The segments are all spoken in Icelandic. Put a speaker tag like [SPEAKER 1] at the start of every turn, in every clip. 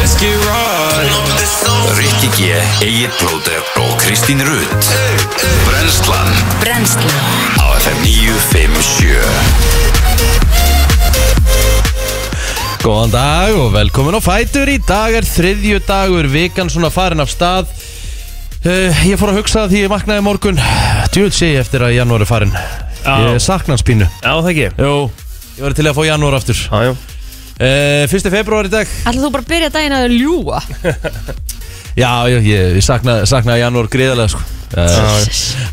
[SPEAKER 1] ekki ræð
[SPEAKER 2] Rikki G, Egil Blóter og Kristín Rutt Brenslan
[SPEAKER 3] Brennslan
[SPEAKER 2] á FM 957
[SPEAKER 1] Góðan dag og velkomin á Fætur Í dag er þriðju dagur, vikan svona farin af stað uh, Ég fór að hugsa því ég vaknaði í morgun Djúvel sé ég eftir að janúar er farin Ég sakna hans pínu
[SPEAKER 4] Já, það ekki
[SPEAKER 1] Jó, ég var til að fá janúar aftur
[SPEAKER 4] Já, já
[SPEAKER 1] uh, Fyrsti februar í dag
[SPEAKER 5] Ætlaðu þú bara að byrja daginn að ljúa
[SPEAKER 1] Já, já, ég, ég sakna, sakna janúar greiðarlega sko. uh,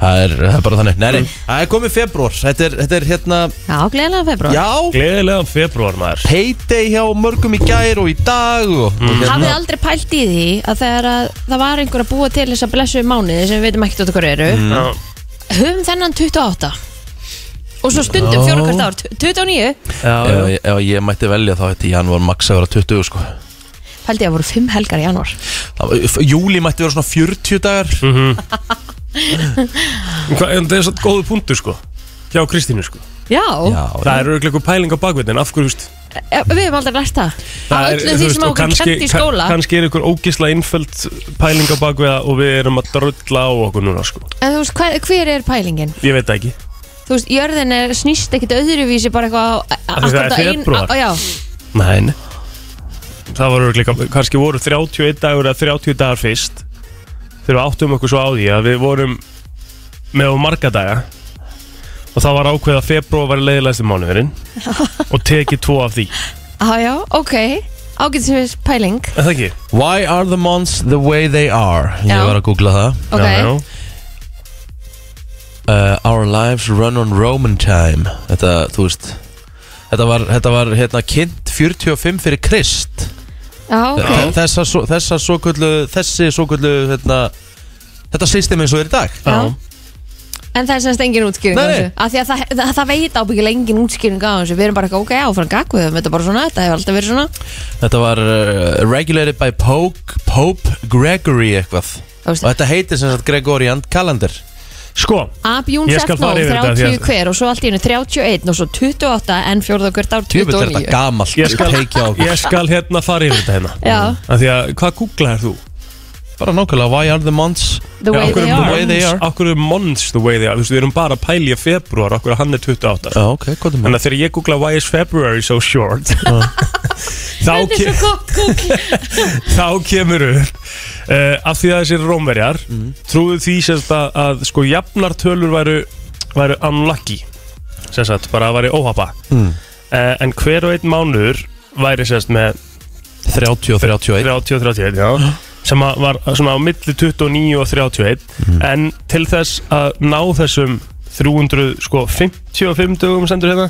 [SPEAKER 1] það, er, það er bara þannig Nei, nei, það er komið februar Þetta er, þetta er hérna,
[SPEAKER 5] Já, gleðilega februar
[SPEAKER 1] já
[SPEAKER 4] Gleðilegan februar maður
[SPEAKER 1] Payday hjá mörgum í gær og í dag og, hérna og
[SPEAKER 5] Hafið aldrei pælt í því að þegar að það var einhver að búa til þessa blessu mánuði sem við veitum ekkert út okkur eru
[SPEAKER 4] Já,
[SPEAKER 5] höfum þennan 28 og svo stundum fjóra hvert ár tu- 29,
[SPEAKER 4] já,
[SPEAKER 1] Ef, ef ég mætti velja þá þetta í janúar max að vera 20 sko.
[SPEAKER 5] pældi ég að voru 5 helgar í janúar
[SPEAKER 1] Það- f- Júli mætti vera svona 40 dagar
[SPEAKER 4] Mhm. Hva, En það er svo góðu punktur sko Hjá Kristínu sko
[SPEAKER 5] Já,
[SPEAKER 4] Það er örglega einhver pæling á bakveitin Af hverju, þú veist
[SPEAKER 5] e- við hefum aldrei lært það
[SPEAKER 4] það
[SPEAKER 5] Af
[SPEAKER 4] er-
[SPEAKER 5] öllu
[SPEAKER 4] þú
[SPEAKER 5] því
[SPEAKER 4] veist,
[SPEAKER 5] sem
[SPEAKER 4] og
[SPEAKER 5] okkur
[SPEAKER 4] kannski-
[SPEAKER 5] kent í skóla
[SPEAKER 4] kann- Kannski er einhver ógisla innföld pæling á bakveiða Og við erum að drölla á okkur núna sko
[SPEAKER 5] En þú veist, hver, hver er pælingin?
[SPEAKER 4] Ég veit það ekki
[SPEAKER 5] Þú veist, jörðin er snýst ekkit öðruvísi bara eitthvað á-
[SPEAKER 4] Af því það er
[SPEAKER 5] akkúrat á ein-
[SPEAKER 4] febrúar.
[SPEAKER 5] á- Já,
[SPEAKER 4] Nei, nei Það var örglega, kannski voru 31 dagur eða 30 dagar fyrst Þegar við áttum okkur svo á því að við vorum með of marga daga Og það var ákveð að februar var leiðilegasti mánuðurinn Og tekið tvo af því
[SPEAKER 5] á, já, ok Ágætis pæling,
[SPEAKER 4] Er það ekki?
[SPEAKER 1] Why are the months the way they are Ég
[SPEAKER 5] Já.
[SPEAKER 1] var að googla það
[SPEAKER 5] ok
[SPEAKER 4] Já, já.
[SPEAKER 1] uh, Our lives run on Roman time Þetta, þú veist Þetta var, þetta var hérna, kynnt 45 fyrir Krist
[SPEAKER 5] Já, ok
[SPEAKER 1] Þessa, svo- þessa svo Þessi svo hérna, Þetta system eins og er í dag
[SPEAKER 5] Já.
[SPEAKER 4] Já.
[SPEAKER 5] En það er semst engin útskýring
[SPEAKER 1] Nei.
[SPEAKER 5] á þessu Af því að það, það, það veit ábyggilega engin útskýring á þessu Við erum bara eitthvað, ok, áfram gagg við höfum Þetta er bara svona, þetta hefur alltaf verið svona
[SPEAKER 1] Þetta var uh, regulated by Pope, Pope Gregory eitthvað
[SPEAKER 5] Þú veist,
[SPEAKER 1] Og þetta heitir sem sagt Gregorian calendar
[SPEAKER 4] Sko,
[SPEAKER 5] Abjún
[SPEAKER 4] Ég skal
[SPEAKER 5] Sefnó,
[SPEAKER 4] fara yfir þetta, því
[SPEAKER 5] 30
[SPEAKER 4] að-
[SPEAKER 5] hver og svo allt í hennu 31 og svo 28 en fjórða hvert ár
[SPEAKER 1] Tjöfitt er þetta
[SPEAKER 5] 29
[SPEAKER 1] gamalt
[SPEAKER 4] Ég skal-
[SPEAKER 1] teikja á okkur
[SPEAKER 4] ég skal hérna fara yfir þetta hérna
[SPEAKER 5] Já.
[SPEAKER 4] Af Því að, hvað googlaðir þú?
[SPEAKER 1] Bara nákvæmlega, why are the months
[SPEAKER 5] The way
[SPEAKER 4] Akkur
[SPEAKER 5] they
[SPEAKER 4] er
[SPEAKER 1] The
[SPEAKER 5] are
[SPEAKER 1] way they are.
[SPEAKER 4] months- Akkur er months the way they are Þú veist, við erum bara að pælja februar Akkur að hann er 28
[SPEAKER 1] Já, ok, hvað er
[SPEAKER 4] Þannig
[SPEAKER 1] maður
[SPEAKER 4] að þegar ég googla why is February so short þá,
[SPEAKER 5] Þetta
[SPEAKER 4] ke
[SPEAKER 5] er svo gott Google
[SPEAKER 4] þá kemur upp uh, af því að þessir rómverjar trúðu því sérst að, að sko jafnartölur væru, væru unlucky sérst bara að væri óhapa mm. en hver og einn mánur væri sérst með
[SPEAKER 1] 30 og 31
[SPEAKER 4] 30 og 31 já, sem að var svona á milli 29 og 31 en til þess að ná þessum 300 sko 55 dögum sendur hérna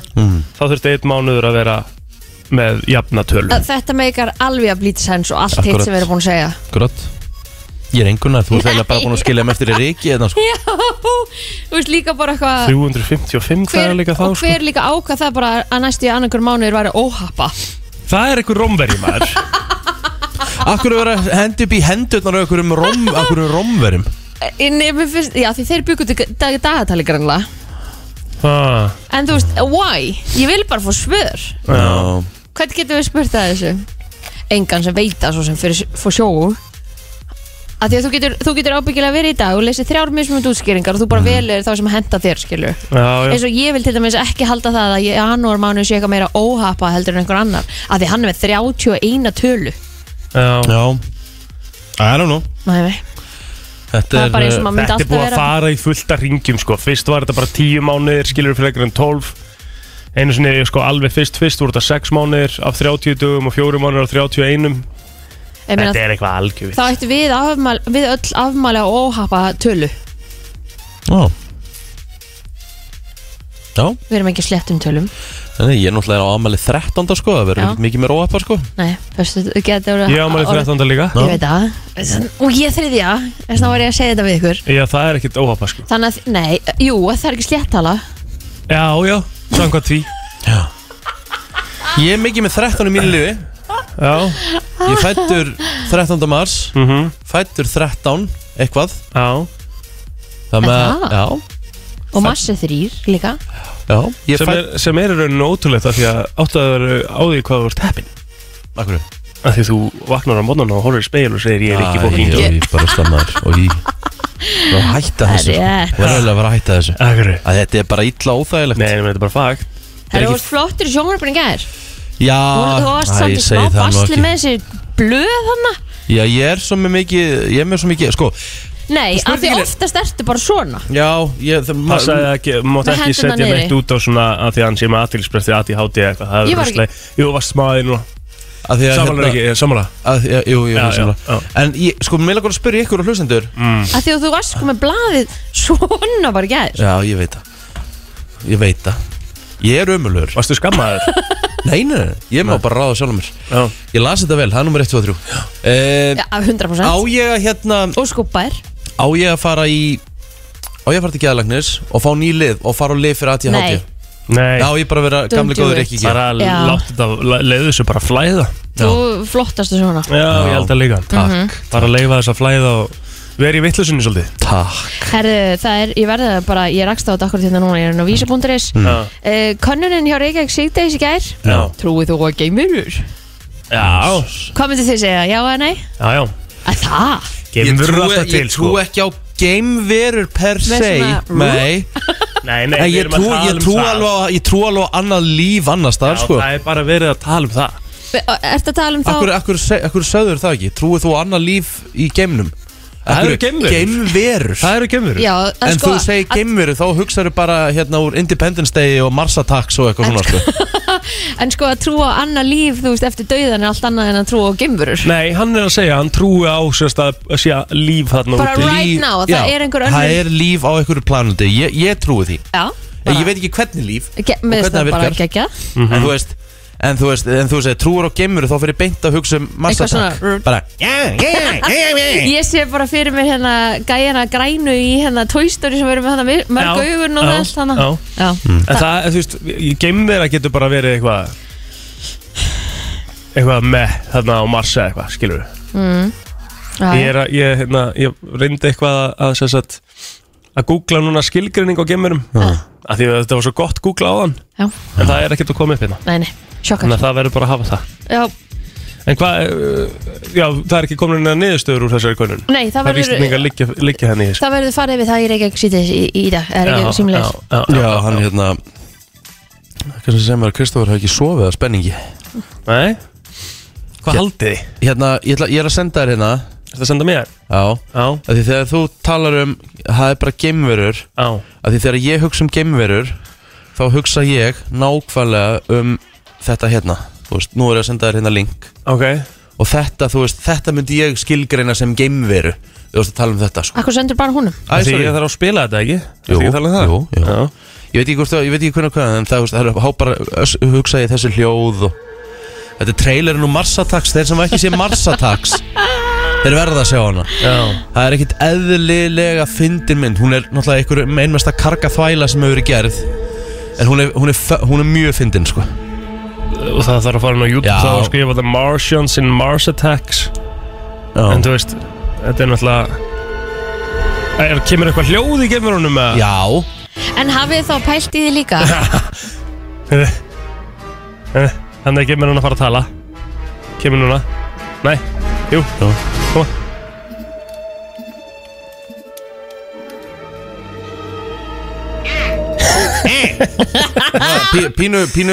[SPEAKER 4] þá þurfti einn mánuður að vera með jafnatölu
[SPEAKER 5] Að Þetta meikar alveg að blíti sens og allt hitt
[SPEAKER 1] Akkurat.
[SPEAKER 5] sem við erum búin að segja
[SPEAKER 1] Grátt Ég er engunar, þú ert eiginlega bara búin að skilja mig eftir í ríki eða sko
[SPEAKER 5] Já, þú veist líka bara eitthvað
[SPEAKER 4] 355 það
[SPEAKER 5] hver,
[SPEAKER 4] er líka þá
[SPEAKER 5] og
[SPEAKER 4] sko.
[SPEAKER 5] hver líka ákvað það bara að næstu í annarkur mánuður væri óhappa
[SPEAKER 4] það er einhver romveri maður
[SPEAKER 1] Akkur er verið að henda upp í hendurnar á okkur um rom, okkur um romverum
[SPEAKER 5] En mér finnst- Já, því þeir byggur dag, dagatali grannlega
[SPEAKER 4] ah,
[SPEAKER 5] En þú veist, why? Ég vil bara fá svör
[SPEAKER 1] Já
[SPEAKER 5] Hvernig getum við spurt það þessu? Engan sem veit það svo sem fyrir, fyrir sjóu að því að þú getur, þú getur ábyggilega verið í dag og lesið þrjár mismunandi útskýringar og þú bara velur þá sem henda þér skilur
[SPEAKER 4] Mhm. já, já.
[SPEAKER 5] eins og ég vil til dæmis ekki halda það að janúar mánu sé eitthvað meira óhapa heldur en einhver annar að því hann er með 31 tölu
[SPEAKER 4] Já.
[SPEAKER 1] Já I don't know
[SPEAKER 5] Nei, nei.
[SPEAKER 1] Þetta
[SPEAKER 5] það er
[SPEAKER 1] er, eh,
[SPEAKER 5] bara eins og maður myndi
[SPEAKER 4] þetta er
[SPEAKER 5] alltaf
[SPEAKER 4] búið að
[SPEAKER 5] vera
[SPEAKER 4] fara í fullta ringjum sko. fyrst var þetta bara 10 mánuðir skilur frekar en 12 einu sinni sko, alveg fyrst fyrst voru þetta 6 mánuðir af 30 dögum og 4 mánuðir af 31
[SPEAKER 5] Ég meina,
[SPEAKER 4] Þetta er eitthvað algjörð
[SPEAKER 5] þá ættum við, afmæl, við öll afmæli á óhapa tölu
[SPEAKER 1] uh, Já Já
[SPEAKER 5] við erum ekki slett um tölum
[SPEAKER 1] Þannig, ég er náttúrulega á aðmæli 13. sko, það verður
[SPEAKER 5] Já.
[SPEAKER 1] ekkert mikið mér óhappa sko
[SPEAKER 5] nei, fyrstu, getur
[SPEAKER 4] Ég á maður 13. líka
[SPEAKER 1] Já.
[SPEAKER 5] Ég veit það En- Og ég þriðja Þess vegna var ég að segja þetta við ykkur
[SPEAKER 4] Já, það er ekkert óhafa sko
[SPEAKER 5] Þannig að, nei, jú, það er ekki sléttala
[SPEAKER 4] Já, já, samkvæmt því
[SPEAKER 1] Ég er mikið með 13 í mínu lífi
[SPEAKER 4] Já,
[SPEAKER 1] Ég fættur 13. mars
[SPEAKER 4] mhm,
[SPEAKER 1] Fættur 13, eitthvað
[SPEAKER 4] já
[SPEAKER 5] Er
[SPEAKER 1] Það
[SPEAKER 5] það?
[SPEAKER 1] Já,
[SPEAKER 5] Og massi þrýr líka
[SPEAKER 1] já Ég
[SPEAKER 4] sem,
[SPEAKER 1] fætt
[SPEAKER 4] er, sem er í rauninu ótrúlegt af því að áttu að vera á því hvað þú ert heppin
[SPEAKER 1] Akkur
[SPEAKER 4] að því þú vaknar á mótnan og horfir í speil og segir ég er ekki fólking
[SPEAKER 1] Æ, ég er bara stannar og ég Ná, hætta þessu
[SPEAKER 5] Það er rétt.
[SPEAKER 1] Það er alveg að vera að hætta þessu
[SPEAKER 4] Akkur
[SPEAKER 1] að Þetta er bara illa óþægilegt
[SPEAKER 4] Nei, en þetta er bara fakt
[SPEAKER 5] Það er orðið flottur í sjónvarpinu í gær
[SPEAKER 1] Já,
[SPEAKER 5] Þú varst
[SPEAKER 1] Ah, æ,
[SPEAKER 5] samt
[SPEAKER 1] ég
[SPEAKER 5] í
[SPEAKER 1] segi
[SPEAKER 5] smá
[SPEAKER 1] það nú
[SPEAKER 5] basli
[SPEAKER 1] ekki
[SPEAKER 5] með þessi blöð hana
[SPEAKER 1] Já, ég er svo með mikið Ég er með svo mikið, sko
[SPEAKER 5] Nei, af því
[SPEAKER 1] spurningin er-
[SPEAKER 5] oftast ertu bara svona
[SPEAKER 1] Já, ég það- ma-
[SPEAKER 4] Passaði að ekki, mátt
[SPEAKER 5] Með
[SPEAKER 4] ekki
[SPEAKER 5] hendurnar
[SPEAKER 4] setja
[SPEAKER 5] niðri.
[SPEAKER 4] neitt út á svona að því að hann sé með aðtilspresti að því háti eitthvað
[SPEAKER 5] Ég
[SPEAKER 4] Það er
[SPEAKER 5] var ekki-
[SPEAKER 4] rústlega Jú, varst smaði núna
[SPEAKER 1] að því að
[SPEAKER 4] Samanlega ekki, samanlega
[SPEAKER 1] að, já, Jú, jú,
[SPEAKER 4] Já, já, já. Mm.
[SPEAKER 1] já En ég, sko, mér lakar að spyrja ykkur og hlustendur
[SPEAKER 5] Af því að þú varst sko með blaðið svona bara í gær
[SPEAKER 1] Já, ég veit það Ég veit það Ég er ömulur
[SPEAKER 4] Varstu skammaður?
[SPEAKER 1] Nei, nei, nei, ég má bara ráða sjálfur mér
[SPEAKER 4] Já
[SPEAKER 1] Ég las þetta vel, það er nummer 1, 2 og 3 eh,
[SPEAKER 5] Já, af 100%
[SPEAKER 1] Á ég að hérna
[SPEAKER 5] Og skúpar
[SPEAKER 1] Á ég að fara í Á ég að fara til geðalagnis og fá ný lið og fara á lið fyrir ATHD
[SPEAKER 5] Nei.
[SPEAKER 4] Nei
[SPEAKER 1] Já, ég bara að vera gamli
[SPEAKER 5] do
[SPEAKER 1] góður
[SPEAKER 5] it.
[SPEAKER 1] ekki
[SPEAKER 4] Bara
[SPEAKER 5] Já.
[SPEAKER 4] láttu þetta, leiðu þessu bara flæða
[SPEAKER 5] Þú flottastu svona
[SPEAKER 4] Já, ég held að líka
[SPEAKER 1] Takk,
[SPEAKER 5] Mhm.
[SPEAKER 4] Bara leifa þess að flæða og veri í vittlusunni svolítið
[SPEAKER 1] takk
[SPEAKER 5] Herðu, það er, ég verði það bara, ég rakst á þetta akkur til þetta núna, ég er nú vísa.is mm.
[SPEAKER 4] Já.
[SPEAKER 5] uh, Könnunin hjá Reykjavík Sigdeis í gær
[SPEAKER 4] Já.
[SPEAKER 5] Trúið þú að geimurur?
[SPEAKER 4] Já,
[SPEAKER 5] Hvað myndir þið segja, já eða nei?
[SPEAKER 4] já, já
[SPEAKER 5] Að það?
[SPEAKER 1] Ég
[SPEAKER 4] Gefum við
[SPEAKER 1] trúi,
[SPEAKER 4] alltaf til,
[SPEAKER 1] ég
[SPEAKER 4] sko
[SPEAKER 1] trúi ekki á gameverur per
[SPEAKER 5] Með
[SPEAKER 1] se
[SPEAKER 5] svona-
[SPEAKER 1] Nei,
[SPEAKER 4] Nei, nei,
[SPEAKER 1] en
[SPEAKER 4] við
[SPEAKER 1] ég
[SPEAKER 4] erum að
[SPEAKER 1] trúi,
[SPEAKER 4] tala
[SPEAKER 1] ég,
[SPEAKER 4] um
[SPEAKER 1] trúi
[SPEAKER 4] það.
[SPEAKER 1] alveg, á- ég trúi alveg á annað líf annars
[SPEAKER 4] Já,
[SPEAKER 1] þar sko
[SPEAKER 4] Það er bara verið að tala um það
[SPEAKER 5] Ertu að tala um þá?
[SPEAKER 1] Akkur, akkur, se- akkur söður það ekki? Trúið þú á annað líf í geimnum?
[SPEAKER 4] Það eru
[SPEAKER 1] Akkur-
[SPEAKER 4] geimverur.
[SPEAKER 1] Geimverur
[SPEAKER 4] Það eru gemur
[SPEAKER 5] Já,
[SPEAKER 1] En
[SPEAKER 5] sko,
[SPEAKER 1] þú segir
[SPEAKER 5] að-
[SPEAKER 1] geimveru, þá hugsaðu bara hérna úr Independence Day og Mars Attacks og eitthvað svona sko.
[SPEAKER 5] En sko að trúa á annað líf, þú veist, eftir dauðan er allt annað en að trúa á geimurur
[SPEAKER 4] Nei, hann er að segja, hann trúi á sérst að að sé að líf þarna
[SPEAKER 5] Bara
[SPEAKER 4] úti
[SPEAKER 5] right now, það er einhver önnur-
[SPEAKER 1] Það er líf á einhverju planundi, ég, ég trúi því
[SPEAKER 5] Já,
[SPEAKER 1] En Ég veit ekki hvernig líf,
[SPEAKER 5] Ge-
[SPEAKER 1] og
[SPEAKER 5] Mér
[SPEAKER 1] hvernig
[SPEAKER 5] finnst það
[SPEAKER 1] það
[SPEAKER 5] bara
[SPEAKER 1] virkar.
[SPEAKER 5] geggja
[SPEAKER 1] en þú veist En þú veist, en þú segir, trúur á geimveru, þá fyrir beint að hugsa um Mars
[SPEAKER 5] Eitthvað
[SPEAKER 1] Attack
[SPEAKER 5] svona-
[SPEAKER 1] Bara, yeah, yeah, yeah,
[SPEAKER 5] Ég
[SPEAKER 1] yeah
[SPEAKER 5] sé bara fyrir mér hérna gæjana grænu í hérna tóistóri sem verður með hana mi- mörg
[SPEAKER 4] Já,
[SPEAKER 5] augun og
[SPEAKER 4] já,
[SPEAKER 5] allt hana
[SPEAKER 4] já.
[SPEAKER 5] Já.
[SPEAKER 1] Mm.
[SPEAKER 4] En það, þú veist, geimvera getur bara verið eitthvað eitthvað með þarna á Mars eða eitthvað, skilur við
[SPEAKER 5] Já,
[SPEAKER 4] ég, er að, ég, hérna, ég reyndi eitthvað að, að sem sagt, að googla núna skilgrinning á geimverum af því að þetta var svo gott googla á þann
[SPEAKER 5] já,
[SPEAKER 4] en það er ekkert að koma upp hérna
[SPEAKER 5] nei, nei, sjokkar
[SPEAKER 4] þannig að það verður bara að hafa það
[SPEAKER 5] Já,
[SPEAKER 4] en hvað, uh, já, það er ekki komin að niðurstöður úr þessari konun
[SPEAKER 5] nei, það
[SPEAKER 4] það er
[SPEAKER 5] verður
[SPEAKER 4] vísningar liggja, liggja henni í þessu
[SPEAKER 5] Það verður farið við það í Reykjavík síðis í, í dag Það er
[SPEAKER 4] Já,
[SPEAKER 5] ekki símleis
[SPEAKER 4] já, já, já.
[SPEAKER 1] Já, hann hérna Hvernig sem er að Kristofur hafi ekki sofið að spenningi
[SPEAKER 4] Nei, hvað haldið þið?
[SPEAKER 1] Hérna, ég, ætla, ég er að senda þér hérna
[SPEAKER 4] Er það að senda mér?
[SPEAKER 1] Já,
[SPEAKER 4] Já,
[SPEAKER 1] af því þegar þú talar um Það er bara geimverur
[SPEAKER 4] já,
[SPEAKER 1] að því þegar ég hugsa um geimverur þá hugsa ég nákvæmlega um þetta hérna þú veist, nú er ég að senda þér hérna link
[SPEAKER 4] ok
[SPEAKER 1] og þetta, þú veist, þetta myndi ég skilgreina sem geimveru þú veist að tala um þetta sko.
[SPEAKER 5] Akkur sendur bara húnum
[SPEAKER 1] Æ,
[SPEAKER 4] Því
[SPEAKER 1] sorry.
[SPEAKER 4] ég þarf að spila þetta ekki? Ertu
[SPEAKER 1] Jú,
[SPEAKER 4] ekki að tala um það?
[SPEAKER 1] jú, jú.
[SPEAKER 4] Já.
[SPEAKER 1] ég veit ekki hvort það, ég veit ekki hvernig hvað en það, þú veist, það er hópar, öss- hugsa ég þessi hljóð og þetta er trailerinn úr Mars Attacks þeir sem ekki sé Mars Attacks þeir verða að sjá hana
[SPEAKER 4] Já.
[SPEAKER 1] það er ekkit eðlilega fyndin mynd hún er náttúrulega einhver einmesta karga þvæla sem hefur verið gerð en hún er, hún er, fe- hún er mjög fyndin sko.
[SPEAKER 4] Og það þarf að fara inn á YouTube
[SPEAKER 1] Já.
[SPEAKER 4] þá að skrifa The Martians in Mars Attacks
[SPEAKER 1] Já.
[SPEAKER 4] En þú veist, þetta er náttúrulega Er, kemur eitthvað hljóð í gemurunum með?
[SPEAKER 1] Já,
[SPEAKER 5] En hafið þið þá pælt í því líka
[SPEAKER 4] Eh, Þannig að gemurinn að fara að tala Kemur núna Nei, jú,
[SPEAKER 1] Já.
[SPEAKER 4] koma
[SPEAKER 1] pí- pínu, pínu,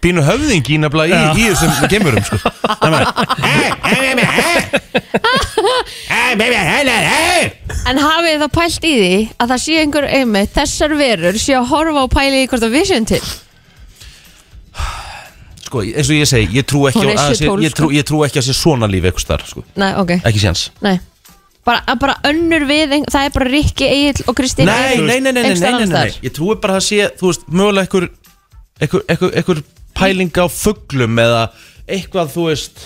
[SPEAKER 1] pínu höfðingi nefnilega í, í þessum gemurum sko.
[SPEAKER 5] En hafið þið þá pælt í því að það sé einhver einmitt Þessar verur sé að horfa og pæli í hvort það vision til
[SPEAKER 1] sko, eins og ég segi, ég trú ekki,
[SPEAKER 5] Hún er
[SPEAKER 1] á- að sé,
[SPEAKER 5] 7-12,
[SPEAKER 1] ég trú,
[SPEAKER 5] sko.
[SPEAKER 1] ég trú ekki að sé svona líf eitthvað starf sko.
[SPEAKER 5] Nei, ok,
[SPEAKER 1] ekki séns
[SPEAKER 5] nei Bara, að bara önnur við, ein- það er bara Rikki, Egil og Kristín
[SPEAKER 1] nei,
[SPEAKER 5] Eir
[SPEAKER 1] nei, nei, nei, nei,
[SPEAKER 5] einhvers staðar
[SPEAKER 1] nei, nei,
[SPEAKER 5] annars
[SPEAKER 1] nei,
[SPEAKER 5] staðar.
[SPEAKER 1] ég trúi bara að sé þú veist, mögulega einhver einhver, einhver, einhver pæling á fugglum eða eitthvað, þú veist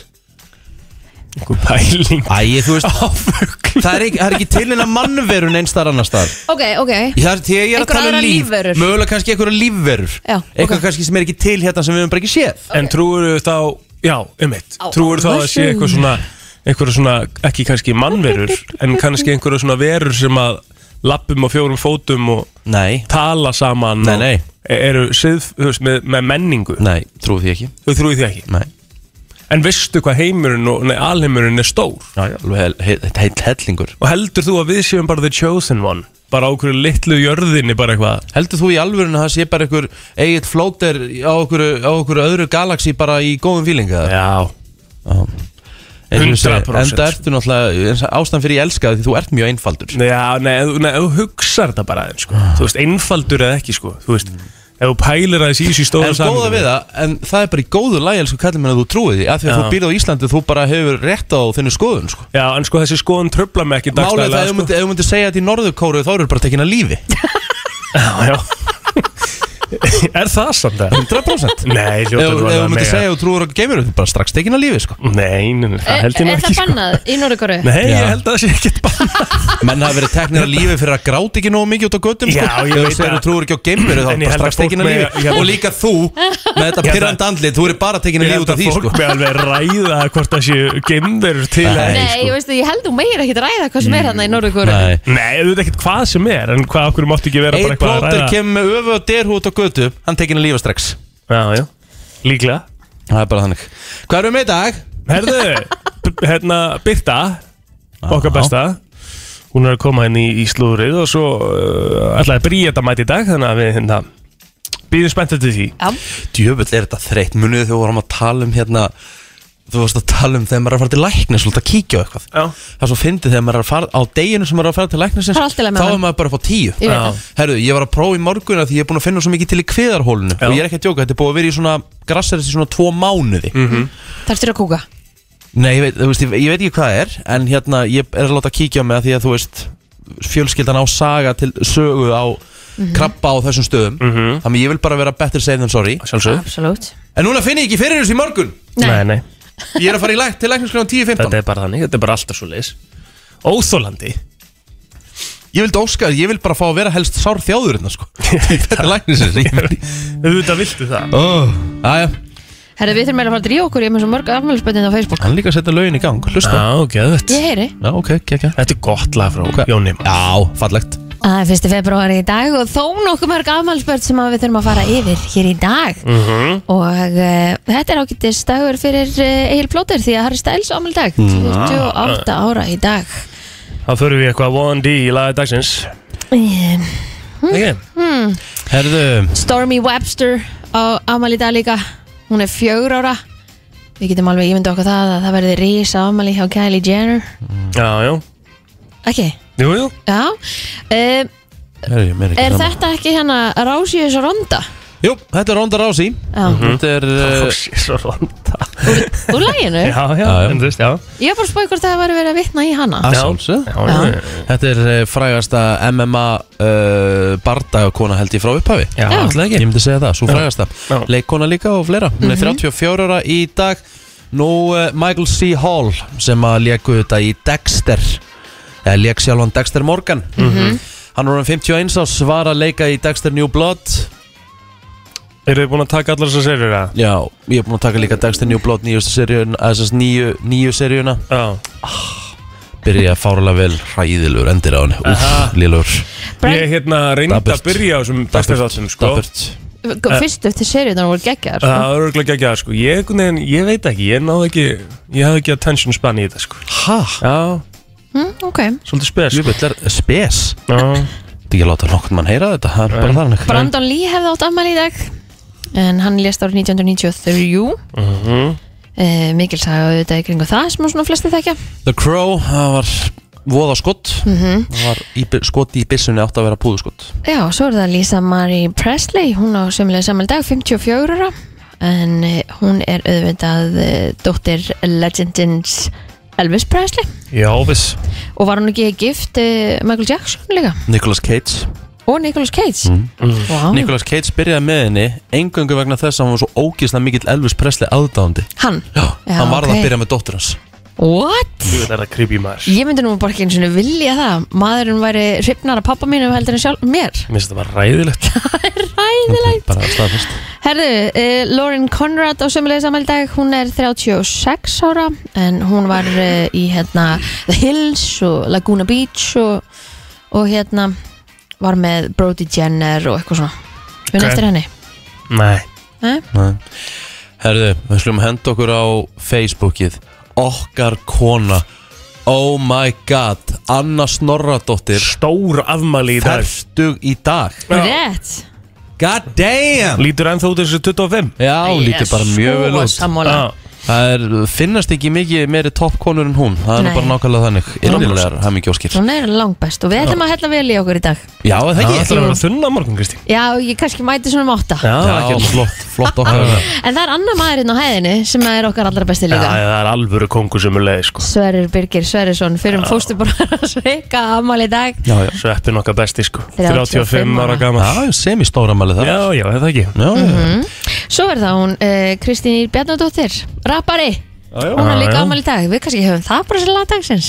[SPEAKER 4] Einhver pæling
[SPEAKER 1] Æ, þú veist Það er ekki, það er ekki til en að mannverun eins þar annars þar
[SPEAKER 5] Ok, ok,
[SPEAKER 1] Það er þegar ég er að
[SPEAKER 5] Einhverjar
[SPEAKER 1] tala um
[SPEAKER 5] aðrar
[SPEAKER 1] líf
[SPEAKER 5] lífverur.
[SPEAKER 1] Mögulega kannski einhverja lífverur
[SPEAKER 5] Já,
[SPEAKER 1] Eitthvað
[SPEAKER 5] ok.
[SPEAKER 1] kannski sem er ekki til hérna sem við höfum bara ekki séð
[SPEAKER 4] En trúur þú þá, já, um eitt
[SPEAKER 5] Á
[SPEAKER 4] Trúur þá að sé
[SPEAKER 5] álfasögur.
[SPEAKER 4] eitthvað svona einhverju svona, ekki kannski mannverur en kannski einhverju svona verur sem að lappum á fjórum fótum og
[SPEAKER 1] Nei,
[SPEAKER 4] tala saman
[SPEAKER 1] Nei,
[SPEAKER 4] og e-
[SPEAKER 1] nei.
[SPEAKER 4] eru sið, þú veist, með, með menningu
[SPEAKER 1] nei, trúi því ekki
[SPEAKER 4] Þú trúið því ekki
[SPEAKER 1] Nei,
[SPEAKER 4] en veistu hvað heimurinn og nei, alheimurinn er stór
[SPEAKER 1] Já, já, alveg heil- heil- heill hellingur
[SPEAKER 4] og heldur þú að við séum bara the chosen one bara á okkur litlu jörðinni bara eitthvað
[SPEAKER 1] Heldur þú í alvörinu að það sé bara einhver eigið flóter á okkur, á okkur öðru galaxi bara í góðum fílinga?
[SPEAKER 4] já,
[SPEAKER 1] Enda
[SPEAKER 4] 100%.
[SPEAKER 1] ertu náttúrulega eins og ástæðan fyrir ég elska það því þú ert mjög einfaldur
[SPEAKER 4] Já, nei, ef þú- nei, ef þú hugsar þetta bara aðeins, sko.
[SPEAKER 1] Ah.
[SPEAKER 4] Þú veist, einfaldur eða ekki, sko Þú veist, ef þú pælir aðeins í þessu í stóra
[SPEAKER 1] En góða við það, en það er bara í góðu lagi elsku kallum en að þú trúið því, af því að
[SPEAKER 4] Já.
[SPEAKER 1] þú býrð á Íslandi þú bara hefur rétt á þinni skoðun sko.
[SPEAKER 4] Já, en sko, þessi skoðun tröfla mig ekki
[SPEAKER 1] Málið er það,
[SPEAKER 4] dagstæðlega,
[SPEAKER 1] ef þú
[SPEAKER 4] sko
[SPEAKER 1] myndir- ef þú myndir segja þetta í Norðurkóru þá eru bara tekin að lífi
[SPEAKER 4] Já, já Er það samt það?
[SPEAKER 1] 100%
[SPEAKER 4] Nei,
[SPEAKER 1] Ef
[SPEAKER 4] hljóta
[SPEAKER 1] ef þú myndir segja að þú trúir okkur geimur þú bara strax tekin að lífi sko.
[SPEAKER 4] Nei, nei, nei, það
[SPEAKER 5] Er,
[SPEAKER 4] held ég nú
[SPEAKER 5] er
[SPEAKER 4] ekki,
[SPEAKER 5] það
[SPEAKER 4] sko
[SPEAKER 5] bannað í Norðurkóru?
[SPEAKER 4] Nei,
[SPEAKER 1] Já.
[SPEAKER 4] ég held að það sé ekkert bannað
[SPEAKER 1] Menn hafa verið teknir að lífi fyrir að gráta ekki nógu mikið út á göttum sko.
[SPEAKER 4] Já, ég
[SPEAKER 1] Ef
[SPEAKER 4] veit
[SPEAKER 1] þú segir
[SPEAKER 4] það.
[SPEAKER 1] þú trúir ekki á geimur þá
[SPEAKER 4] En
[SPEAKER 1] er bara
[SPEAKER 4] ég held
[SPEAKER 1] strax
[SPEAKER 4] að fólk
[SPEAKER 1] tekin að
[SPEAKER 4] megi- ég
[SPEAKER 1] lífi
[SPEAKER 4] held-
[SPEAKER 1] Og líka þú, með þetta
[SPEAKER 4] Ég held
[SPEAKER 1] pyrrandi andlit þú eru bara tekin að lífi út af því
[SPEAKER 4] fólk
[SPEAKER 1] sko.
[SPEAKER 4] með alveg ræða hvort það séu gemverur til eða
[SPEAKER 1] Nei,
[SPEAKER 5] Nei,
[SPEAKER 4] ekki,
[SPEAKER 5] ég veist að ég held þú meir ekkert ræða hvað sem er hérna í Norðurkóru
[SPEAKER 1] Nei.
[SPEAKER 4] sko Nei, þú veit ekkert hvað sem er En hvað okkur mátti ekki vera bara
[SPEAKER 1] Eitt
[SPEAKER 4] eitthvað að
[SPEAKER 1] plóter
[SPEAKER 4] ræða
[SPEAKER 1] kemur með öfu og derhú út á götu Hann tekin að lífa strax
[SPEAKER 4] Já, já, líklega
[SPEAKER 1] Það er bara þannig Hvað erum við með í dag?
[SPEAKER 4] Herðu, b- hérna Birta Okkar
[SPEAKER 1] Já.
[SPEAKER 4] besta Hún er að koma inn í, í slúðrið Og svo uh, ætlaði Bríeta mæti í dag Þannig að við hérna Býðum spenntið til því
[SPEAKER 1] Djöfull er þetta þreytt Munið þegar við vorum að tala um hérna Þú varst að tala um þegar maður er að fara til læknis Svolítið að kíkja á eitthvað
[SPEAKER 4] Já.
[SPEAKER 1] Það er svo fyndið þegar maður er að fara Á deginu sem maður er að fara til læknis
[SPEAKER 5] Það er allt í lagi með
[SPEAKER 1] Þá er
[SPEAKER 5] hann.
[SPEAKER 1] maður bara upp á tíu
[SPEAKER 5] Ég veit það.
[SPEAKER 1] Herru, ég var að prófa í morgun af Því ég er búin að finna svo mikið til í kviðarhólinu
[SPEAKER 4] Já.
[SPEAKER 1] Og ég er ekki að djóka Þetta er búið að vera í svona Grasserist í svona tvo mánuði
[SPEAKER 5] Það er styrir að kúka
[SPEAKER 1] Nei, ég veit, þú veist, ég, ég veit ekki hvað það er En hérna, ég er að láta kíkja á mig að Því að þú veist, fjölskyldan á saga til sögu á krabba á þessum stöðum Þannig að ég vil bara vera better safe than sorry
[SPEAKER 4] Sjálfsög
[SPEAKER 5] Absolutt
[SPEAKER 1] En núna finn ég ekki fyrir þessu í morgun
[SPEAKER 5] Ah, Nei,
[SPEAKER 4] nei,
[SPEAKER 1] Ég er að fara í læk til lækniskljóðan 10.15
[SPEAKER 4] þetta er bara þannig Þetta er bara alltaf svo leis Óþólandi
[SPEAKER 1] Ég vildi óska, ég vil bara fá að vera helst sár þjáður hérna, sko. Þetta er læknisins ég vil-
[SPEAKER 4] Auðvitað viltu það
[SPEAKER 1] Ó, Jæja,
[SPEAKER 5] Herra, við þurfum eiginlega að fara að drífa okkur Ég er með svo mörg afmælisböndin á Facebook
[SPEAKER 1] hann líka að setja lögin í gang Hlusta
[SPEAKER 4] Já, geðvægt
[SPEAKER 5] Ég heyri
[SPEAKER 1] Já, ok, ekki, ekki
[SPEAKER 4] Sko. Þetta er gott lag frá
[SPEAKER 1] Hvað?
[SPEAKER 4] Jóni
[SPEAKER 1] Já, fallegt
[SPEAKER 5] Það er fyrsti februari í dag og þó nokkuð mörg afmælsbörn sem að við þurfum að fara yfir hér í dag og uh, þetta er ágættist dagur fyrir uh, Egil Plóter því að Harry Styles á afmæli í dag 28 ára í dag
[SPEAKER 4] Þá förum við eitthvað 1D í lagi dagsins
[SPEAKER 5] um,
[SPEAKER 4] Ekki?
[SPEAKER 1] Herðu,
[SPEAKER 5] Stormy Webster á afmæli í dag líka hún er fjögur ára við getum alveg ímynda okkur það að það verði risa afmæli hjá Kylie Jenner
[SPEAKER 4] Já, já
[SPEAKER 5] ok,
[SPEAKER 4] Jú, jú
[SPEAKER 5] já um,
[SPEAKER 1] herðu, ég meina ekki
[SPEAKER 5] er
[SPEAKER 1] sama.
[SPEAKER 5] þetta ekki hérna Rásius Ronda?
[SPEAKER 1] Jú, þetta er Ronda Rási
[SPEAKER 5] Já,
[SPEAKER 1] Þetta er uh,
[SPEAKER 4] Fóssi, svo ronda
[SPEAKER 5] úr læginu?
[SPEAKER 4] Já, já,
[SPEAKER 1] Já, já.
[SPEAKER 4] en þú veist, já
[SPEAKER 5] Ég var bara að spáði hvort það var verið að vitna í hana
[SPEAKER 1] að
[SPEAKER 4] Já.
[SPEAKER 1] sjálfsögðu.
[SPEAKER 4] Já, já, já.
[SPEAKER 1] Þetta er eh, frægasta MMA uh, bardagakona held ég frá upphafi
[SPEAKER 4] Já,
[SPEAKER 5] Já.
[SPEAKER 4] alltaf
[SPEAKER 1] Ég
[SPEAKER 4] ekki
[SPEAKER 1] myndi segja það, svo frægasta
[SPEAKER 4] Já.
[SPEAKER 1] Leikkona líka og fleira Hún er
[SPEAKER 5] Mhm.
[SPEAKER 1] 34 ára í dag Nú uh, Michael C. Hall sem að léku þetta í Dexter eða lék sjálfan Dexter Morgan
[SPEAKER 4] Mm.
[SPEAKER 5] Mhm.
[SPEAKER 1] Hann var um 51 árs var að leika í Dexter New Blood
[SPEAKER 4] Eru þið búin að taka allar þessar serjur að?
[SPEAKER 1] Já, ég er búinn að taka líka Dexter New Blood nýjustu seríun, þessast nýju, nýju seríuna
[SPEAKER 4] Já
[SPEAKER 1] Byrja fárulega vel hræðilur endir á henni Úf, lélur
[SPEAKER 5] Brand,
[SPEAKER 4] Ég hérna reyndi
[SPEAKER 1] Dapurt.
[SPEAKER 4] að byrja á þessum bestu þáttum sko
[SPEAKER 1] Dapurt
[SPEAKER 5] Sko, Fyrstu eftir seriunar voru geggjar sko.
[SPEAKER 4] Það er örgulega ekki að sko ég, einhvern veginn- ég veit ekki, ég náði ekki Ég hafði ekki attention span í þetta sko
[SPEAKER 1] Hæ?
[SPEAKER 4] Já,
[SPEAKER 5] mm, Ok,
[SPEAKER 4] svolítið spes sko.
[SPEAKER 1] Jöfull er spes
[SPEAKER 4] Já,
[SPEAKER 1] Þetta ekki að láta nokkurn mann heyra þetta Það er bara þannig
[SPEAKER 5] Brandon Lee hefði átt ammæli í dag En hann lést árið 1993 uh -huh. eh, Mikil sagði auðvitað í kringu það sem svona flesti þekkja
[SPEAKER 1] The Crow, það var voða skott Það var í, skott í byssunni átt að vera púðuskott
[SPEAKER 5] Já, svo er það Lisa Marie Presley Hún á sömulega sammæli í dag, 54 ára En eh, hún er auðvitað eh, dóttir legendins Elvis Presley
[SPEAKER 4] já viss
[SPEAKER 5] Og var hún ekki gift eh, Michael Jackson líka
[SPEAKER 1] Nicolas Cage
[SPEAKER 5] Og Nicolas Cage mm. wow.
[SPEAKER 1] Nicolas Cage byrjaði með henni engöngu vegna þess að hann var svo ógisna mikill Elvis Presley aðdáðandi
[SPEAKER 5] Hann
[SPEAKER 1] Já,
[SPEAKER 5] Já,
[SPEAKER 1] hann varð
[SPEAKER 5] ok.
[SPEAKER 1] að byrja með dóttur hans
[SPEAKER 5] What?
[SPEAKER 4] Jú, þetta er að creepy maður
[SPEAKER 5] Ég myndi nú bara ekki eins og vilja það Maðurinn væri hrifnar af pappa mínum heldur en sjálf mér
[SPEAKER 4] Mér finnst þetta bara ræðilegt
[SPEAKER 5] Ræðilegt
[SPEAKER 1] Bara staðfest
[SPEAKER 5] Herðu, uh, Lauren Conrad á sömulegis dag Hún er 36 ára En hún var uh, í hérna The Hills og Laguna Beach Og, og hérna Var með Brody Jenner og eitthvað svona Muna
[SPEAKER 4] Ok.
[SPEAKER 5] eftir henni
[SPEAKER 4] Nei
[SPEAKER 5] eh?
[SPEAKER 1] Nei. Herðu, við slum henda okkur á Facebookið Okkar kona Oh my god Anna Snorradóttir
[SPEAKER 4] Stór afmæli í dag
[SPEAKER 1] Ferstug í dag
[SPEAKER 5] Rétt
[SPEAKER 1] God damn
[SPEAKER 4] Lítur ennþá út þessu 25
[SPEAKER 1] Já,
[SPEAKER 5] Æ,
[SPEAKER 1] hún
[SPEAKER 5] ég er
[SPEAKER 1] lítur bara mjög
[SPEAKER 5] svo
[SPEAKER 1] vel út
[SPEAKER 5] sammála.
[SPEAKER 4] Já.
[SPEAKER 1] Það er, finnast ekki mikið meiri toppkonur en hún Það er nú
[SPEAKER 5] Nei.
[SPEAKER 1] bara nákvæmlega þannig Innilegar, það mikið óskir
[SPEAKER 5] Hún er langbest og við ætlum að hella vel í okkur í dag
[SPEAKER 1] Já, er það
[SPEAKER 4] Það
[SPEAKER 1] ekki
[SPEAKER 4] ætlar að vera þunna á morgun, Kristi
[SPEAKER 5] Já, ég kannski mæti svona um átta
[SPEAKER 1] Já, flott, flott okkar
[SPEAKER 5] En það er annar maðurinn á hæðinni sem er okkar allra besti
[SPEAKER 4] Já,
[SPEAKER 5] líka
[SPEAKER 4] það er alvöru kongur sem er leið, sko
[SPEAKER 5] Sverrir Birgir Sverrisson fyrir um fósturbróðar að sveika ammali í dag
[SPEAKER 1] Já, já
[SPEAKER 4] Sveppin okkar besti, sko
[SPEAKER 5] 35
[SPEAKER 4] 35 ára
[SPEAKER 5] ára.
[SPEAKER 4] gammal
[SPEAKER 1] Já, semistóra mæli það
[SPEAKER 4] Já, já, er það ekki
[SPEAKER 1] já, já.
[SPEAKER 5] Svo er það hún uh, Kristín Ír Bjarnadóttir Rappari, hún
[SPEAKER 4] Já,
[SPEAKER 5] er líka
[SPEAKER 4] já.
[SPEAKER 5] ammali í dag Við kannski höfum það bara sér lagdagsins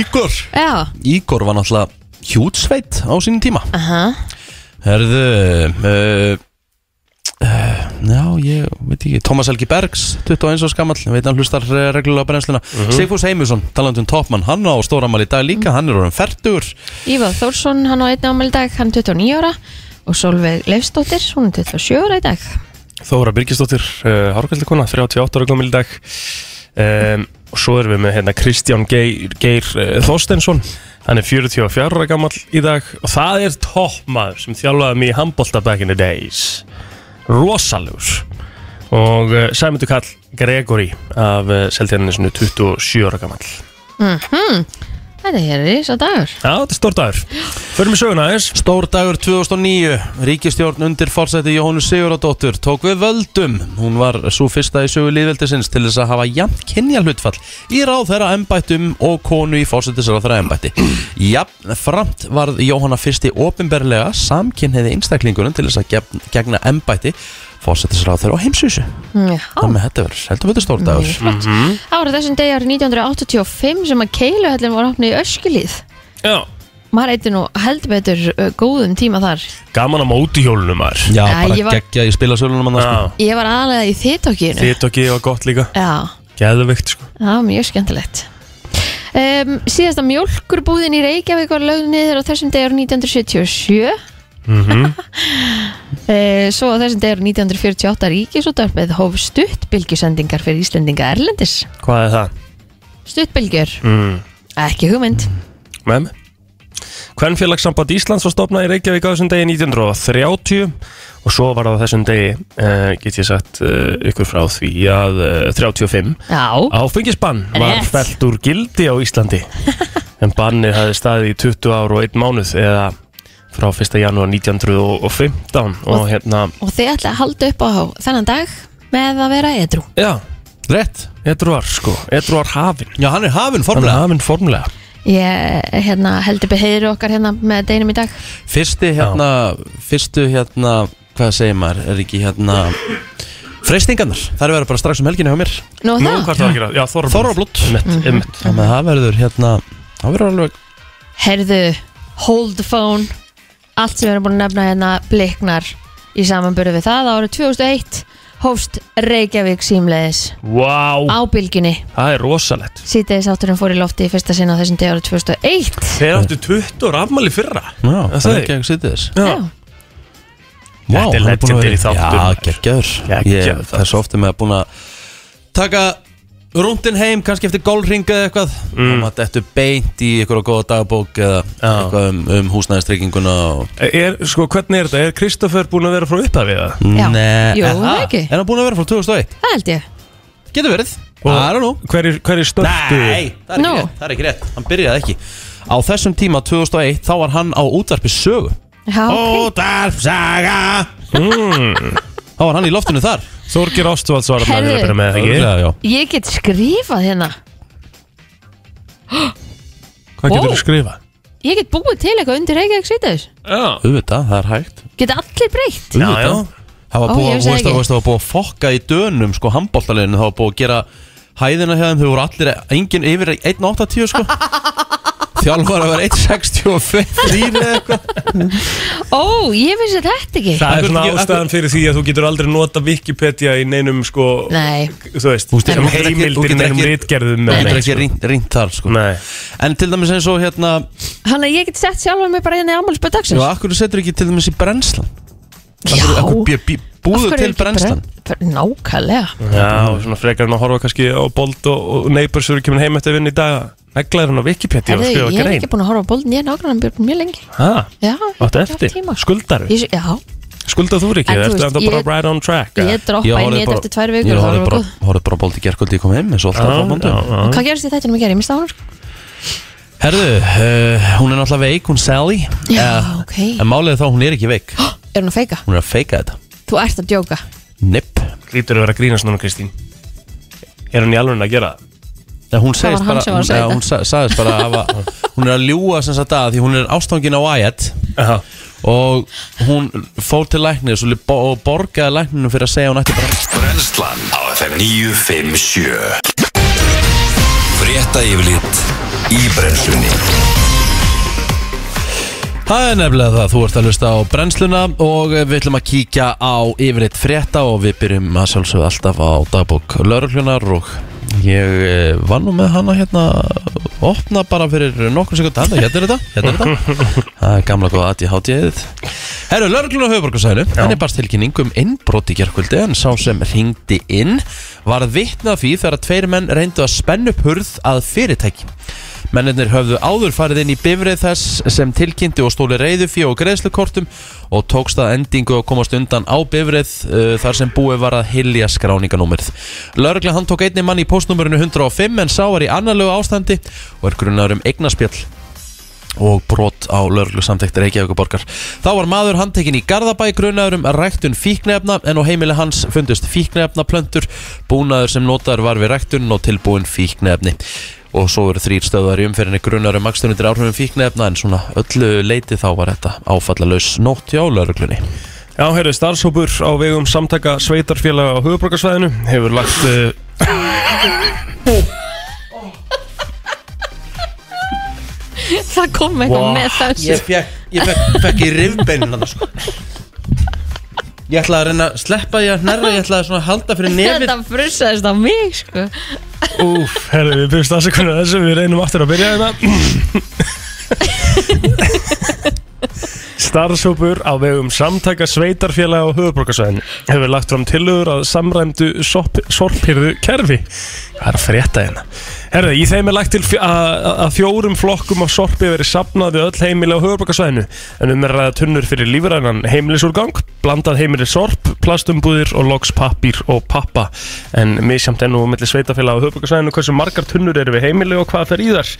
[SPEAKER 1] Ígor
[SPEAKER 5] Já,
[SPEAKER 1] Ígor var náttúrulega hjútsveit á sínum tíma
[SPEAKER 5] aha
[SPEAKER 1] Herðu uh, uh, Já, ég veit ekki Tómas Helgi Bergs, 21 árs gamall Veit hann hlustar eh, reglulega á brennsluna Sigfús Heimusson, talandi um toppmann Hann á stóramæli í dag líka, hann er orðin færtur
[SPEAKER 5] Ívar Þórsson, hann á einna ammali í dag, hann 29 ára og Solveig Leifsdóttir, hún er 27 ára í dag
[SPEAKER 4] Þóra Birgisdóttir, uh, hárkvældikona, 38 ára gömul í dag um, og svo erum við með hérna Kristján Geir, Geir uh, Þorstensson hann er 44 ára gammal í dag og það er toppmaður sem þjálfaði mig í handbolta back in the days rosalegur og uh, Sæmundur Karl Gregory af uh, Seltjarnisinu 27 ára gammal
[SPEAKER 5] Þetta er risa dagur
[SPEAKER 4] Já, þetta er stór dagur Förum við söguna aðeins
[SPEAKER 1] Stór dagur 2009, ríkistjórn undir fórsæti Jóhannu Siguradóttur tók við völdum. Hún var svo fyrsta í sögu liðveldisins til þess að hafa jafn kynja hlutfall í ráð þeirra embættum og konu í fórsætisra þeirra embætti. Jafn, framt varð Jóhanna fyrsti ofinberlega samkynniði einstaklingurinn til þess að gegn- gegna embætti fórsætisra þeirra á heimsvísu.
[SPEAKER 5] Já,
[SPEAKER 1] Þannig að þetta verður, heldur við þetta stór dagur.
[SPEAKER 5] árið þessum degi árið 1985 sem að keiluhellin var opnið í Öskilíð
[SPEAKER 4] Já
[SPEAKER 5] maður eitthvað nú heldur betur uh, góðum tíma þar
[SPEAKER 4] Gaman á móti hjólunum maður
[SPEAKER 1] Já,
[SPEAKER 5] Æ,
[SPEAKER 1] bara
[SPEAKER 5] ég var-
[SPEAKER 1] gegja í spilasölunum annars. sko.
[SPEAKER 4] Já,
[SPEAKER 5] ég var aðalega í þittokinu
[SPEAKER 4] þitt og var gott líka
[SPEAKER 5] já,
[SPEAKER 4] Geðvikt sko
[SPEAKER 5] það var mjög skemmtilegt um, síðasta mjólkurbúðin í Reykjavík var lögð niður á þessum degi árið 1977 Eh, Svo á þessum degi árið 1948 Ríkisúttarpið hóf stuttbylgjusendingar fyrir Íslendinga Erlendis
[SPEAKER 4] Hvað er það?
[SPEAKER 5] Stuttbylgjur,
[SPEAKER 4] Mm.
[SPEAKER 5] ekki hugmynd
[SPEAKER 4] Með mig Kvennfélagssamband Íslands var stopnað í Reykjavík á þessum degi 1930 og svo var það á þessum degi, uh, get ég sagt uh, ykkur frá því að uh, 35
[SPEAKER 5] Já,
[SPEAKER 4] Ah. áfengisbann var
[SPEAKER 5] Rétt.
[SPEAKER 4] felt úr gildi á Íslandi en bannið hafði staðið í 20 ár og 1 mánuð eða frá 1. janúar 1915 og hérna,
[SPEAKER 5] og þið ætla að halda upp á þennan dag með að vera edru
[SPEAKER 4] já,
[SPEAKER 1] Rétt.
[SPEAKER 4] Edruar sko, Edruar hafinn
[SPEAKER 1] Já, hann er hafinn
[SPEAKER 4] hann er
[SPEAKER 1] formulega.
[SPEAKER 4] hafinn formulega
[SPEAKER 5] Ég hérna, heldur beheyri okkar hérna með deginum í dag
[SPEAKER 1] Fyrsti hérna, fyrstu hérna, hvað segir maður, er ekki hérna freystingarnar, þær verður bara strax um helginu hjá mér
[SPEAKER 5] Nú
[SPEAKER 4] Nú,
[SPEAKER 5] það,
[SPEAKER 4] hvað er það að gera? Já, Þorrablót
[SPEAKER 1] Þorrablót,
[SPEAKER 4] Emmett, emmett
[SPEAKER 1] þannig að það verður hérna, það verður alveg
[SPEAKER 5] heyrðu, hold the phone Allt sem við erum búin að nefna hérna bliknar í samanbörðu við það árið 2001 hófst Reykjavík símleiðis
[SPEAKER 4] Vá,
[SPEAKER 5] á bylginni
[SPEAKER 4] það er rosalegt
[SPEAKER 5] Sýteðis átturinn fór í lofti í fyrsta sinna á þessum degi árið 2001
[SPEAKER 4] Þeir áttu 20 ára afmæli fyrra
[SPEAKER 1] Já,
[SPEAKER 4] Er
[SPEAKER 1] það
[SPEAKER 4] það
[SPEAKER 1] er ekki ekki sýtið þess
[SPEAKER 5] Já,
[SPEAKER 1] Vá,
[SPEAKER 4] Þetta er
[SPEAKER 1] hann búinn að
[SPEAKER 4] legendary
[SPEAKER 1] vera-
[SPEAKER 4] þáttur.
[SPEAKER 1] Já, geggjaður
[SPEAKER 4] Geggjaður
[SPEAKER 1] Ég- Það er svo ofta með að búin að taka rúndin heim, kannski eftir gólringa eða eitthvað mm. og maður þetta beint í einhverja góða dagbók eða eitthvað um, um húsnæðistrygginguna og...
[SPEAKER 4] er, sko, Hvernig er þetta? Er Kristoffer búinn að vera frá upphafið það?
[SPEAKER 5] Já.
[SPEAKER 1] Nei,
[SPEAKER 5] Jú,
[SPEAKER 1] er það?
[SPEAKER 5] ekki.
[SPEAKER 1] Er hann búin að vera frá 2001?
[SPEAKER 5] það held ég
[SPEAKER 1] Getur verið
[SPEAKER 4] Og-
[SPEAKER 1] I don't know
[SPEAKER 4] Hver er, hver er stöldu?
[SPEAKER 1] Nei, það er,
[SPEAKER 5] No.
[SPEAKER 1] ekki rétt, það er ekki rétt Hann byrjaði ekki Á þessum tíma 2001 þá var hann á útvarpi sögu
[SPEAKER 5] Já, ok, Hmm.
[SPEAKER 1] Útvarpsaga Þá var hann í loftinu þar
[SPEAKER 4] Þorgir Ástvalds var þarna
[SPEAKER 5] Herðu.
[SPEAKER 4] að vera með það
[SPEAKER 1] Örugglega, já.
[SPEAKER 5] ég get skrifað hérna
[SPEAKER 4] ekki Hvað getur
[SPEAKER 5] Wow.
[SPEAKER 4] þú skrifað?
[SPEAKER 5] Ég get búið til eitthvað undir Reykjavík sýteðis
[SPEAKER 4] Já,
[SPEAKER 1] Auðvitað, það er hægt
[SPEAKER 5] Get allir breytt
[SPEAKER 4] já, já.
[SPEAKER 1] Auðvitað. Það var
[SPEAKER 5] Ó, ég
[SPEAKER 1] búið, að-
[SPEAKER 5] vissi
[SPEAKER 1] þú veist,
[SPEAKER 5] ekki.
[SPEAKER 1] það- þú veist, það var búið að fokka í dönum sko handbóltaleginu, það var búið að gera hæðina hjá þeim, þau voru allir engin yfir 1.80 sko Þjálfar að vera 1.65 þrír eða eitthvað
[SPEAKER 5] Ó, ég vissi þetta ekki
[SPEAKER 4] Það er svona
[SPEAKER 1] Akkur-
[SPEAKER 4] ástæðan fyrir því að þú getur aldrei nota Wikipedia í neinum sko
[SPEAKER 5] Nei,
[SPEAKER 4] Þú veist,
[SPEAKER 1] Þú veist,
[SPEAKER 4] sem
[SPEAKER 1] þú getur ekki- þú
[SPEAKER 4] heimildir í
[SPEAKER 1] getur
[SPEAKER 4] neinum
[SPEAKER 1] ekki-
[SPEAKER 4] rítgerðum
[SPEAKER 1] Þú getur ekki rýnt- rýnt þar sko
[SPEAKER 4] Nei,
[SPEAKER 1] En til dæmis eins og hérna
[SPEAKER 5] hann að ég get sett sjálfa mig bara hérna í afmælspöð dagsins
[SPEAKER 1] Já, akkur setur ekki til dæmis í brennslan
[SPEAKER 5] Já.
[SPEAKER 1] Akkur, akkur bjö, bjö, búðu til brennslan
[SPEAKER 5] Nákvæmlega
[SPEAKER 4] Já, og svona frekar hann að horfa kannski á Bolt og, og Neighbors eru kemur heim eftir vinn í dag Neglaður hann á Wikipedia og
[SPEAKER 5] Herðu,
[SPEAKER 4] skrifa
[SPEAKER 5] Ég er
[SPEAKER 4] grein
[SPEAKER 5] ekki búin að horfa á bólin, ég er nákvæmlega mjög lengi
[SPEAKER 4] Hæ,
[SPEAKER 5] Já, ég
[SPEAKER 4] áttu
[SPEAKER 5] hef
[SPEAKER 4] eftir,
[SPEAKER 5] ekki haft tíma.
[SPEAKER 4] skuldaru
[SPEAKER 5] Ég, já,
[SPEAKER 4] Skuldað þú ekki,
[SPEAKER 5] En þú
[SPEAKER 4] ertu
[SPEAKER 5] veist,
[SPEAKER 4] enda bara
[SPEAKER 5] ég-
[SPEAKER 4] right on track eða?
[SPEAKER 5] ég droppa í net eftir tvær vikur
[SPEAKER 1] Ég
[SPEAKER 5] og það
[SPEAKER 1] horfði
[SPEAKER 5] var
[SPEAKER 1] bara,
[SPEAKER 5] góð.
[SPEAKER 1] horfði bara á bólt í gerkvöldi ég kom heim eins og alltaf
[SPEAKER 4] Já,
[SPEAKER 1] á mánudaginn.
[SPEAKER 4] já, já.
[SPEAKER 5] Hvað gerist í þættinum í gær? Ég misti á hún sko.
[SPEAKER 1] Herðu, uh, hún er náttúrulega veik, hún Sally
[SPEAKER 5] Já,
[SPEAKER 1] Eh,
[SPEAKER 5] ok.
[SPEAKER 1] En málið er þá, hún er ekki veik
[SPEAKER 5] Er hún að feika?
[SPEAKER 1] Hún er að feika þetta Eh,
[SPEAKER 5] Þú ert að djóka
[SPEAKER 1] Nipp
[SPEAKER 4] Lítur að vera að grínast núna Kristín Er hann í alveg að gera það?
[SPEAKER 1] Nei, hún
[SPEAKER 5] Það var
[SPEAKER 1] segist
[SPEAKER 5] hann
[SPEAKER 1] bara,
[SPEAKER 5] sem var að
[SPEAKER 1] hún,
[SPEAKER 5] segja
[SPEAKER 1] ja,
[SPEAKER 5] þetta.
[SPEAKER 1] hún sa- sagðist bara að hafa- hún er að ljúa sem sagt að því hún er ástangin á Wyatt
[SPEAKER 4] Aha.
[SPEAKER 1] og hún fór til læknir og borgaði lækninu fyrir að segja að hún ætti bara
[SPEAKER 2] Brennslan á FM 957 Frétta yfirlit í brennslunni
[SPEAKER 1] Það er nefnilega það, þú ert að hlusta á brennsluna og við ætlum að kíkja á yfirleitt frétta og við byrjum að sjálfsögðu alltaf á dagbók lauruglunar og ég eh, var nú með hana hérna opna bara fyrir nokkur sekund hana, hérna er þetta, hérna er þetta það er gamla góða aðið hátíðið Herru, lauruglunar höfuborgarsælu, henni barst tilkynning um innbrot í gerkvöldi en sá sem ringdi inn var vitnað því þegar að tveir menn reyndu að spennu upp hurð að fyrirtæki Mennirnir höfðu áður farið inn í bifrið þess sem tilkynnti og stóli reyðufí og greiðslukortum og tókst að endingu að komast undan á bifrið uh, þar sem búið var að hilja skráninganúmerð. Lörgla hann tók einni mann í postnúmerinu 105 en sá var í annarlegu ástandi og er grunnar um eignaspjall og brot á lörglu samþekti Reykjavíkuborgar. Þá var maður handtekinn í Garðabæ grunaður um ræktun fíknefna en á heimili hans fundust fíknefnaplöntur, búnaður sem notaður var við ræktun og tilbúin fíknefni. Og svo eru þrýr stöðar í umferinni grunaður um makstunundir áhrifum fíknefna en svona öllu leiti þá var þetta áfallalaus nótt hjá lörglunni.
[SPEAKER 4] Já, heyrðu, starfshópur á vegum samtaka sveitarfélaga á höfuborgarsvæðinu hefur lagt uh,
[SPEAKER 5] Það sko. kom eitthvað
[SPEAKER 4] Vá,
[SPEAKER 5] með þessu
[SPEAKER 1] fekk, ég fekk, fekk í rifbeinin hann sko. Ég ætlaði að reyna að sleppa því að hnerra, ég ætlaði svona að halda fyrir
[SPEAKER 5] Þetta frussaðist á mig sko.
[SPEAKER 4] Úf, herðu, við byrjumst aðsakunni þessu, við reynum aftur að byrja hérna. þetta Starfshópur á vegum samtaka sveitarfélaga á höfuborgarsvæðinu hefur lagt fram tillögur að samræmdu sopp- sorphirðu kerfi Hvað er að frétta hérna? Herðu, í þeim er lagt til fj- að að fjórum flokkum af sorpi verið safnað við öll heimili á höfuborgarsvæðinu en um er að ræða tunnur fyrir lífrænan heimilisúrgang, blandað heimili sorp, plastumbúðir og loks pappír og pappa en misjamt ennú millir sveitafélag á höfuborgarsvæðinu hversu margar tunnur eru við heimili og hvað fer í þar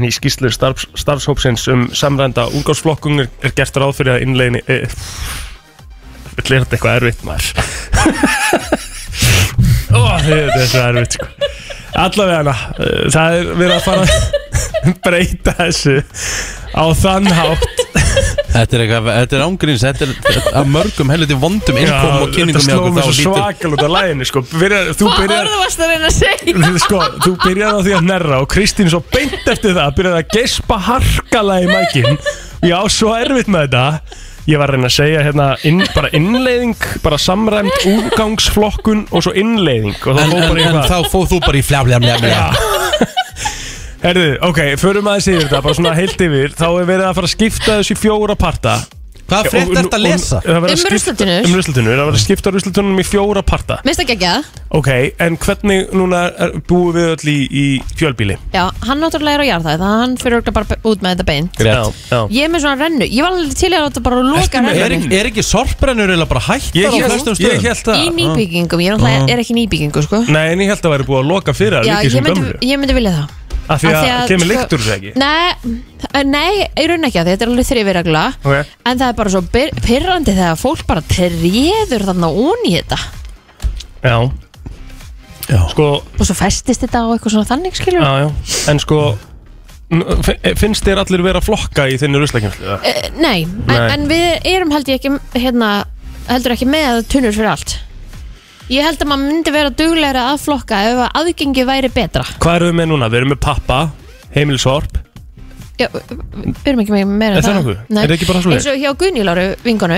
[SPEAKER 4] en í skýslu starfs, starfshópsins um samrænda úrgáðsflokkung er, er gert ráð fyrir að innlegin e, Vill er þetta eitthvað erfitt maður Ó, þetta er svo erfitt sko Allavega hana, það er verið að fara að breyta þessu á þann hátt
[SPEAKER 1] Þetta er eitthvað, þetta er ángríns, þetta er að mörgum helviti vondum innkom og kynningum
[SPEAKER 4] þetta
[SPEAKER 1] hjá
[SPEAKER 4] sló
[SPEAKER 1] okkur
[SPEAKER 4] mig
[SPEAKER 1] þá
[SPEAKER 4] svo
[SPEAKER 1] lítil-
[SPEAKER 4] svakal út af læginni sko. byrjar, þú
[SPEAKER 5] Hvað
[SPEAKER 4] byrjar
[SPEAKER 5] orðu varst að reyna að segja?
[SPEAKER 4] sko, þú byrjar á því að nerra og Kristín svo beint eftir það byrjar að gespa harkala í mækin já, svo erfitt með þetta ég var að reyna að segja hérna inn, bara innleiðing, bara samræmt úrgangsflokkun og svo innleiðing og
[SPEAKER 1] En, en,
[SPEAKER 4] það fór bara
[SPEAKER 1] en
[SPEAKER 4] eitthvað
[SPEAKER 1] þá fóð þú bara í fljafljafljafljaf
[SPEAKER 4] Herðu, ok, förum aðeins yfir þetta, bara svona heilt yfir Þá er verið að fara að skipta þessu í fjóra parta
[SPEAKER 1] Hvað frétt ert að lesa?
[SPEAKER 5] Um ruslatunur?
[SPEAKER 4] Um ruslatunur, það verður að skipta ruslatunum í fjóra parta
[SPEAKER 5] Mist ekki ekki það?
[SPEAKER 4] Ok, en hvernig núna er, búum við öll í, í fjölbíli?
[SPEAKER 5] Já, hann náttúrulega er á jarðaði þannig að hann fyrir örugglega bara út með þetta beint
[SPEAKER 1] Rétt.
[SPEAKER 4] Já, já
[SPEAKER 5] Ég er með svona rennu, ég var alveg til í að láta bara loka
[SPEAKER 4] með
[SPEAKER 1] Er,
[SPEAKER 5] rennu
[SPEAKER 1] ekki- er ekki sorprennur eða bara hættar á
[SPEAKER 4] Ég held,
[SPEAKER 1] flestum
[SPEAKER 4] ég hérna-
[SPEAKER 1] stöðum?
[SPEAKER 4] held
[SPEAKER 5] Í
[SPEAKER 4] að
[SPEAKER 5] nýbyggingum, ég náttúrulega er ekki í nýbyggingu sko.
[SPEAKER 4] Nei, en ég held að væri búið að loka fyrir það
[SPEAKER 5] Já,
[SPEAKER 4] líka
[SPEAKER 5] ég
[SPEAKER 4] sem
[SPEAKER 5] myndi,
[SPEAKER 4] gömlu
[SPEAKER 5] ég myndi vilja það
[SPEAKER 4] Af því
[SPEAKER 5] af
[SPEAKER 4] að
[SPEAKER 5] því að,
[SPEAKER 4] kemur
[SPEAKER 5] sko,
[SPEAKER 4] lykt úr þessu ekki
[SPEAKER 5] Nei, eh, nei, ég raun ekki að þetta er alveg þrifiregla
[SPEAKER 4] Ok.
[SPEAKER 5] En það er bara svo byr- pyrrandi þegar fólk bara treður þarna ón í þetta
[SPEAKER 4] Já,
[SPEAKER 1] Já.
[SPEAKER 4] sko,
[SPEAKER 5] Og svo festist þetta á eitthvað svona þannig skilur
[SPEAKER 4] já, já En sko, n- fin- finnst þér allir vera að flokka í þinni ruslakemslu?
[SPEAKER 5] Eh, Nei, en,
[SPEAKER 4] Nei.
[SPEAKER 5] en við erum held ég ekki hérna, heldur ekki með tunnur fyrir allt Ég held að maður myndi vera duglegra að flokka ef að aðgengi væri betra
[SPEAKER 4] Hvað erum við með núna? Við erum með pappa, heimilsorp
[SPEAKER 5] Já, við erum ekki með meira
[SPEAKER 4] Er
[SPEAKER 5] en
[SPEAKER 4] það nokkuð? Er það ekki bara svoleiðis? Mhm.
[SPEAKER 5] Eins og hjá Gunniláru vingonu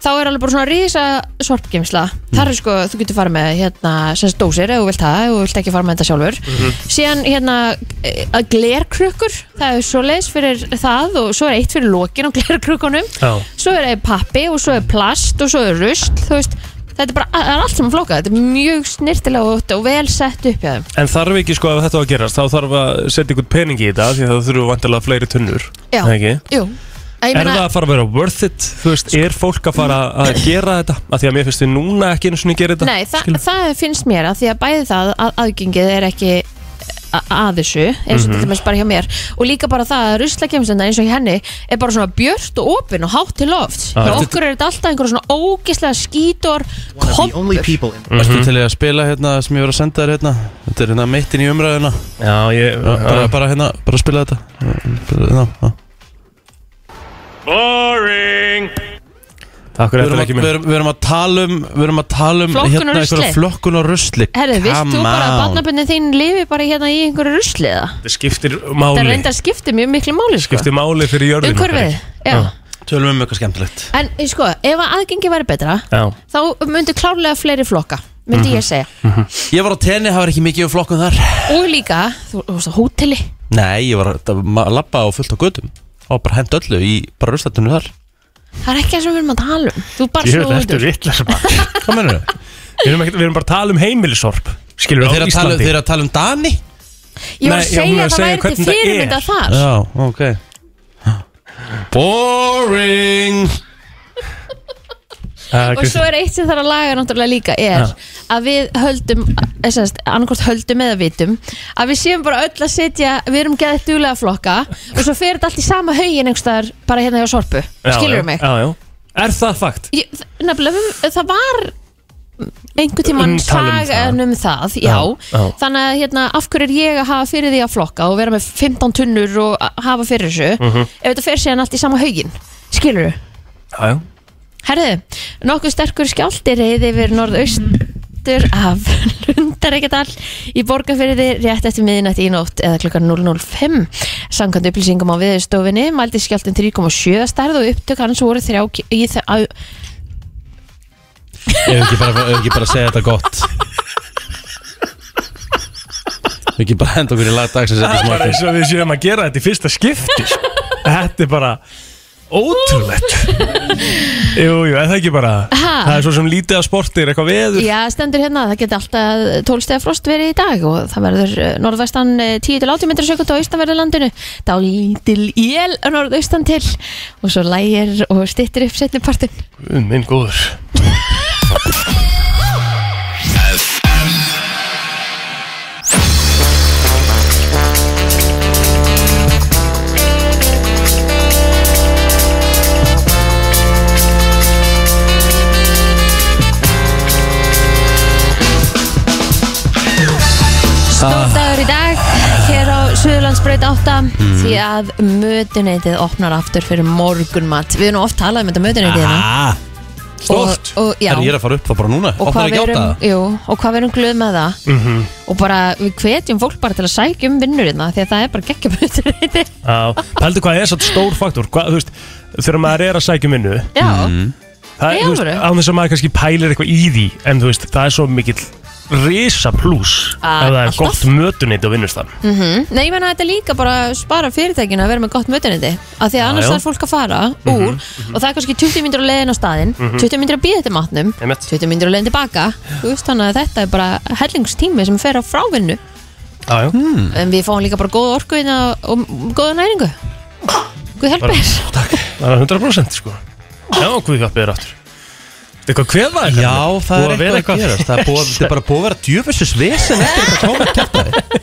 [SPEAKER 5] þá er alveg bara svona rísa sorpgeimsla þar er sko, þú getur farið með hérna, sem sagt dósir, ef þú vilt það, ef þú vilt ekki fara með þetta sjálfur
[SPEAKER 4] Mhm.
[SPEAKER 5] síðan hérna eh, að glerkrukkur, það er svoleiðis fyrir það og svo er eitt fyrir lokin á glerkrukkunum
[SPEAKER 4] Já.
[SPEAKER 5] svo er pappi og svo er plast og svo er rusl, þú veist það þetta er bara það er allt saman flókað, þetta er mjög snirtilega og, og vel sett upp hjá þeim
[SPEAKER 4] En þarf ekki sko ef þetta var að gerast þá þarf að setja ykkur peningi í þetta því að það þurfu vantilega fleiri tunnur
[SPEAKER 5] Já.
[SPEAKER 4] er það ekki?
[SPEAKER 5] Jú, Ég
[SPEAKER 4] Er
[SPEAKER 5] meina-
[SPEAKER 4] það að fara að vera worth it? Þú veist, er fólk að fara að gera þetta? Af því að mér finnst þið núna ekki einu svona að gera þetta
[SPEAKER 5] Nei, þa
[SPEAKER 4] skilur.
[SPEAKER 5] það finnst mér að því að bæði það að aðgengið er ekki a- að þessu, eins og
[SPEAKER 4] Mhm.
[SPEAKER 5] til dæmis bara hjá mér og líka bara það að ruslakemsenda eins og hjá henni er bara svona björt og opin og hátt til loft
[SPEAKER 1] Ah.
[SPEAKER 5] hjá okkur er þetta alltaf einhver svona ógislega skítor kompur
[SPEAKER 1] Ertu
[SPEAKER 4] Mhm.
[SPEAKER 1] til í að spila hérna sem ég var að senda þér hérna Þetta er hérna meittin í umræðuna
[SPEAKER 4] Já, ég
[SPEAKER 1] Bara, bara hérna, bara spila þetta Bara hérna, já.
[SPEAKER 4] Boring
[SPEAKER 1] Við
[SPEAKER 4] Takk fyrir
[SPEAKER 1] erum að-
[SPEAKER 4] þetta ekki
[SPEAKER 1] Við
[SPEAKER 4] minn
[SPEAKER 1] erum- við erum að tala um Við erum að tala um
[SPEAKER 5] Flokkun og
[SPEAKER 1] hérna einhverja
[SPEAKER 5] rusli.
[SPEAKER 1] flokkun og rusli
[SPEAKER 5] Herðu, vilt þú
[SPEAKER 1] Come
[SPEAKER 5] bara að
[SPEAKER 1] on.
[SPEAKER 5] barnaböndin þín lifi bara hérna í einhverju rusliða?
[SPEAKER 4] Þetta skiptir
[SPEAKER 5] Það
[SPEAKER 4] máli
[SPEAKER 5] reyndar skiptir mjög miklu máli sko.
[SPEAKER 4] Skiptir máli Ah. fyrir jörðinu
[SPEAKER 5] Umhverfið, já.
[SPEAKER 1] Tölum um eitthvað skemmtilegt
[SPEAKER 5] En sko, ef að aðgengi væri betra
[SPEAKER 4] Já Mhm.
[SPEAKER 5] þá myndu klárlega fleiri flokka myndi ég segja.
[SPEAKER 1] Ég var á tenni, það var ekki mikið um flokkun þar
[SPEAKER 5] Og líka, þú þú veist á hóteli
[SPEAKER 1] Nei, ég var að ma- labba á fullt á gödum Og bara hend öllu í bara rustatunni þar
[SPEAKER 5] Það er ekki það sem við erum að tala um Þú bara
[SPEAKER 4] Jöfn,
[SPEAKER 5] snúður
[SPEAKER 4] ertu vitlaus, maður.
[SPEAKER 1] Hvað menur þau?
[SPEAKER 4] Við erum ekkert- við erum bara að tala um heimilisorp Skilur
[SPEAKER 1] Þeir
[SPEAKER 4] á
[SPEAKER 1] að tala-
[SPEAKER 4] Íslandi
[SPEAKER 1] þeir að tala um Dani?
[SPEAKER 5] Ég var
[SPEAKER 4] Nei,
[SPEAKER 5] að
[SPEAKER 4] já, hún
[SPEAKER 5] segja
[SPEAKER 4] er
[SPEAKER 5] að það
[SPEAKER 4] að segja
[SPEAKER 5] væri til
[SPEAKER 4] hvernig það
[SPEAKER 5] fyrirmynda
[SPEAKER 4] er.
[SPEAKER 5] þar
[SPEAKER 1] Já, ok Boring
[SPEAKER 4] Ah,
[SPEAKER 5] Og svo er eitt sem þarf að laga náttúrulega líka er að við höldum eh, annarkort höldum eða vitum að við séum bara öll að setja við erum geðið duglega flokka og svo fer þetta allt í sama haugin einhverstaðar bara hérna hjá sorpu
[SPEAKER 4] Já,
[SPEAKER 5] skilur
[SPEAKER 4] já,
[SPEAKER 5] mig
[SPEAKER 4] Já, já Er það fakt?
[SPEAKER 5] Ég- þ- Nefnilega, við- það var einhvern tímann
[SPEAKER 4] Umtal um það.
[SPEAKER 5] sagan um það, já,
[SPEAKER 4] Já, já.
[SPEAKER 5] þannig að hérna, af hverju er ég að hafa fyrir því að flokka og vera með 15 tunnur og a- hafa fyrir þessu
[SPEAKER 4] Mhm.
[SPEAKER 5] ef þetta fer síðan allt í sama haugin skilur þú?
[SPEAKER 4] Já, já
[SPEAKER 5] Herðu, nokkuð sterkur skjálti reyði yfir norðaustur af Lundarækjadal í borgarfyrði rétt eftir miðinætt í nótt eða klukkan 005. Sankant upplýsingum á viðstofinni mældi skjáltin 3,7 að stærð og upptök hans voru þrjá ki- í þe- á-
[SPEAKER 1] Ef ekki bara, ef ekki bara segja þetta gott Ef ekki bara henda okkur í lagdags að setja
[SPEAKER 4] Það er bara
[SPEAKER 1] smákvæm
[SPEAKER 4] eins og við séum að gera þetta í fyrsta skipti sko. Þetta er bara ótrúlegt Jú, jú, er það ekki bara
[SPEAKER 5] Ha?
[SPEAKER 4] Það er svo sem lítið að sportir, eitthvað veður
[SPEAKER 5] Já, stendur hérna, það geti alltaf 12 stega frost verið í dag og það verður eh, norðvestan eh, 10-80 metri sekund á austanverðu landinu, þá lítil él norðaustan til og svo lægir og stittir upp setnipartin.
[SPEAKER 4] Guð Minn góður
[SPEAKER 1] Ah.
[SPEAKER 5] Stór dagur í dag hér á Suðurlandsbreyt 8
[SPEAKER 1] Mhm.
[SPEAKER 5] því að mötuneytið opnar aftur fyrir morgunmat. Við erum oft talað um þetta mötuneytið hérna.
[SPEAKER 1] Ah. Stort
[SPEAKER 5] Og- og- já.
[SPEAKER 1] Herri, ég er að Mhm. fara upp það bara núna
[SPEAKER 5] Og
[SPEAKER 1] Opnar
[SPEAKER 5] hvað,
[SPEAKER 1] ekki
[SPEAKER 5] við
[SPEAKER 1] átta
[SPEAKER 5] erum, jú, og hvað við erum glöð með það og bara við hvetjum fólk bara til að sækja um vinnurina því að það er bara geggjum mötuneyti
[SPEAKER 4] Já, pældu hvað er satt stór faktor hvað, þú veist, Þegar maður er að sækja um minnu
[SPEAKER 5] Já,
[SPEAKER 1] Mhm.
[SPEAKER 5] Í
[SPEAKER 4] Það er, þú veist,
[SPEAKER 5] alvöru?
[SPEAKER 4] án þess að maður kannski pælir eitthvað í því En þú veist, það er svo mikill risa plus
[SPEAKER 5] Ah,
[SPEAKER 4] Ef það er
[SPEAKER 5] alltaf. Mm.
[SPEAKER 4] gott mötunit á vinnustan
[SPEAKER 5] Nei, ég menna þetta er líka bara spara fyrirtækinu að vera með gott mötunandi af því að annars
[SPEAKER 4] já. Mhm,
[SPEAKER 5] þarf fólk að fara úr og það er kannski 20 myndir á leiðin á staðinn 20 myndir að býða þetta matnum
[SPEAKER 4] Einmitt.
[SPEAKER 5] 20 myndir á leiðin tilbaka Þú veist, þannig að þetta er bara hellingstími sem fer á frávinnu
[SPEAKER 1] Ah,
[SPEAKER 4] Já, já
[SPEAKER 5] en við fáum líka bara góða orku inn á- og góða næringu Guð
[SPEAKER 4] Bara-
[SPEAKER 5] helpir
[SPEAKER 4] Það er 100% sko Já, hvað hjálpið er aftur Þetta er eitthvað kveðvæðið
[SPEAKER 1] Já, það er eitthvað að gerast Það er búið- þetta er bara búið að vera djöfessus vesen eftir þetta komið kjartaði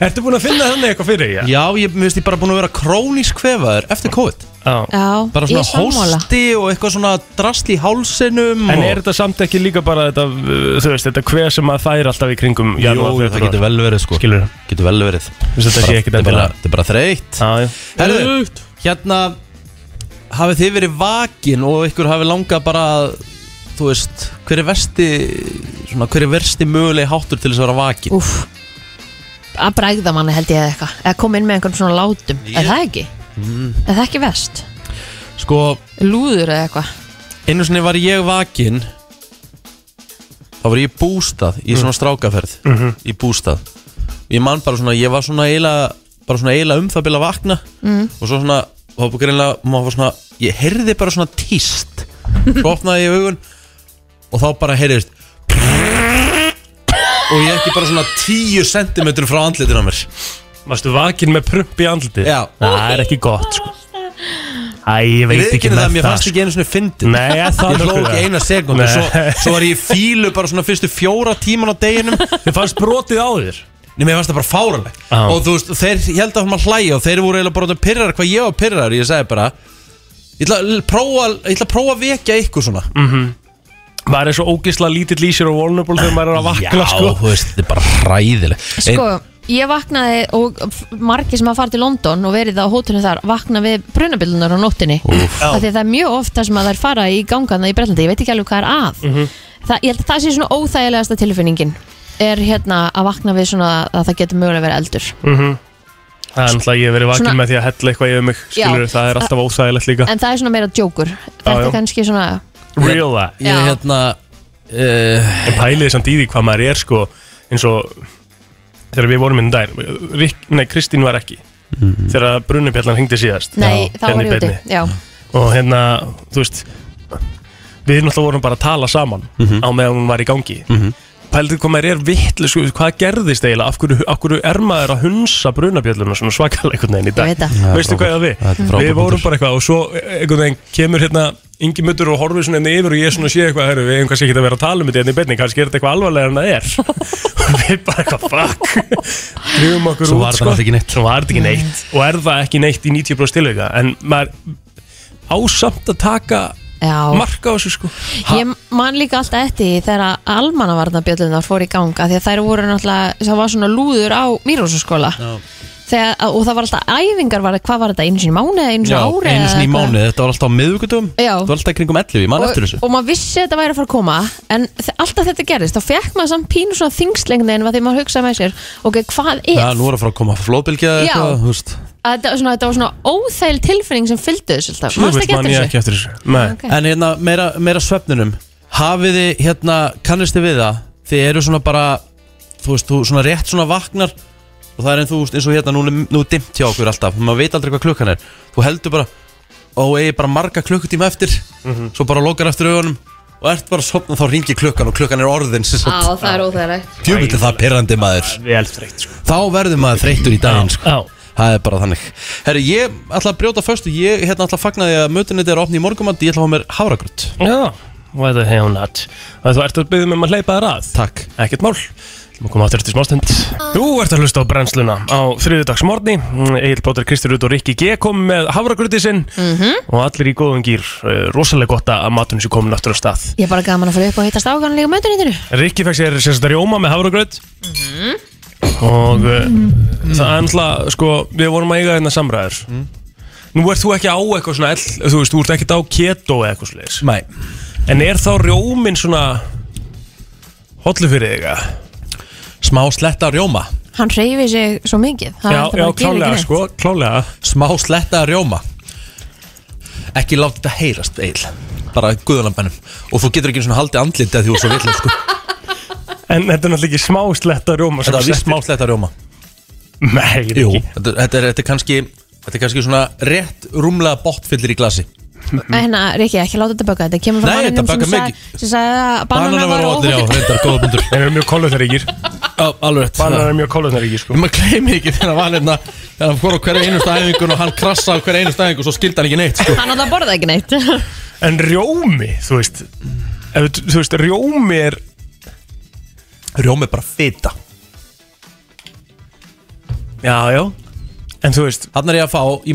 [SPEAKER 4] Ertu búin að finna þannig eitthvað fyrir því?
[SPEAKER 1] Já, ég mér finnst ég bara búin að vera krónísk kvefaður eftir COVID
[SPEAKER 4] Já.
[SPEAKER 5] Já,
[SPEAKER 1] Bara
[SPEAKER 5] ég er
[SPEAKER 1] svona
[SPEAKER 5] sammála
[SPEAKER 1] hósti og eitthvað svona drasl í hálsinum
[SPEAKER 4] En
[SPEAKER 1] og-
[SPEAKER 4] er þetta samt ekki líka bara þetta, uh, þú veist, þetta hver sem maður fær alltaf í kringum
[SPEAKER 1] Jú, það getur vel verið sko
[SPEAKER 4] Skilur þú?
[SPEAKER 1] Getur vel verið
[SPEAKER 4] Þess að þetta sé
[SPEAKER 1] Bara-
[SPEAKER 4] ekkit
[SPEAKER 1] þetta er bara-
[SPEAKER 4] endilega- Ah,
[SPEAKER 1] Þetta er bara þreytt
[SPEAKER 4] Já, já.
[SPEAKER 1] Herðu, hérna hafið þið verið vakin og ykkur hafið langað bara að, þú veist, hver er versti svona, hver er versti mögulegi háttur til þess að vera vakin?
[SPEAKER 5] Úff að bræða manni held ég eða eitthvað eða koma inn með einhvern svona látum, er það ekki?
[SPEAKER 4] Mm.
[SPEAKER 5] er það ekki vest?
[SPEAKER 1] Sko,
[SPEAKER 5] lúður eða eitthvað
[SPEAKER 1] einu sinni var ég vakin þá var ég í bústað í
[SPEAKER 4] Mm.
[SPEAKER 1] svona strákaferð
[SPEAKER 4] Mhm.
[SPEAKER 1] í bústað ég man bara svona, ég var svona eiginlega bara svona eiginlega um það byrja að vakna og svo svona, þá var greinlega maður var svona, ég heyrði bara svona tíst svo opnaði ég augun og þá bara heyrðist og ég ekki bara svona 10 cm frá andlitinu á mér
[SPEAKER 4] Varstu vakin með prump í andlitið?
[SPEAKER 1] Já.
[SPEAKER 4] Það er ekki gott sko Æ, ég
[SPEAKER 1] Ég
[SPEAKER 4] veit
[SPEAKER 1] veit
[SPEAKER 4] ekki
[SPEAKER 1] ekki
[SPEAKER 4] með
[SPEAKER 1] það,
[SPEAKER 4] það
[SPEAKER 1] mér fannst
[SPEAKER 4] sko.
[SPEAKER 1] ekki einu svona fyndið
[SPEAKER 4] Nei, er það
[SPEAKER 1] Ég hló
[SPEAKER 4] nokkuð
[SPEAKER 1] ekki
[SPEAKER 4] það?
[SPEAKER 1] eina sekundu
[SPEAKER 4] Nei.
[SPEAKER 1] svo, svo var ég í fílu bara svona fyrstu fjóra tíman á deginum Nei,
[SPEAKER 4] Mér fannst brotið á þér
[SPEAKER 1] mér fannst það bara fáranleg
[SPEAKER 4] Já.
[SPEAKER 1] Og þú veist, þeir ég held að hann að hlæja Og þeir voru eiginlega bara orðnir pirrar hvað ég var pirrar Ég sagði bara Ég ætla að prófa, ég ætla að, prófa að vekja ykkur svona
[SPEAKER 4] Mm. Maður er svo ógisla lítill í sér og vulnerable þegar maður er að vakna sko
[SPEAKER 1] þú veist, þetta er bara hræðileg
[SPEAKER 5] Sko, ég vaknaði og f- margir sem að fara til London og verið á hótunum þar vakna við brunabildunar á nóttinni af því að það er mjög oft það sem að þær fara í gangana í Bretlandi, ég veit ekki alveg hvað er að
[SPEAKER 4] Mhm.
[SPEAKER 5] það, ég held að það sé svona óþægilegasta tilfinningin er hérna að vakna við svona að það getur mögulega að vera eldur
[SPEAKER 4] Mhm. Það er náttúrulega ég hef verið vakin
[SPEAKER 5] Svona-
[SPEAKER 4] með því að hella eitthvað yfir mig Skilur,
[SPEAKER 5] Já.
[SPEAKER 4] það er alltaf óþægilegt líka
[SPEAKER 5] en það er svona meira djókur þetta
[SPEAKER 4] já.
[SPEAKER 5] er kannski svona
[SPEAKER 4] Real that
[SPEAKER 1] Ég
[SPEAKER 5] Já.
[SPEAKER 1] hérna uh,
[SPEAKER 4] En pæliði samt í því hvað maður er sko eins og þegar við vorum inn dær Rik, Nei, Kristín var ekki þegar brunubjallan hengdi síðast
[SPEAKER 5] nei, þá
[SPEAKER 4] hérna
[SPEAKER 5] var
[SPEAKER 4] í
[SPEAKER 5] ég úti
[SPEAKER 4] beinni.
[SPEAKER 5] já,
[SPEAKER 4] og hérna, þú veist við náttúrulega vorum bara að tala saman
[SPEAKER 1] Mhm.
[SPEAKER 4] á meðan hún var í gangi mm -hmm. Pæliði hvað maður er vittlu sko, hvað gerðist eiginlega, af hverju, af hverju er maður að hunsa brunabjalluna svona svakalega einhvern veginn í dag
[SPEAKER 5] ég veit það
[SPEAKER 1] Já,
[SPEAKER 4] Veistu
[SPEAKER 1] frábært.
[SPEAKER 4] hvað
[SPEAKER 1] Já,
[SPEAKER 4] það
[SPEAKER 1] þetta er
[SPEAKER 4] við?
[SPEAKER 1] frábær
[SPEAKER 4] Við vorum
[SPEAKER 1] punktur.
[SPEAKER 4] bara eitthvað og svo e, einhvern veginn kemur hérna Ingi Muttur og horfir svona henni yfir og ég svona sé eitthvað herru, við eigum kannski ekki að vera að tala um þetta hérna í beinni kannski er þetta eitthvað alvarlega en það er og við bara eitthvað fuck drifum okkur
[SPEAKER 1] Svo
[SPEAKER 4] út sko.
[SPEAKER 1] var þetta náttúrulega ekki neitt.
[SPEAKER 4] Svo var þetta ekki neitt og er það ekki neitt í 90% tilvika en maður ásamt að taka
[SPEAKER 5] já,
[SPEAKER 4] marka á þessu sko
[SPEAKER 5] Ég man líka alltaf eftir því þegar að almannavarnabjöllunar fór í ganga því að þær voru náttúrulega, það var svona lúður á Mýrósaskóla þegar, og það var alltaf æfingar, var, hvað var þetta einu sinni í mánuði, eða einu
[SPEAKER 1] Já,
[SPEAKER 5] sinni í ári
[SPEAKER 1] einu sinni í mánuði, þetta var alltaf á miðvíkutum
[SPEAKER 5] Já.
[SPEAKER 1] Þetta var alltaf í kringum 11, ég man eftir
[SPEAKER 5] og,
[SPEAKER 1] þessu
[SPEAKER 5] og maður vissi að þetta væri að fara að koma en þe- alltaf þetta gerist, þá fekk maður samt pínu svona þingslengni en því maður hugsaði með sér ok, hvað er,
[SPEAKER 1] Já, nú er að fara að koma flóðbylgja
[SPEAKER 5] Já.
[SPEAKER 1] eða eitthvað, þú veist
[SPEAKER 5] að þetta, var svona, þetta var svona óþæl tilfinning sem fylgdu þessu alltaf,
[SPEAKER 4] Þú
[SPEAKER 5] maður
[SPEAKER 4] veist
[SPEAKER 5] ekki
[SPEAKER 4] man
[SPEAKER 5] eftir
[SPEAKER 4] ég
[SPEAKER 5] þessu
[SPEAKER 4] ekki eftir þessu Nei,
[SPEAKER 5] Ok.
[SPEAKER 1] En hérna, meira, meira svefninum Hafið þið, hérna, kannist þið við það Þið eru svona bara, þú veist, þú svona rétt svona vaknar Og það er eins, þú veist, eins og hérna, nú er nú er dimmt hjá okkur alltaf Maður veit aldrei hvað klukkan er Þú heldur bara, ó, eigi bara marga klukkutíma eftir Svo bara lokar eftir augunum Og ert bara að sopna, þá ringi klukkan Og klukkan er orðin, sem
[SPEAKER 5] Á,
[SPEAKER 1] sagt
[SPEAKER 5] það er óþægilegt
[SPEAKER 1] Djúvill er það pirrandi maður
[SPEAKER 4] við eldst reitt sko
[SPEAKER 1] Þá verður maður þreyttur í daginn, sko
[SPEAKER 4] Já,
[SPEAKER 1] Það er bara þannig Herru, ég ætla að brjóta föstu Ég hérna ætla að fagna því að mötunit er opni í morgumandi Ég ætla að fá mér hafragrönt
[SPEAKER 4] já, why the hell not Og Þú ert að byggja mig um að hleypa þér að
[SPEAKER 1] Takk
[SPEAKER 4] ekkert mál Við komum áttur eftir smástund Þú ert að hlusta á brennsluna á þriðudagsmorni Egil Bóttar Kristur Rútt og Rikki G kom með havragröti sinn
[SPEAKER 5] Mhm.
[SPEAKER 4] -hmm. og allir í góðum gýr Eh, rosalega gott að maturinn sé komin aftur á stað
[SPEAKER 5] Ég er bara gaman að fara upp og hitta stákan líka mötunitinu
[SPEAKER 4] Rikki fekk sér sérst rjóma með havragröt
[SPEAKER 1] Mhm.
[SPEAKER 4] og uh, það er náttúrulega sko, við vorum að eiga hérna samræður
[SPEAKER 1] Mhm.
[SPEAKER 4] Nú ert þú ekki á eitthvað svona ell, þú veist, þú ert ekki á keto eða eitthvað sliðis
[SPEAKER 1] Mæ
[SPEAKER 4] En er þá rjóminn svona hollu fyrir þig að?
[SPEAKER 1] Smá sletta af rjóma
[SPEAKER 5] Hann hreyfi sig svo mikið það er
[SPEAKER 4] Já,
[SPEAKER 5] alltaf
[SPEAKER 4] já,
[SPEAKER 5] bara að gera ekki
[SPEAKER 4] klálega
[SPEAKER 5] neitt.
[SPEAKER 4] sko, klálega
[SPEAKER 1] Smá sletta af rjóma Ekki láta þetta heyrast, Egil Bara guðanabænum Og þú getur ekki svona haldið andlitið af Því þú er svo vill sko.
[SPEAKER 4] En þetta er náttúrulega ekki smá sletta rjóma sko.
[SPEAKER 1] Þetta er viss smá sletta af rjóma
[SPEAKER 4] Nei, þetta er
[SPEAKER 1] Jú
[SPEAKER 4] ekki
[SPEAKER 1] þetta, þetta, er, þetta er kannski Þetta er kannski svona rétt rúmlega bóttfyllir í glasi
[SPEAKER 5] Nei, hérna, Rikki, ekki láta þetta böka þetta kemur frá
[SPEAKER 1] Nei,
[SPEAKER 5] manninum
[SPEAKER 1] þetta
[SPEAKER 5] sem
[SPEAKER 1] bökar
[SPEAKER 5] sagði-
[SPEAKER 1] mikið.
[SPEAKER 5] sem sagði að banana var
[SPEAKER 1] allir á
[SPEAKER 5] óhollir
[SPEAKER 1] Reyndar, góða bundur
[SPEAKER 4] Þeir eru mjög kólutnaríkir
[SPEAKER 1] Alveg rétt.
[SPEAKER 4] Banar eru mjög kólutnaríkir sko
[SPEAKER 1] Ég maður gleymi ekki þegar hann var hérna Þegar hann fór á hverja einustu æfingun og hann krassa á hverja einustu æfingun og svo skildi hann ekki neitt sko.
[SPEAKER 5] hann alltaf borða ekki neitt
[SPEAKER 4] En rjómi, þú veist ef, Þú veist, rjómi er
[SPEAKER 1] Rjómi er bara fita
[SPEAKER 4] Já, já En þú veist,
[SPEAKER 1] Hann er ég að fá í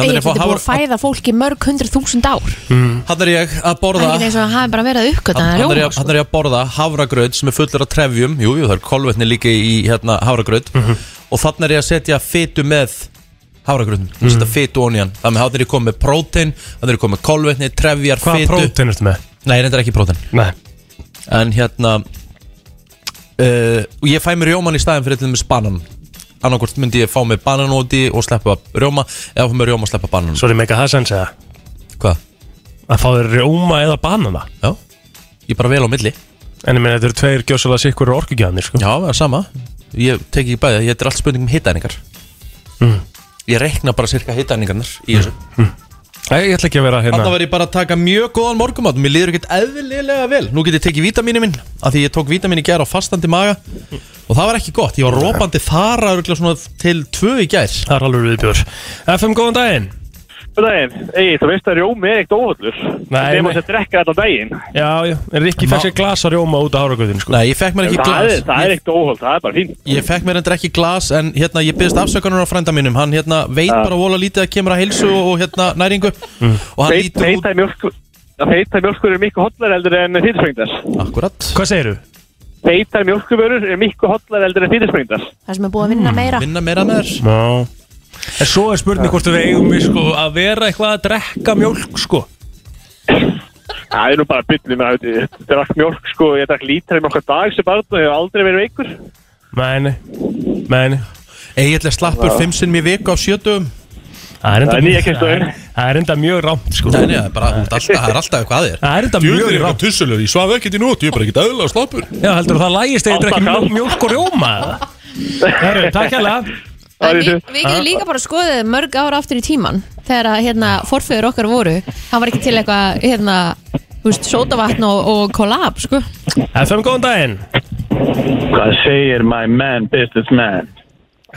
[SPEAKER 5] ég
[SPEAKER 1] Hann er
[SPEAKER 5] geti
[SPEAKER 1] ég að fá
[SPEAKER 5] búið að
[SPEAKER 1] hafra
[SPEAKER 5] fæða fólki mörg hundru þúsund ár það
[SPEAKER 1] Hann er ég að
[SPEAKER 5] er
[SPEAKER 1] borða
[SPEAKER 5] ekki eins og hann hafi bara verið að uppgöta hann
[SPEAKER 1] Hann er
[SPEAKER 5] rjóma
[SPEAKER 1] ég,
[SPEAKER 5] sko.
[SPEAKER 1] hann er ég að borða havragraut sem er fullur af trefjum Jú, jú, það er kolvetni líka í hérna, havragraut
[SPEAKER 4] Mhm.
[SPEAKER 1] Og þannig er ég að setja fitu með havragrautum mm -hmm. Setja
[SPEAKER 4] Mhm.
[SPEAKER 1] fitu onni hann Þannig hann er ég komið með prótein Hann er ég komið með kolvetni, trefjar,
[SPEAKER 4] hvaða
[SPEAKER 1] fitu
[SPEAKER 4] prótein ertu með?
[SPEAKER 1] Nei, reyndar ekki prótein
[SPEAKER 4] Nei
[SPEAKER 1] En hérna uh, Og ég fæ mér rjóman í staðin fyrir til þess banan Annarkvort myndi ég fá mér banan úti og sleppa rjóma Eða fá mér rjóma og sleppa banan
[SPEAKER 4] Sorry, mega það sens eða
[SPEAKER 1] Hvað?
[SPEAKER 4] Að fá þér rjóma eða banana
[SPEAKER 1] Já Ég er bara vel á milli
[SPEAKER 4] En ég meina, þetta eru tveir gjósalega sikkur orkugjöðanir sko
[SPEAKER 1] Já, það er sama Ég teki ekki bæði, þetta er Mm. allt spurning um hitæningar Ég rekna bara cirka hitæningarnar í þessu
[SPEAKER 4] Nei, ég ætla ekki að vera hérna
[SPEAKER 1] Þannig var ég bara að taka mjög góðan morgumat Mér líður ekkert eðlilega vel Nú get ég tekið vítaminu minn Af því ég tók vítaminu í gær á fastandi maga Og það var ekki gott Ég var rópandi þara örugglega svona til tvö í gær
[SPEAKER 4] Það er alveg viðbjör FM, góðan daginn
[SPEAKER 3] Góð daginn, Egi, þú veist að rjómi er ekkert óhullur
[SPEAKER 4] Nei,
[SPEAKER 3] Það er
[SPEAKER 4] nei.
[SPEAKER 3] maður að drekka þetta daginn
[SPEAKER 4] Já, já, en Rikki fekk sér glas að rjóma út af háragöðin sko.
[SPEAKER 1] Nei, ég fekk mér ekki
[SPEAKER 3] Það er,
[SPEAKER 1] glas
[SPEAKER 3] það er
[SPEAKER 1] Ég,
[SPEAKER 3] ekkert óhull, það er bara fínt
[SPEAKER 1] ég fekk mér endur ekki glas En hérna, ég byrðist afsökanur á frænda mínum Hann hérna veit bara vola lítið að kemur að heilsu og, og hérna næringu
[SPEAKER 3] Mm.
[SPEAKER 1] Og hann
[SPEAKER 3] Feit-
[SPEAKER 1] lítur út
[SPEAKER 3] Feita mjölk að Feita mjölkur er miklu hotlar eldur en þýtisprengdar
[SPEAKER 1] Akkurat
[SPEAKER 4] Hvað segirðu?
[SPEAKER 3] Feita mjölkuvörur er miklu hotlar eldur en þýtisprengdar
[SPEAKER 5] Það sem er búið að vinna meira
[SPEAKER 1] Vinna meira með þér
[SPEAKER 4] Já En svo er spurning hvort við eigum við sko að vera eitthvað að drekka mjólk sko
[SPEAKER 3] Það er nú bara byllum að ég drakk mjölk sko Ég drakk lítra mjölk að dag sem barn og ég hef aldrei verið veikur
[SPEAKER 4] Nei, nei, nei, nei.
[SPEAKER 1] Egillega slappur fimm sinn mér viku á sjötum
[SPEAKER 4] Það er enda
[SPEAKER 3] Það er nýja kynslóðin.
[SPEAKER 4] Það er enda mjög rámt sko
[SPEAKER 1] Nei, nei, það er bara, út alltaf, það er alltaf eitthvað að þér
[SPEAKER 4] Það er enda mjög
[SPEAKER 6] Mjög
[SPEAKER 4] rámt
[SPEAKER 6] tussulegur, ég svaf ekkert í nótt, ég er bara ekkert aðlega slappur
[SPEAKER 4] Já, heldur það lægist eða ég drekki
[SPEAKER 3] Átta
[SPEAKER 4] mjólk,
[SPEAKER 3] kall.
[SPEAKER 4] mjólk og rjóma Heru, Takk hérlega
[SPEAKER 5] En
[SPEAKER 3] Það er
[SPEAKER 5] Við
[SPEAKER 3] þessu.
[SPEAKER 5] við getum líka bara skoðið mörg ára aftur í tíman þegar að hérna, forföður okkar voru hann var ekki til eitthvað hérna, þú veist, sótavatn og, og kollab sko.
[SPEAKER 4] FM, góðan daginn
[SPEAKER 7] Hvað segir my man, businessman?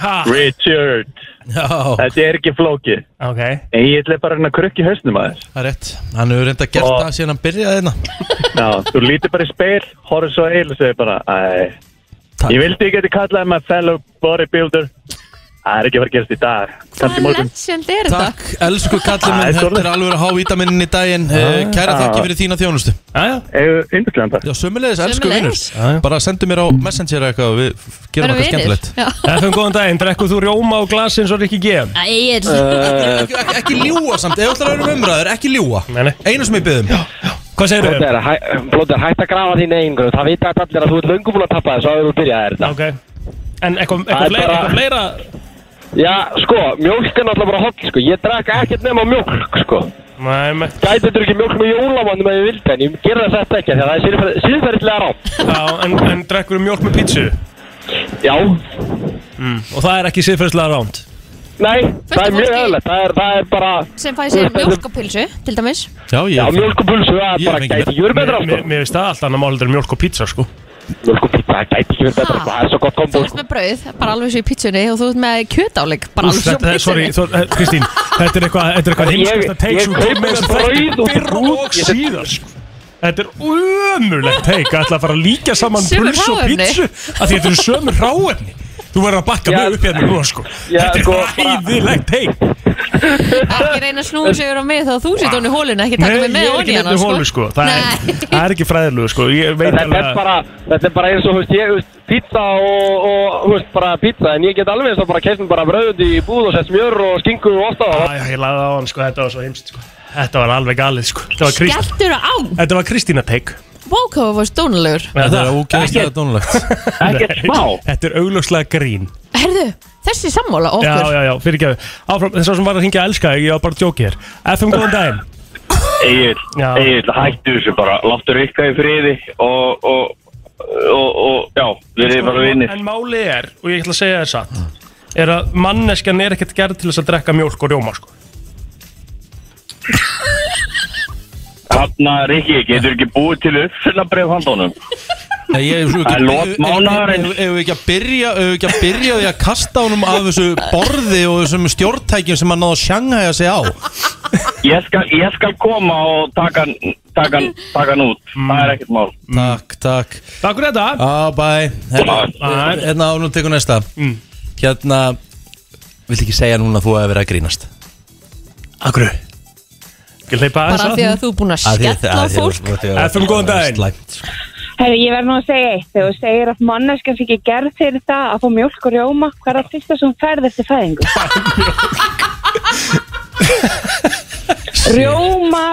[SPEAKER 4] Ha,
[SPEAKER 7] Richard,
[SPEAKER 1] Já,
[SPEAKER 7] þetta er ekki flóki
[SPEAKER 4] ok
[SPEAKER 7] En ég ætla bara að reyna að krukka í hausnum aðeins
[SPEAKER 1] það er rétt Hann hefur reynda gert
[SPEAKER 7] Og-
[SPEAKER 1] það síðan hann byrjaði hérna
[SPEAKER 7] Já, þú lítir bara í speil, horfður svo eil og segir bara Æ, ég vildi ekki að þið kallaði my fellow bodybuilder Það er ekki að fara að gerast í dag Kannski
[SPEAKER 5] Hvaða
[SPEAKER 7] í morgun
[SPEAKER 5] legend er þetta?
[SPEAKER 1] Takk, elsku kallið
[SPEAKER 7] Æ,
[SPEAKER 1] minn, þetta
[SPEAKER 7] sorry.
[SPEAKER 1] er alveg að há vítaminin í daginn Eh, Kæra
[SPEAKER 7] Ah.
[SPEAKER 1] þakki fyrir þína þjónustu
[SPEAKER 4] Jæja,
[SPEAKER 7] Eða yndislega dag
[SPEAKER 1] Já, sömulegis, elsku vinnur
[SPEAKER 5] Sömuleiðis.
[SPEAKER 4] Já, já.
[SPEAKER 1] Bara sendu mér á messenger eitthvað og við f-
[SPEAKER 5] Verðum
[SPEAKER 1] gerum eitthvað
[SPEAKER 5] vinir?
[SPEAKER 1] skemmtilegt
[SPEAKER 5] Já.
[SPEAKER 4] FM, góðan daginn, drekkuð þú rjóma og glas eins og Rikki G
[SPEAKER 5] Ægir,
[SPEAKER 1] Ekki, ekki, ekki ljúa samt, ef ætlar að vera um umræður, ekki ljúa
[SPEAKER 4] Nei, nei.
[SPEAKER 1] Einu sem ég um. byggðum
[SPEAKER 4] Hvað segirðu?
[SPEAKER 8] Blóður, hætt eh, að grafa þín eigin gröð Það vita þetta allir að þú ert löngum búin að tappa þessu áður en þú byrjaði þetta
[SPEAKER 4] Ok En eitthvað eitthvað
[SPEAKER 8] Það er
[SPEAKER 4] fleira,
[SPEAKER 8] bara-
[SPEAKER 4] eitthvað fleira
[SPEAKER 8] Já, sko, mjólk er náttúrulega bara holl, sko Ég drak ekkert nema mjólk, sko
[SPEAKER 4] Nei, me-
[SPEAKER 8] Gæti þetta ekki mjólk með jólamannum að ég vildi En ég gera þetta ekki, af því að það er síðferð- síðferðislega rátt
[SPEAKER 4] já, en, en drekkur þú mjólk með pítsu
[SPEAKER 8] Já,
[SPEAKER 4] Og það er ekki siðferðslega rámt
[SPEAKER 8] nei, það
[SPEAKER 5] fólki-
[SPEAKER 8] er mjög eðlilegt Það er, það er bara,
[SPEAKER 5] sem fæði sér mjölkopilsu til dæmis
[SPEAKER 1] Já,
[SPEAKER 8] já,
[SPEAKER 1] ég
[SPEAKER 8] mjólk og pulsu Það
[SPEAKER 1] Ég
[SPEAKER 8] er
[SPEAKER 1] er
[SPEAKER 8] bara
[SPEAKER 1] fengið
[SPEAKER 8] gæti ekki verið betra,
[SPEAKER 4] Mér-
[SPEAKER 8] sko
[SPEAKER 4] Mér mér finnst það allt annað mál heldur en mjólk og pítsa sko
[SPEAKER 8] Mjólk og pizza, það gæti ekki verið betra, sko Það er svo gott
[SPEAKER 5] Þú
[SPEAKER 8] kombo,
[SPEAKER 5] ert með brauð, bara alveg svo í pítsunni og þú ert með kjötáleik, bara
[SPEAKER 4] Úff,
[SPEAKER 5] alveg svo í
[SPEAKER 4] Þetta er, sorry,
[SPEAKER 5] pítsunni
[SPEAKER 4] þú- eh, Kristín Þetta er eitthvað, þetta er eitthvað
[SPEAKER 8] Ég-
[SPEAKER 4] heimskasta
[SPEAKER 8] ég
[SPEAKER 4] take sko. sem
[SPEAKER 8] kaupi
[SPEAKER 4] kom með þessu þætti
[SPEAKER 8] mér brauð út í
[SPEAKER 4] fyrr
[SPEAKER 8] búð.
[SPEAKER 4] og síðar sko. Þetta er ömurlegt take Það ætla að fara að líka saman
[SPEAKER 5] Sömu
[SPEAKER 4] puls og
[SPEAKER 5] hráefni.
[SPEAKER 4] pítsu að því þetta eru sömur hráefni Þú verður að bakka
[SPEAKER 8] Já,
[SPEAKER 4] mjög upp hérna núna sko
[SPEAKER 8] já,
[SPEAKER 4] Þetta er
[SPEAKER 8] sko,
[SPEAKER 4] ræðilegt take
[SPEAKER 5] Ekki reyna að snúa sig yfir á mig þá þú sitt hún í hólinu, ekki taka
[SPEAKER 4] Nei,
[SPEAKER 5] mig
[SPEAKER 4] ég
[SPEAKER 5] með
[SPEAKER 4] er
[SPEAKER 5] ofan
[SPEAKER 4] ekki
[SPEAKER 5] í hana
[SPEAKER 4] nefnir hólu sko Það
[SPEAKER 5] Nei.
[SPEAKER 4] er- það er ekki fræðilegu sko Ég veit
[SPEAKER 8] Þetta er
[SPEAKER 4] alveg að
[SPEAKER 8] bara, þetta er bara eins og, þú veist, ég, þú veist, pizza og, og, þú veist, bara pizza, en ég get alveg eins og bara keistum bara bröðundi í búð og sett smjör og skingu og ost á það.
[SPEAKER 4] Æ, Ég lagði á hann sko, þetta var svo heimst sko Þetta var alveg galið sko Þetta var Krist-
[SPEAKER 5] Gættur á,
[SPEAKER 4] Þetta var Kristína take
[SPEAKER 5] bókáðu var stónulegur
[SPEAKER 1] Það er ógeðslega dónulegt
[SPEAKER 8] Ekkert smá.
[SPEAKER 4] Þetta er augljóslega grín
[SPEAKER 5] Herðu, þessi er sammála
[SPEAKER 4] Já,
[SPEAKER 5] okkur
[SPEAKER 4] já, já, fyrir ekki Áfram, þess að sem var að hringja að elska þig, ég var bara að djóki þér FM, góðan daginn
[SPEAKER 7] Egil,
[SPEAKER 4] Já.
[SPEAKER 7] Egil, hættu þessu bara Láttu rikka í friði og, og, og, og já, við erum bara vinnir
[SPEAKER 4] En máli er, og ég ætla að segja þér satt Er að manneskjan er ekkert gerð til þess að drekka mjólk og rjóma, sko
[SPEAKER 7] Hanna, Rikki, getur ekki búið til uppfyllabref handónum
[SPEAKER 1] Nei, ég, svo,
[SPEAKER 7] Það er lok mánaðarins.
[SPEAKER 1] Ef við ekki að byrja Ef við ekki að byrja á því að kasta honum af þessu borði og þessum stjórntækjum sem hann náða að sjanghæja sig á
[SPEAKER 7] Ég skal, ég skal koma og taka hann taka hann- taka hann út Það er ekkert mál
[SPEAKER 1] Takk, takk
[SPEAKER 4] Takk fyrir þetta
[SPEAKER 1] Á, bæ
[SPEAKER 4] Bye. Mm.
[SPEAKER 1] Hérna, hérna ánum tekur næsta Hérna Viltu ekki segja núna að þú hefur verið að grínast
[SPEAKER 4] Akkur Ekki hleypa
[SPEAKER 5] Bara af því
[SPEAKER 4] þess
[SPEAKER 5] að þú er búin að skella á fólk
[SPEAKER 4] FM, um góðan daginn.
[SPEAKER 9] Herri, ég verð nú að segja eitt. Þegar þú segir að manneskans ekki gerð fyrir það að fá mjölk og rjóma, hvað er það fyrsta sem þú færð eftir fæðingu? Rjóma,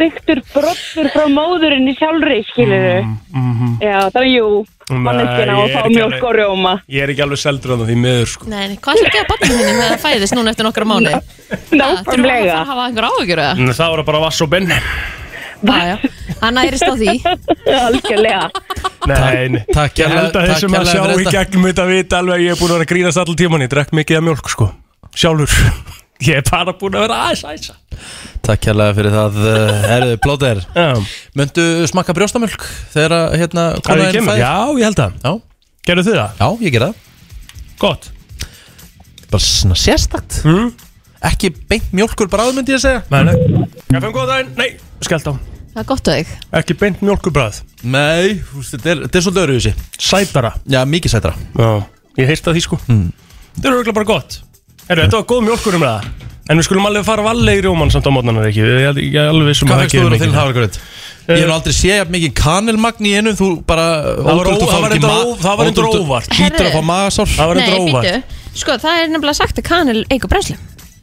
[SPEAKER 9] þyktur, brottur frá móðurinn í sjálfri, skilur þú? Já, það er jú,
[SPEAKER 4] Mm, mhm. Nei, ég
[SPEAKER 9] manneskina að
[SPEAKER 4] er
[SPEAKER 9] fá
[SPEAKER 4] ekki
[SPEAKER 9] mjölk
[SPEAKER 4] alveg-
[SPEAKER 9] og rjóma.
[SPEAKER 4] Ég er ekki alveg seldur að það því miður, sko
[SPEAKER 5] Nei, nei, hvað ætlar að gefa barninu þínu þegar það fæðist núna eftir nokkra mánu? Þurfum við að
[SPEAKER 9] Nákvæmlega.
[SPEAKER 5] fara að hafa einhver áhugjur eða?
[SPEAKER 4] En Það voru bara vass og benn
[SPEAKER 5] Já, já, hann ærist á því
[SPEAKER 9] Algjörlega.
[SPEAKER 4] Nei, nei.
[SPEAKER 1] takk
[SPEAKER 4] Ég held
[SPEAKER 1] kærlega-
[SPEAKER 4] að
[SPEAKER 1] takk
[SPEAKER 4] þessum að
[SPEAKER 1] kærlega
[SPEAKER 4] sjá
[SPEAKER 1] fyrir
[SPEAKER 4] í
[SPEAKER 1] þetta.
[SPEAKER 4] gegnum þetta vita alveg að Ég er búin að vera að grínast allan tíman Ég drekk mikið af mjólk, sko Sjálfur Ég er bara búin að vera aðeins aðeins
[SPEAKER 1] Takk hérlega fyrir það eh, Herðu, blóðir
[SPEAKER 4] Já,
[SPEAKER 1] Möndu smakka brjóstamölk þegar að, hérna
[SPEAKER 4] Að
[SPEAKER 1] konan
[SPEAKER 4] ég
[SPEAKER 1] þín
[SPEAKER 4] kemur,
[SPEAKER 1] fæðir?
[SPEAKER 4] já, ég held það
[SPEAKER 1] Já.
[SPEAKER 4] Gerðu þið það?
[SPEAKER 1] Já, ég gera það
[SPEAKER 4] Gott
[SPEAKER 1] Bara svona sérstakt
[SPEAKER 4] Mm.
[SPEAKER 1] Ekki beint mjólkur bráð myndi ég að segja
[SPEAKER 4] Nei, nei Kaffum góða daginn Nei, skellt á
[SPEAKER 5] Það er gott á þig
[SPEAKER 4] Ekki beint mjölkubrað
[SPEAKER 1] Nei, þú veist, þetta er, þetta er svolítið öðru
[SPEAKER 4] Sætara
[SPEAKER 1] Já, mikið sætra
[SPEAKER 4] Já Ég heyrst að því sko mm. Það eru auðvitað bara gott Herru, þetta var góð mjölkur um það En við skulum alveg fara vallega í rjóman samt á mótnanar ekki Ég ég- ég er alveg vissum
[SPEAKER 1] Hvað fækst þú verið á þinn
[SPEAKER 4] það
[SPEAKER 1] hafragröð? Ég hef nú aldrei séð jafn mikið kanilmagn í einu Þú bara
[SPEAKER 4] var
[SPEAKER 1] ótrúlegt
[SPEAKER 4] ó-
[SPEAKER 1] að fá
[SPEAKER 4] það
[SPEAKER 1] ekki ma-
[SPEAKER 4] var reyndar ó- það var reyndar
[SPEAKER 1] ótrúlegt-
[SPEAKER 4] óvart.
[SPEAKER 1] Hlýtur að
[SPEAKER 5] Herðu.
[SPEAKER 1] fá magasár
[SPEAKER 4] Það var
[SPEAKER 5] Nei,
[SPEAKER 4] eitthvað óvart
[SPEAKER 5] býtu, sko það er nefnilega sagt að kanil eigur brænslu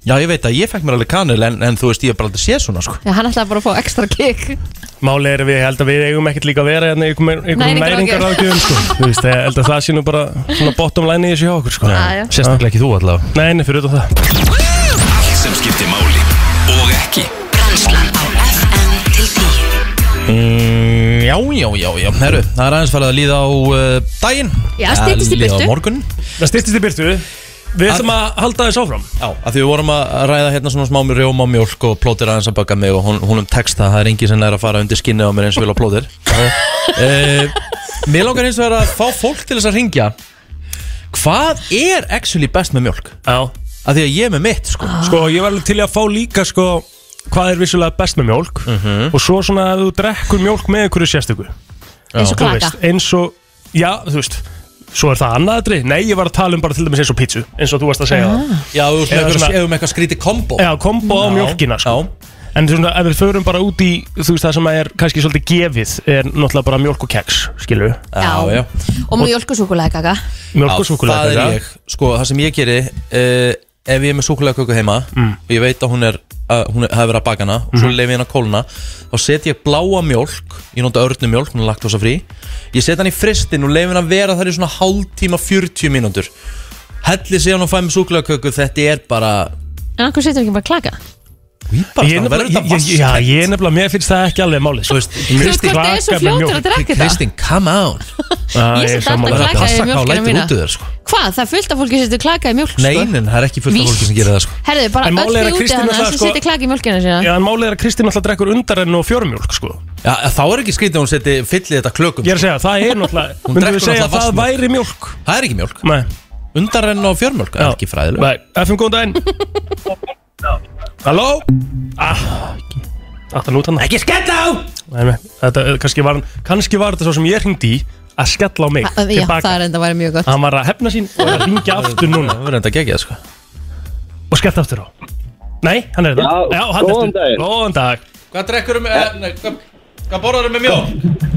[SPEAKER 1] Já, ég veit að ég fekk mér alveg kanil En, en þú veist, ég hef bara aldrei séð svona sko.
[SPEAKER 5] Já, hann ætlaði bara að fá ekstra kikk
[SPEAKER 4] Máli er að við, ég held að við eigum ekkert líka að vera hérna í einhverjum- einhverjum
[SPEAKER 5] Næringarráðgjöf.
[SPEAKER 4] næringar sko. Þú veist, ég held að það sé nú bara svona bottom line í þessu hjá okkur sko.
[SPEAKER 5] Já, já.
[SPEAKER 1] Sérstaklega ekki þú allavega
[SPEAKER 4] Nei, nei, fyrir utan það
[SPEAKER 2] Allt sem skiptir máli og ekki
[SPEAKER 10] Brennslan á FM til 10
[SPEAKER 1] mm, Já, já, já, já Herru, það er aðeins farið að líða á uh, daginn
[SPEAKER 5] Já, styttist í
[SPEAKER 1] Að Líða á
[SPEAKER 5] birtu.
[SPEAKER 1] morgun
[SPEAKER 4] Það styrtist í byrtu Við ætlum að halda þess áfram
[SPEAKER 1] Já, að því við vorum að ræða hérna svona smá mjög rjóma og mjólk og plótir aðeins að baka mig og hún, húnum texta, það er engin sem er að fara undir skinnið á mér eins og vil á plótir uh, Mér langar eins og er að fá fólk til þess að ringja Hvað er actually best með mjólk?
[SPEAKER 4] Já
[SPEAKER 1] Að því að ég er með mitt, sko
[SPEAKER 4] Sko, ég var alveg til í að fá líka sko Hvað er vissulega best með mjólk
[SPEAKER 1] Mhm.
[SPEAKER 4] Og svo svona að þú drekkur mjólk með einhverju sérstöku
[SPEAKER 5] eins og
[SPEAKER 4] Þú
[SPEAKER 5] klaka
[SPEAKER 4] veist, Eins og, já, þú veist Svo er það annað aðri Nei, ég var að tala um bara til dæmis eins og pítsu Eins og þú varst að segja
[SPEAKER 5] Ah.
[SPEAKER 4] það
[SPEAKER 1] Já, þú veist
[SPEAKER 4] Eða
[SPEAKER 1] með eitthvað-
[SPEAKER 4] svona-
[SPEAKER 1] ef við með eitthvað skrítið kombo
[SPEAKER 4] Já, kombo á mjólkina sko
[SPEAKER 1] já.
[SPEAKER 4] En þú veist, ef við förum bara út í Þú veist, það sem er kannski svolítið gefið Er náttúrulega bara mjólk og keks, skilur við
[SPEAKER 1] já, já.
[SPEAKER 5] Og mjölkusúkulega kaka
[SPEAKER 4] Mjólk og
[SPEAKER 1] Já,
[SPEAKER 4] súkulega
[SPEAKER 1] Það er ég, sko, það sem ég geri uh, Ef ég er með súkulega köku heima
[SPEAKER 4] Mm.
[SPEAKER 1] Og ég veit að hún er, að hún er, hafi verið að baka hana Og svo leif ég hana að kólna Þá set ég bláa mjólk, ég nota örnu mjólk Hún er laktosa frí, ég set hann í fristin Og leif hann að vera þar í svona hálftíma 40 mínútur Helli síðan og fæ með súkulega köku Þetta er bara
[SPEAKER 5] En okkur setur ekki bara klaka
[SPEAKER 1] Bara
[SPEAKER 4] Ég er
[SPEAKER 1] svona, verður
[SPEAKER 4] nefnilega,
[SPEAKER 1] þetta
[SPEAKER 4] ég- ég- já,
[SPEAKER 1] vaskennt?
[SPEAKER 4] ég er nefnilega, mér finnst það ekki alveg málið
[SPEAKER 1] Þú
[SPEAKER 4] sko.
[SPEAKER 1] veist,
[SPEAKER 5] Þú veist hvort það
[SPEAKER 1] Kristín,
[SPEAKER 5] er svo
[SPEAKER 4] klaka með
[SPEAKER 5] fljótur að
[SPEAKER 4] mjólk.
[SPEAKER 5] drekka þetta
[SPEAKER 1] Kristín, come on
[SPEAKER 4] Ah,
[SPEAKER 5] Ég
[SPEAKER 4] ég er
[SPEAKER 5] set alltaf
[SPEAKER 4] sammála.
[SPEAKER 1] Þetta
[SPEAKER 5] klaka í
[SPEAKER 1] passa hvað hún
[SPEAKER 5] mjólkina
[SPEAKER 1] lætur
[SPEAKER 5] mína
[SPEAKER 1] út í þér, sko.
[SPEAKER 5] Hvað, það er fullt af fólki sem setur klaka í mjólk
[SPEAKER 1] Nei,
[SPEAKER 5] sko.
[SPEAKER 1] nei, það er ekki fullt af fólki
[SPEAKER 5] Víst.
[SPEAKER 1] sem gerir það sko.
[SPEAKER 5] Herðu, bara
[SPEAKER 4] En
[SPEAKER 5] öll
[SPEAKER 4] málið er
[SPEAKER 5] þið
[SPEAKER 4] að
[SPEAKER 5] úti
[SPEAKER 4] Kristín
[SPEAKER 5] hana sem
[SPEAKER 4] alltaf, sko-
[SPEAKER 5] setur klaka í mjólkina sína
[SPEAKER 4] Já, en málið er að Kristín alltaf drekkur undarenn og fjórumjólk, sko.
[SPEAKER 1] Já, þá er ekki skrítið að hún seti fyllið þetta klökum
[SPEAKER 4] Ég er að segja, það er náttúrulega,
[SPEAKER 1] Hún
[SPEAKER 4] myndum
[SPEAKER 1] drekkur
[SPEAKER 4] við segja
[SPEAKER 1] náttúrulega
[SPEAKER 4] að það
[SPEAKER 1] vatnsmjólk.
[SPEAKER 4] væri mjólk.
[SPEAKER 1] Það er ekki mjólk,
[SPEAKER 4] Nei.
[SPEAKER 1] undarrenn og fjörmjólk Það
[SPEAKER 4] já.
[SPEAKER 1] er ekki fræðilega
[SPEAKER 4] Nei, FM, góðan daginn. Halló? Ah, þetta er nút hann. Ekki skella á! Nei, nei, þetta, eh, kannski var, hann- kannski var þetta svo sem ég hringdi í að skella á mig
[SPEAKER 5] Ha- Já, það er enda að vera mjög gott
[SPEAKER 4] Hann var að hefna sín og að ringja aftur núna
[SPEAKER 1] Það verður enda að gegja það sko
[SPEAKER 4] og skella aftur á. Nei, hann er þetta.
[SPEAKER 7] Já,
[SPEAKER 4] hann er
[SPEAKER 7] góðan
[SPEAKER 4] þetta.
[SPEAKER 7] daginn.
[SPEAKER 4] Góðan dag.
[SPEAKER 1] Hvað drekkur um, eh, hvað, hvað borðar um með mjólk?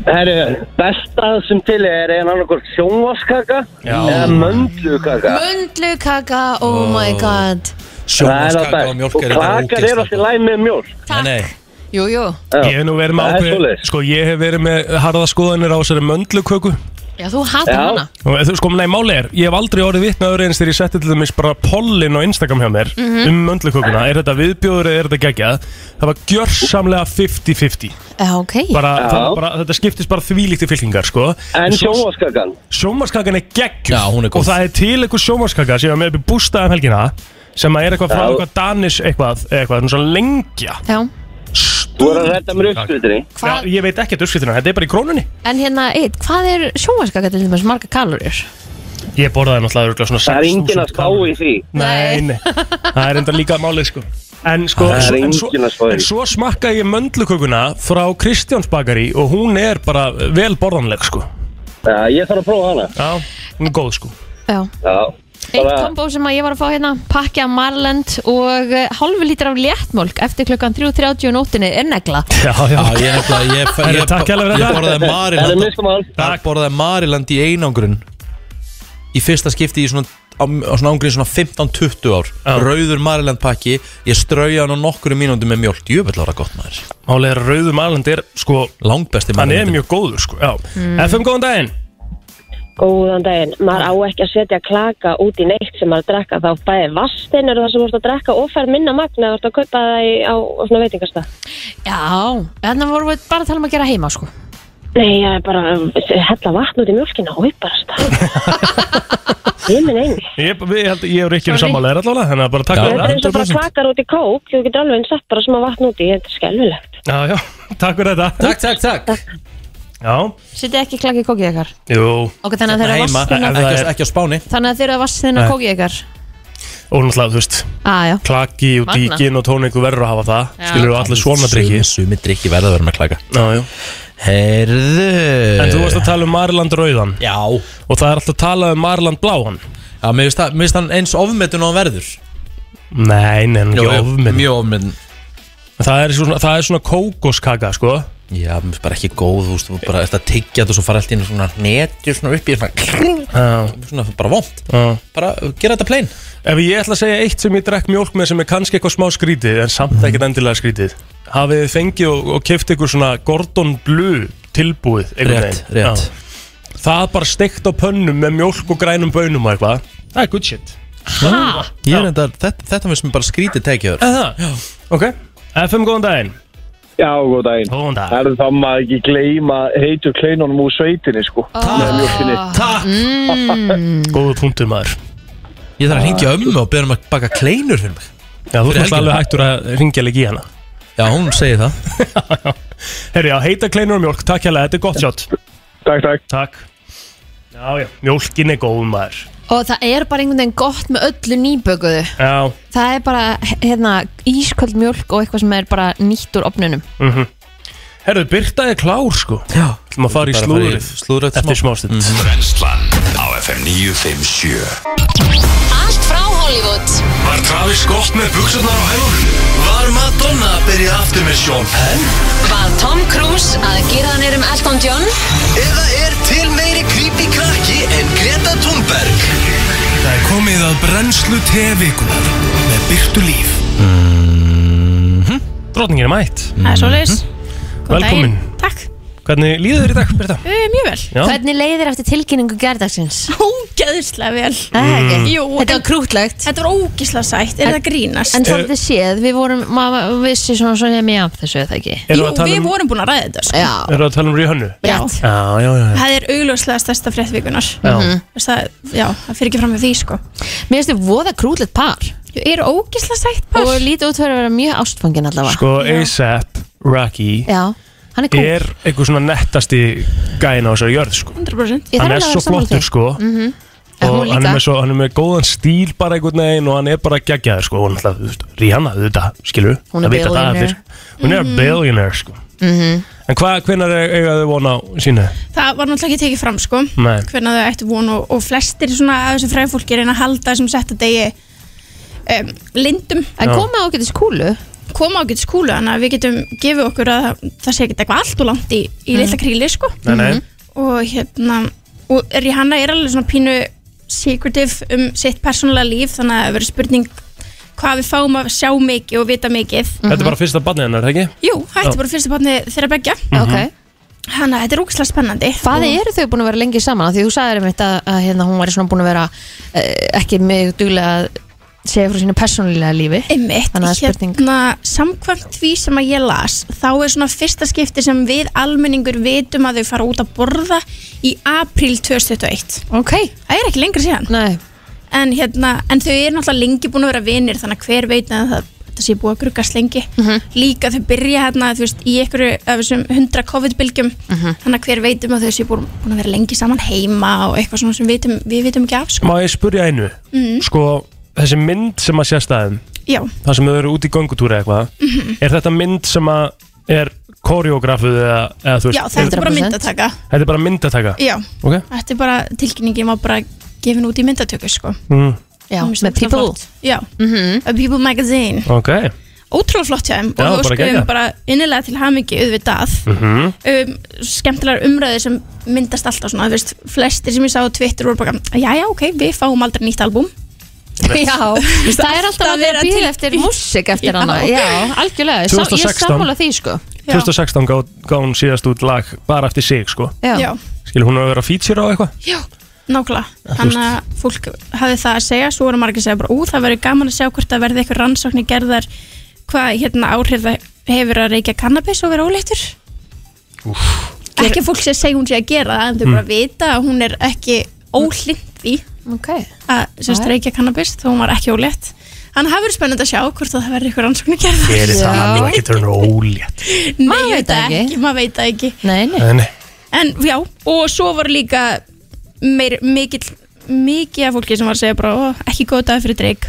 [SPEAKER 7] Herru, besta sem til er en annarkort sjónvaskaka
[SPEAKER 4] Já.
[SPEAKER 7] eða möndlukaka.
[SPEAKER 5] Möndlu kaka, oh my god
[SPEAKER 1] Sjómaskaka og mjólk er
[SPEAKER 7] þetta ógeðslega. Klakar er alltaf læg með mjólk.
[SPEAKER 5] Takk.
[SPEAKER 1] Nei,
[SPEAKER 5] Jú, jú,
[SPEAKER 4] Ég hef nú verið með
[SPEAKER 7] Það er
[SPEAKER 4] ákveð
[SPEAKER 7] svoleiðis.
[SPEAKER 4] Sko ég hef verið með harða skoðanir á þessari möndluköku
[SPEAKER 5] já þú hatar
[SPEAKER 7] Já.
[SPEAKER 5] hana
[SPEAKER 4] Og þú- Sko nei máli er Ég hef aldrei orðið vitna öðru eins þegar ég setti til dæmis bara pollin á Instagram hjá mér
[SPEAKER 7] Mhm.
[SPEAKER 4] Um möndlukökuna Er þetta viðbjóður eða er þetta geggjað Það var gjörsamlega 50-50
[SPEAKER 5] Já, ok
[SPEAKER 4] bara,
[SPEAKER 7] Já.
[SPEAKER 4] það var bara, Þetta skiptist bara þvílíkt í fylkingar sko
[SPEAKER 7] En sjónvaskakan.
[SPEAKER 4] Sjómarskakan er geggjur
[SPEAKER 1] Já, hún er góð.
[SPEAKER 4] Og það er til einhver sjómarskaka sem ég var með upp í bústaðum helgina sem að er eitthvað frá
[SPEAKER 7] Já.
[SPEAKER 4] eitthvað Danis eitthvað, eitthvað, svona lengja
[SPEAKER 5] Já,
[SPEAKER 7] Þú er að redda mér uppskritinni.
[SPEAKER 4] Já,
[SPEAKER 5] hvað,
[SPEAKER 4] ég veit ekki að uppskriftina, þetta er bara í krónunni
[SPEAKER 5] en hérna, eitt, hvað er sjómaskaka til þess marga kalorir?
[SPEAKER 4] Ég borðaði náttúrulega örugglega svona 6.000
[SPEAKER 7] Það er enginn að spá í því.
[SPEAKER 4] Nei, nei, það er enda líka málið sko En sko,
[SPEAKER 7] Það er
[SPEAKER 4] en svo,
[SPEAKER 7] enginn að spá í.
[SPEAKER 4] en svo smakka ég möndlukökuna frá Kristjánsbakari og hún er bara vel borðanleg sko
[SPEAKER 7] Já, ég þarf að prófa hana.
[SPEAKER 4] Já, hún er góð sko
[SPEAKER 5] Já,
[SPEAKER 7] Já.
[SPEAKER 5] eitt
[SPEAKER 7] Bara-
[SPEAKER 5] kombo sem að ég var að fá hérna pakki af Marland og eh, hálfu lítra af léttmólk eftir klukkan 3.30 og nóttinni er negla
[SPEAKER 4] Já, já,
[SPEAKER 1] já ég er nefnilega Ég, ég,
[SPEAKER 4] Herri, takk hérlega
[SPEAKER 1] ég
[SPEAKER 4] fyrir þetta.
[SPEAKER 1] borðaði
[SPEAKER 7] Það er
[SPEAKER 1] Mariland
[SPEAKER 7] miskumann.
[SPEAKER 1] Ég borðaði Mariland í einangrun Í fyrsta skipti í svona á, á svona ángrun svona 15-20 ár
[SPEAKER 4] Já.
[SPEAKER 1] Rauður Mariland pakki Ég strauja hann á nokkru mínúndum með mjólk Jöfell ára gott maður
[SPEAKER 4] Málið er að rauðum alveg er sko,
[SPEAKER 1] Langbesti
[SPEAKER 4] hann er
[SPEAKER 1] Marilendin.
[SPEAKER 4] mjög góður sko Já,
[SPEAKER 1] Mm.
[SPEAKER 4] FM góðan daginn
[SPEAKER 11] Góðan daginn, maður á ekki að setja klaka út í neitt sem maður er að drekka þá bæði vastinn eru það sem maður er að drekka og fær minna magna og það er að kaupa það í, á, á svona veitingasta
[SPEAKER 5] Já, þannig vorum við bara að tala um að gera heima sko
[SPEAKER 12] Nei, ég er bara um, hella vatn út í mjölkina og viparast Ég minn einu
[SPEAKER 4] Ég, við, ég, held- ég og Rikki er sammála er allavega Þannig að bara takk
[SPEAKER 12] Þetta
[SPEAKER 4] fyrir
[SPEAKER 12] er eins og bara
[SPEAKER 4] þetta
[SPEAKER 12] klakar út í kók Þú getur alveg eins sett bara smá vatn út í Þetta er skelvilegt
[SPEAKER 4] Já, já, takk fyrir þetta
[SPEAKER 1] Takk, takk, takk
[SPEAKER 4] Já,
[SPEAKER 5] Setið ekki klakið kókið ykkar
[SPEAKER 4] jú
[SPEAKER 5] Ok, þannig að þeir eru
[SPEAKER 4] Heima,
[SPEAKER 5] vatnina-
[SPEAKER 4] ef það er-
[SPEAKER 1] Ekki á spáni
[SPEAKER 5] Þannig að þeir eru að vassina
[SPEAKER 4] Nei.
[SPEAKER 5] kókið ykkar
[SPEAKER 4] Og náttúrulega, þú veist
[SPEAKER 5] Á, já
[SPEAKER 4] Klaki og
[SPEAKER 5] Magna.
[SPEAKER 4] díkin og tónik Þú verður að hafa það
[SPEAKER 5] Já.
[SPEAKER 4] Skilur þú allir svona drikki
[SPEAKER 1] Sumi drikki verða að vera með klaka
[SPEAKER 4] Já, já
[SPEAKER 1] Herðu
[SPEAKER 4] En
[SPEAKER 1] Eh.
[SPEAKER 4] þú varst að tala um Mariland rauðan
[SPEAKER 1] Já
[SPEAKER 4] Og það er alltaf að tala um Mariland bláan
[SPEAKER 1] Já, mér finnst það- mér finnst hann eins ofmetun og hann verður
[SPEAKER 4] Nei, nei, hann er
[SPEAKER 1] Jú,
[SPEAKER 4] ekki
[SPEAKER 1] jú,
[SPEAKER 4] ofminn
[SPEAKER 1] Mjög ofminn
[SPEAKER 4] Það er svona, það er svona kókoskaka, sko
[SPEAKER 1] Já, mér finnst bara ekki góð, þú veist, þú bara þetta tyggja þú svo fara allt í einu svona netju svona upp í svona, svona bara vond Bara gera þetta plain
[SPEAKER 4] Ef ég ætla að segja eitt sem ég drekk mjólk með sem er kannski eitthvað smá skrítið en
[SPEAKER 1] Mhm.
[SPEAKER 4] samt ekkert endilega skrítið hafið þið fengið og, og keft ykkur svona Gordon Blue tilbúið einhvern
[SPEAKER 1] Rétt,
[SPEAKER 4] veginn?
[SPEAKER 1] rétt.
[SPEAKER 4] Já. Það bara steikt á pönnum með mjólk og grænum bönum og eitthvað Það er good shit
[SPEAKER 1] Hæ? Ég er enda, þetta, þetta finnst mér bara skrítið tekið
[SPEAKER 4] Eða, ok FM, góðan daginn
[SPEAKER 13] Já, góðan daginn
[SPEAKER 4] Góðan dag
[SPEAKER 13] Það er það maður ekki gleyma heitu kleinunum úr sveitinni sko Með mjölkinni
[SPEAKER 1] Takk
[SPEAKER 4] Góðu punktur maður
[SPEAKER 1] Ég þarf að hringja ömmu og beða um að baka kleinur fyrir mig
[SPEAKER 4] Já, þú
[SPEAKER 1] Fyrir
[SPEAKER 4] ert
[SPEAKER 1] helgina.
[SPEAKER 4] alveg hættur að ringja leik í hana
[SPEAKER 1] Já, hún segir það
[SPEAKER 4] Herri, já, heita kleinur og mjólk, takk hérlega, þetta er gott sjátt
[SPEAKER 13] Takk, takk
[SPEAKER 4] Takk Já, já, mjólkin er góð maður
[SPEAKER 5] Og það er bara einhvern veginn gott með öllu nýbökuðu
[SPEAKER 4] Já,
[SPEAKER 5] Það er bara hérna, ísköld mjölk og eitthvað sem er bara nýtt úr opnunum
[SPEAKER 4] mhm Herru, Birta er klár sko Já Þú maður fara
[SPEAKER 1] Bara fara
[SPEAKER 4] í
[SPEAKER 1] í
[SPEAKER 4] slúðrið Mhm.
[SPEAKER 1] slúðrið eftir
[SPEAKER 4] Eftir smástund
[SPEAKER 2] Brennslan á FM 957
[SPEAKER 10] Allt frá Hollywood
[SPEAKER 2] Var Travis gott með buksunar á hælunum? Var Madonna að byrja aftur með Sean Penn?
[SPEAKER 10] Var Tom Cruise að gera hann um Elton John? Eða er til meiri creepy krakki en Greta Thunberg?
[SPEAKER 2] Það er komið að brennslu tevikunar með Byrtu Líf
[SPEAKER 4] Drotningin Mhm. er mætt Mhm.
[SPEAKER 9] Það er svoleiðis. Góðan
[SPEAKER 4] Velkomin
[SPEAKER 9] daginn. Takk.
[SPEAKER 4] Hvernig líður þér í dag, Birta?
[SPEAKER 9] Uh, mjög vel.
[SPEAKER 4] Já.
[SPEAKER 5] Hvernig leiðir eftir tilkynningu gerðagsins?
[SPEAKER 9] Ógeðislega vel.
[SPEAKER 5] Það er ekki.
[SPEAKER 9] Jú,
[SPEAKER 5] Þetta var krútlegt.
[SPEAKER 9] Þetta var ógeðislega sætt. Er
[SPEAKER 5] En-
[SPEAKER 9] það grínast?
[SPEAKER 5] En svolítið séð, við vorum, maður vissi svona svo hefði mig af þessu, er það ekki?
[SPEAKER 4] Erum við að tala
[SPEAKER 9] Við
[SPEAKER 4] um-
[SPEAKER 9] vorum búin að ræða þetta. Sko.
[SPEAKER 5] Já.
[SPEAKER 4] Erum við að tala um Ríhannu?
[SPEAKER 9] Já.
[SPEAKER 4] Já, já, já, já.
[SPEAKER 9] Það er augljóslega stærsta fréttvíkunar.
[SPEAKER 4] Já.
[SPEAKER 9] Þess að, já, það fyrir ekki fram með því, sko.
[SPEAKER 5] Mér finnst þið voða krútlegt par.
[SPEAKER 9] Ég er ógeðislega sætt par.
[SPEAKER 5] Og lítið út fyrir að vera mjög ástfangin allavega.
[SPEAKER 4] Sko, A$AP, Rocky
[SPEAKER 5] Já, hann er kúl.
[SPEAKER 4] Er einhver svona nettasti gæin á þessari jörð, sko
[SPEAKER 9] 100%.
[SPEAKER 5] Ég þarf
[SPEAKER 4] Hann er
[SPEAKER 5] alveg að
[SPEAKER 4] svo
[SPEAKER 5] vera sammála
[SPEAKER 4] flottur,
[SPEAKER 5] því.
[SPEAKER 4] sko
[SPEAKER 5] Mhm. En
[SPEAKER 4] Og
[SPEAKER 5] hún
[SPEAKER 4] hann er,
[SPEAKER 5] líka.
[SPEAKER 4] með svo, hann er með góðan stíl bara einhvern veginn og hann er bara geggjaður sko og náttúrulega, þú veist, Rihanna, auðvitað, skilur
[SPEAKER 5] Hún er
[SPEAKER 4] Það vita það
[SPEAKER 5] billionaire.
[SPEAKER 4] allir. Hún er
[SPEAKER 9] Mhm.
[SPEAKER 4] billionaire sko
[SPEAKER 9] Mhm.
[SPEAKER 4] En hvað, hvenær eiga þau vona á sínu?
[SPEAKER 9] Það var náttúrulega ekki tekið fram, sko.
[SPEAKER 4] Nei.
[SPEAKER 9] Hvernig þau ættu von og, og flestir svona af þessu fræðfólki reyna að halda þessum setta degi um, lindum.
[SPEAKER 5] En Já. koma ágætis kúlu.
[SPEAKER 9] Koma ágætis kúlu, þannig að við getum gefið okkur að það- það sé ekki eitthvað allt og langt í, í
[SPEAKER 5] Mm.
[SPEAKER 9] litla kríli, sko.
[SPEAKER 4] Nei,
[SPEAKER 5] Mhm,
[SPEAKER 4] nei.
[SPEAKER 9] og hérna og Rihanna er alveg svona pínu secretive um sitt persónulega líf þannig að það verður spurning hvað við fáum að sjá mikið og vita mikið
[SPEAKER 5] mhm.
[SPEAKER 4] Þetta er bara fyrsta barnið hennar, er það ekki?
[SPEAKER 9] Jú, hætti
[SPEAKER 4] Já.
[SPEAKER 9] bara fyrsta barni þeirra begja
[SPEAKER 4] Ok.
[SPEAKER 9] Þannig að þetta er ógæslega spennandi
[SPEAKER 5] Hvað
[SPEAKER 9] Og-
[SPEAKER 5] eru þau búin að vera lengi saman? Af Því þú sagðir einmitt að, að hérna, hún væri svona búin að vera eh, ekki mig duglega að segja frá sínu persónulega lífi.
[SPEAKER 9] Einmitt,
[SPEAKER 5] Þannig að spurning.
[SPEAKER 9] Hérna, samkvæmt því sem að ég las þá er svona fyrsta skipti sem við almenningur vitum að þau fara út að borða í apríl 2021
[SPEAKER 5] Ok
[SPEAKER 9] Það er ekki lengra síðan
[SPEAKER 5] Nei.
[SPEAKER 9] en, hérna, en þau eru náttúrulega lengi búin að vera vinir þannig að hver veit að það þetta sé búið að gruggast lengi líka þau byrja hérna þú veist, í einhverju af þessum 100 COVID-bylgjum
[SPEAKER 5] Mhm.
[SPEAKER 9] þannig að hver veit um að þau sé búin, búin að vera lengi saman heima og eitthvað svona sem við vitum, við vitum ekki af sko.
[SPEAKER 4] Má ég spurja einu?
[SPEAKER 9] Mhm.
[SPEAKER 4] Sko, þessi mynd sem að sést aðeim
[SPEAKER 9] Já,
[SPEAKER 4] Það sem þau eru út í göngutúri eða eitthvað
[SPEAKER 9] Mhm.
[SPEAKER 4] Er þetta mynd sem að er koreografuð eða, eða þú veist
[SPEAKER 9] já þetta er bara myndataka
[SPEAKER 4] Þetta er bara myndataka?
[SPEAKER 9] Já,
[SPEAKER 4] Ok.
[SPEAKER 9] þetta er bara tilkynningin var bara gefin út í myndatöku sko.
[SPEAKER 4] Mm.
[SPEAKER 5] Já,
[SPEAKER 9] Mér finnst
[SPEAKER 5] með
[SPEAKER 9] það ótrúlega
[SPEAKER 5] People. Mhm.
[SPEAKER 9] flott. Já, A People Magazine
[SPEAKER 4] Ok
[SPEAKER 9] Ótrúlega flott hjá
[SPEAKER 4] Já,
[SPEAKER 9] þeim og
[SPEAKER 4] bara
[SPEAKER 9] við óskuðum
[SPEAKER 4] geggjað.
[SPEAKER 9] bara innilega til hamingi auðvitað
[SPEAKER 4] Mhm.
[SPEAKER 9] um, skemmtilegar umræði sem myndast alltaf svona, þú veist, flestir sem ég sá á Twitter voru bara, já, já, ok, við fáum aldrei nýtt albúm
[SPEAKER 5] Já, það er alltaf að vera bíl
[SPEAKER 9] til-
[SPEAKER 5] eftir músik eftir
[SPEAKER 9] Já.
[SPEAKER 5] hana Já, algjörlega, Ég sam- ég
[SPEAKER 4] 2016.
[SPEAKER 5] sammála því sko
[SPEAKER 4] 2016 gá, gá hún síðast út lag bara eftir sig sko
[SPEAKER 9] Já.
[SPEAKER 4] Skilur hún að vera feature á eitthvað?
[SPEAKER 9] Já, nákvæmlega Þannig að fólk hafði það að segja Svo voru margir að segja bara, ú, það verður gaman að sjá hvort það verði eitthvað rannsóknir gerðar Hvað hérna áhrif það hefur að reykja kannabis og vera óleittur ekki að fólk sé að segja hún sé að gera það en þau
[SPEAKER 1] Mm.
[SPEAKER 9] bara vita að hún er ekki óhlind því
[SPEAKER 5] okay.
[SPEAKER 9] að Ah, sem sagt,
[SPEAKER 5] Nei.
[SPEAKER 9] reykja kannabis þó hún var ekki ólétt hann hafur spennandi að sjá hvort að það verður ykkur rannsóknu gerð
[SPEAKER 4] Gerir það nú ekki törn og ólétt
[SPEAKER 9] maður veit það ekki, maður veit það ekki.
[SPEAKER 5] Nei,
[SPEAKER 4] Nei, nei.
[SPEAKER 9] en já, og svo var líka meir, mikill mikið af fólki sem var að segja bara "Ó, ekki góð dag fyrir dreik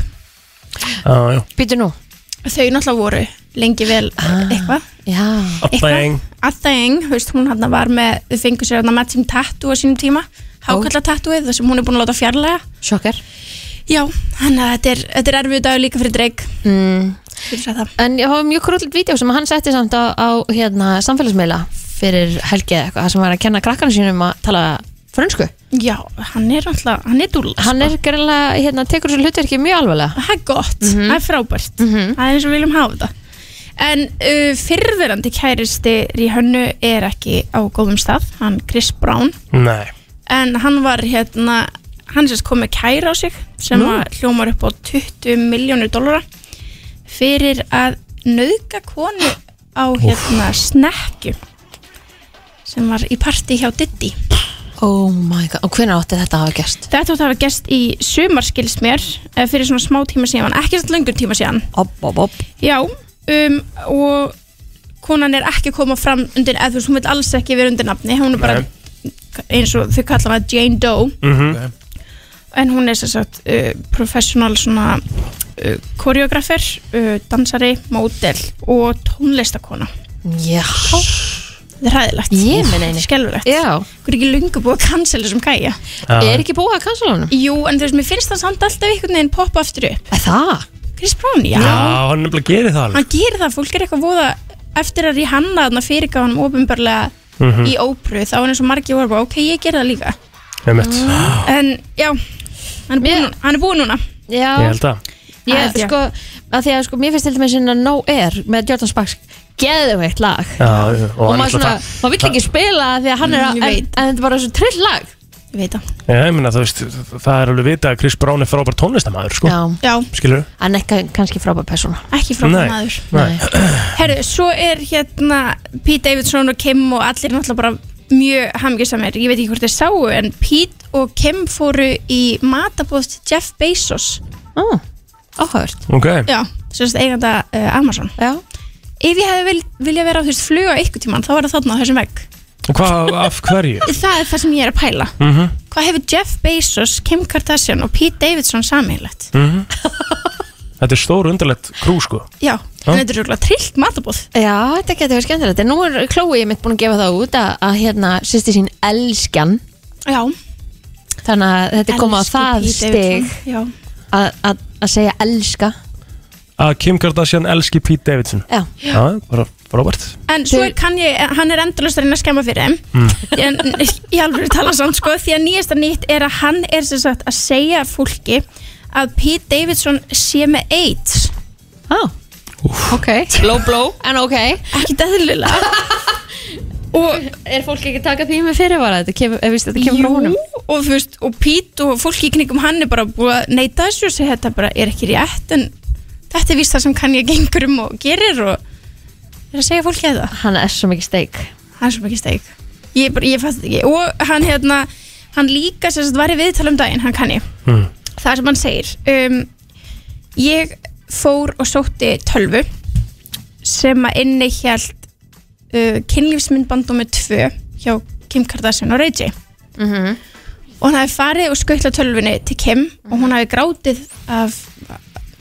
[SPEAKER 4] Já, já
[SPEAKER 5] Býtu nú
[SPEAKER 9] þau náttúrulega voru lengi vel
[SPEAKER 4] Ah.
[SPEAKER 5] Ah.
[SPEAKER 9] eitthvað
[SPEAKER 4] Bang
[SPEAKER 9] Atheng, veist, hún hann var með þau fengu sér hann matching tattoo á sínum tíma hákalla tattooið, það sem hún er búin að láta fjarlæga
[SPEAKER 5] Sjokkar
[SPEAKER 9] Já, þannig að þetta er, þetta er erfið dagur líka fyrir dreik
[SPEAKER 5] mm.
[SPEAKER 9] En
[SPEAKER 5] ég hafa mjög krullit vídeo sem hann setti samt á, á hérna, samfélagsmeila fyrir helgið eitthvað þar sem var að kenna krakkarnu sínum að tala frönsku
[SPEAKER 9] Já, hann er alltaf, hann er dúlla
[SPEAKER 5] Hann er gerðilega, hérna, tekur þessu hlutverki mjög alvarlega
[SPEAKER 9] Það er gott, það er frábært Það er eins og við viljum hafa þetta En uh, fyrðverandi kæristi Ríhönnu er ekki á góðum stað Hann Chris Brown
[SPEAKER 4] Nei
[SPEAKER 9] En hann var hérna Hann sérst kom með kæra á sig Sem
[SPEAKER 4] Nú.
[SPEAKER 9] að hljómar upp á 20 miljónir dollara Fyrir að nöðga konu á hérna snekju Sem var í parti hjá Diddy
[SPEAKER 5] Oh my god, og hvernig átti þetta að hafa gerst?
[SPEAKER 9] Þetta átt að hafa gest í sumarskilsmér fyrir svona smá tíma síðan, ekki svona löngur tíma síðan.
[SPEAKER 5] Opp, opp, opp.
[SPEAKER 9] Já, um, og konan er ekki að koma fram undir, eða þú veist, hún vil alls ekki vera undir nafni, hún er bara eins og þau kalla hana Jane Doe,
[SPEAKER 4] Mhm.
[SPEAKER 9] en hún er sem sagt uh, professional svona uh, koreografer, uh, dansari, módel og tónlistakona.
[SPEAKER 5] Já.
[SPEAKER 9] Það er ræðilegt.
[SPEAKER 5] Ég meina einu.
[SPEAKER 9] Skelvilegt.
[SPEAKER 5] Já.
[SPEAKER 9] Hver er ekki lungu búið að cancela þessum gæja?
[SPEAKER 4] Ah.
[SPEAKER 5] Já. Er ekki búið að cancela honum?
[SPEAKER 9] Jú, en þú veist, mér finnst það samt alltaf einhvern veginn poppa aftur upp.
[SPEAKER 5] Það?
[SPEAKER 9] Chris Brown,
[SPEAKER 4] Já, hann nefnilega gerir það alveg
[SPEAKER 9] hann gerir það, fólk er eitthvað voða eftir að Rihanna þarna fyrirgaf hann ofinbarlega
[SPEAKER 4] Mhm.
[SPEAKER 9] í ópru þá er eins og margir voru bara, ok, ég ger það líka
[SPEAKER 4] Einmitt.
[SPEAKER 9] en já hann er búinn hann er búin núna
[SPEAKER 5] Já,
[SPEAKER 4] Ég held að
[SPEAKER 5] Ég,
[SPEAKER 9] Að því að-
[SPEAKER 5] sko, að því að sko, mér finnst til dæmis hérna No Air með Jordan Sparks geðveitt lag
[SPEAKER 4] Já, já,
[SPEAKER 5] og
[SPEAKER 4] hann
[SPEAKER 5] maður
[SPEAKER 4] ætlar
[SPEAKER 5] svona,
[SPEAKER 4] það- Sko-
[SPEAKER 5] maður vill ekki spila af því að hann er
[SPEAKER 9] Mm,
[SPEAKER 5] að,
[SPEAKER 9] ég
[SPEAKER 5] en, en
[SPEAKER 9] veit.
[SPEAKER 5] þetta er bara svo trill lag
[SPEAKER 9] ég veit það
[SPEAKER 4] Já, ég meina, þú veist, það er alveg vitað að Chris Brown er frábær tónlistamæður, sko
[SPEAKER 5] Já.
[SPEAKER 9] Já.
[SPEAKER 4] Skilur
[SPEAKER 5] en ekki, kannski frábær persóna
[SPEAKER 9] ekki frá
[SPEAKER 4] Nei,
[SPEAKER 9] maður
[SPEAKER 4] nei.
[SPEAKER 9] herru, svo er hérna Pete Davidson og Kim og allir náttúrulega bara mjög hamgjusamir, ég veit ekki hvort þeir sáu en Pete og Kim fóru í matabóð Jeff Bezos
[SPEAKER 5] oh, áhört
[SPEAKER 4] Ok
[SPEAKER 9] Já, sérst eiganda uh, Amazon
[SPEAKER 5] Já
[SPEAKER 9] Ef ég hefði vil, vilja vera á þú veist fluga ykkur tíman þá var það þarna á þessum vegg
[SPEAKER 4] Og hvað, af hverju?
[SPEAKER 9] Það er það sem ég er að pæla
[SPEAKER 4] Mhm,
[SPEAKER 9] Hvað hefur Jeff Bezos, Kim Kardashian og Pete Davidson sameinlegt?
[SPEAKER 4] mhm Þetta er stór undarlegt krú, sko
[SPEAKER 9] Já,
[SPEAKER 4] Já.
[SPEAKER 9] en þetta er rúglega trillt matabóð
[SPEAKER 5] Já, þetta getur verið skemmtilegt en nú er Chloe mitt búin að gefa það út að, að hérna, sýsti sín elskjan
[SPEAKER 9] Já
[SPEAKER 5] þannig að þetta er komið á
[SPEAKER 9] Elsku
[SPEAKER 5] það
[SPEAKER 9] Pete Davidson,
[SPEAKER 5] stig
[SPEAKER 9] Já
[SPEAKER 5] að- að að segja elska
[SPEAKER 4] Að Ah, Kim Kardashian elski Pete Davidson
[SPEAKER 5] Já.
[SPEAKER 9] Eh.
[SPEAKER 4] Já, bara frábært
[SPEAKER 9] En svo er kann ég, hann er endalust að reyna að skemma fyrir þeim
[SPEAKER 4] Mm.
[SPEAKER 9] En ég alveg tala samt sko Því að nýjasta nýtt er að hann er sem sagt að segja fólki Að Pete Davidson sé með AIDS
[SPEAKER 5] ah. ok, low blow en ok
[SPEAKER 9] ekki dæðilega og
[SPEAKER 5] er fólk ekki að taka því með fyrirvara þetta kemur, ef þetta kemur frá honum
[SPEAKER 9] og þú veist, og Pít og fólki í knygum hann er bara búið að neyta þessu og segja þetta bara er ekki rétt en þetta er víst það sem kann ég gengur um og gerir og er að segja fólki þetta
[SPEAKER 5] hann er svo mikið steik
[SPEAKER 9] hann er svo mikið steik ég, bara, ég fatt ekki, og hann hérna hann líka sem sagt var í viðtal um daginn hann kann ég,
[SPEAKER 4] Mm.
[SPEAKER 9] það sem hann segir um, ég fór og sótti tölvu sem að inni hjælt uh, kynlífsmyndbandum með tvö hjá Kim Kardashian og Reggie
[SPEAKER 5] mm -hmm.
[SPEAKER 9] og hann hafi farið og skuttlað tölvunni til Kim og hún hafi grátið af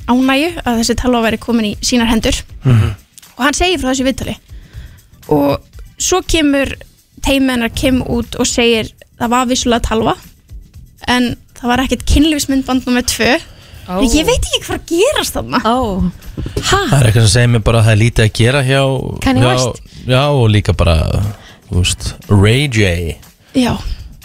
[SPEAKER 9] ánægju að þessi talva væri komin í sínar hendur
[SPEAKER 1] Mhm.
[SPEAKER 9] og hann segir frá þessu viðtali og svo kemur teimennar Kim út og segir það var vissulega talva en það var ekkert kynlífsmyndband nummer tvö
[SPEAKER 5] Ó.
[SPEAKER 9] ég veit ekki hvað gerast þarna
[SPEAKER 5] oh.
[SPEAKER 1] Það er eitthvað sem segir mér bara að það er lítið að gera hjá
[SPEAKER 9] Kanye
[SPEAKER 1] hjá,
[SPEAKER 9] West.
[SPEAKER 1] Já, og líka bara þú veist, Ray J
[SPEAKER 9] já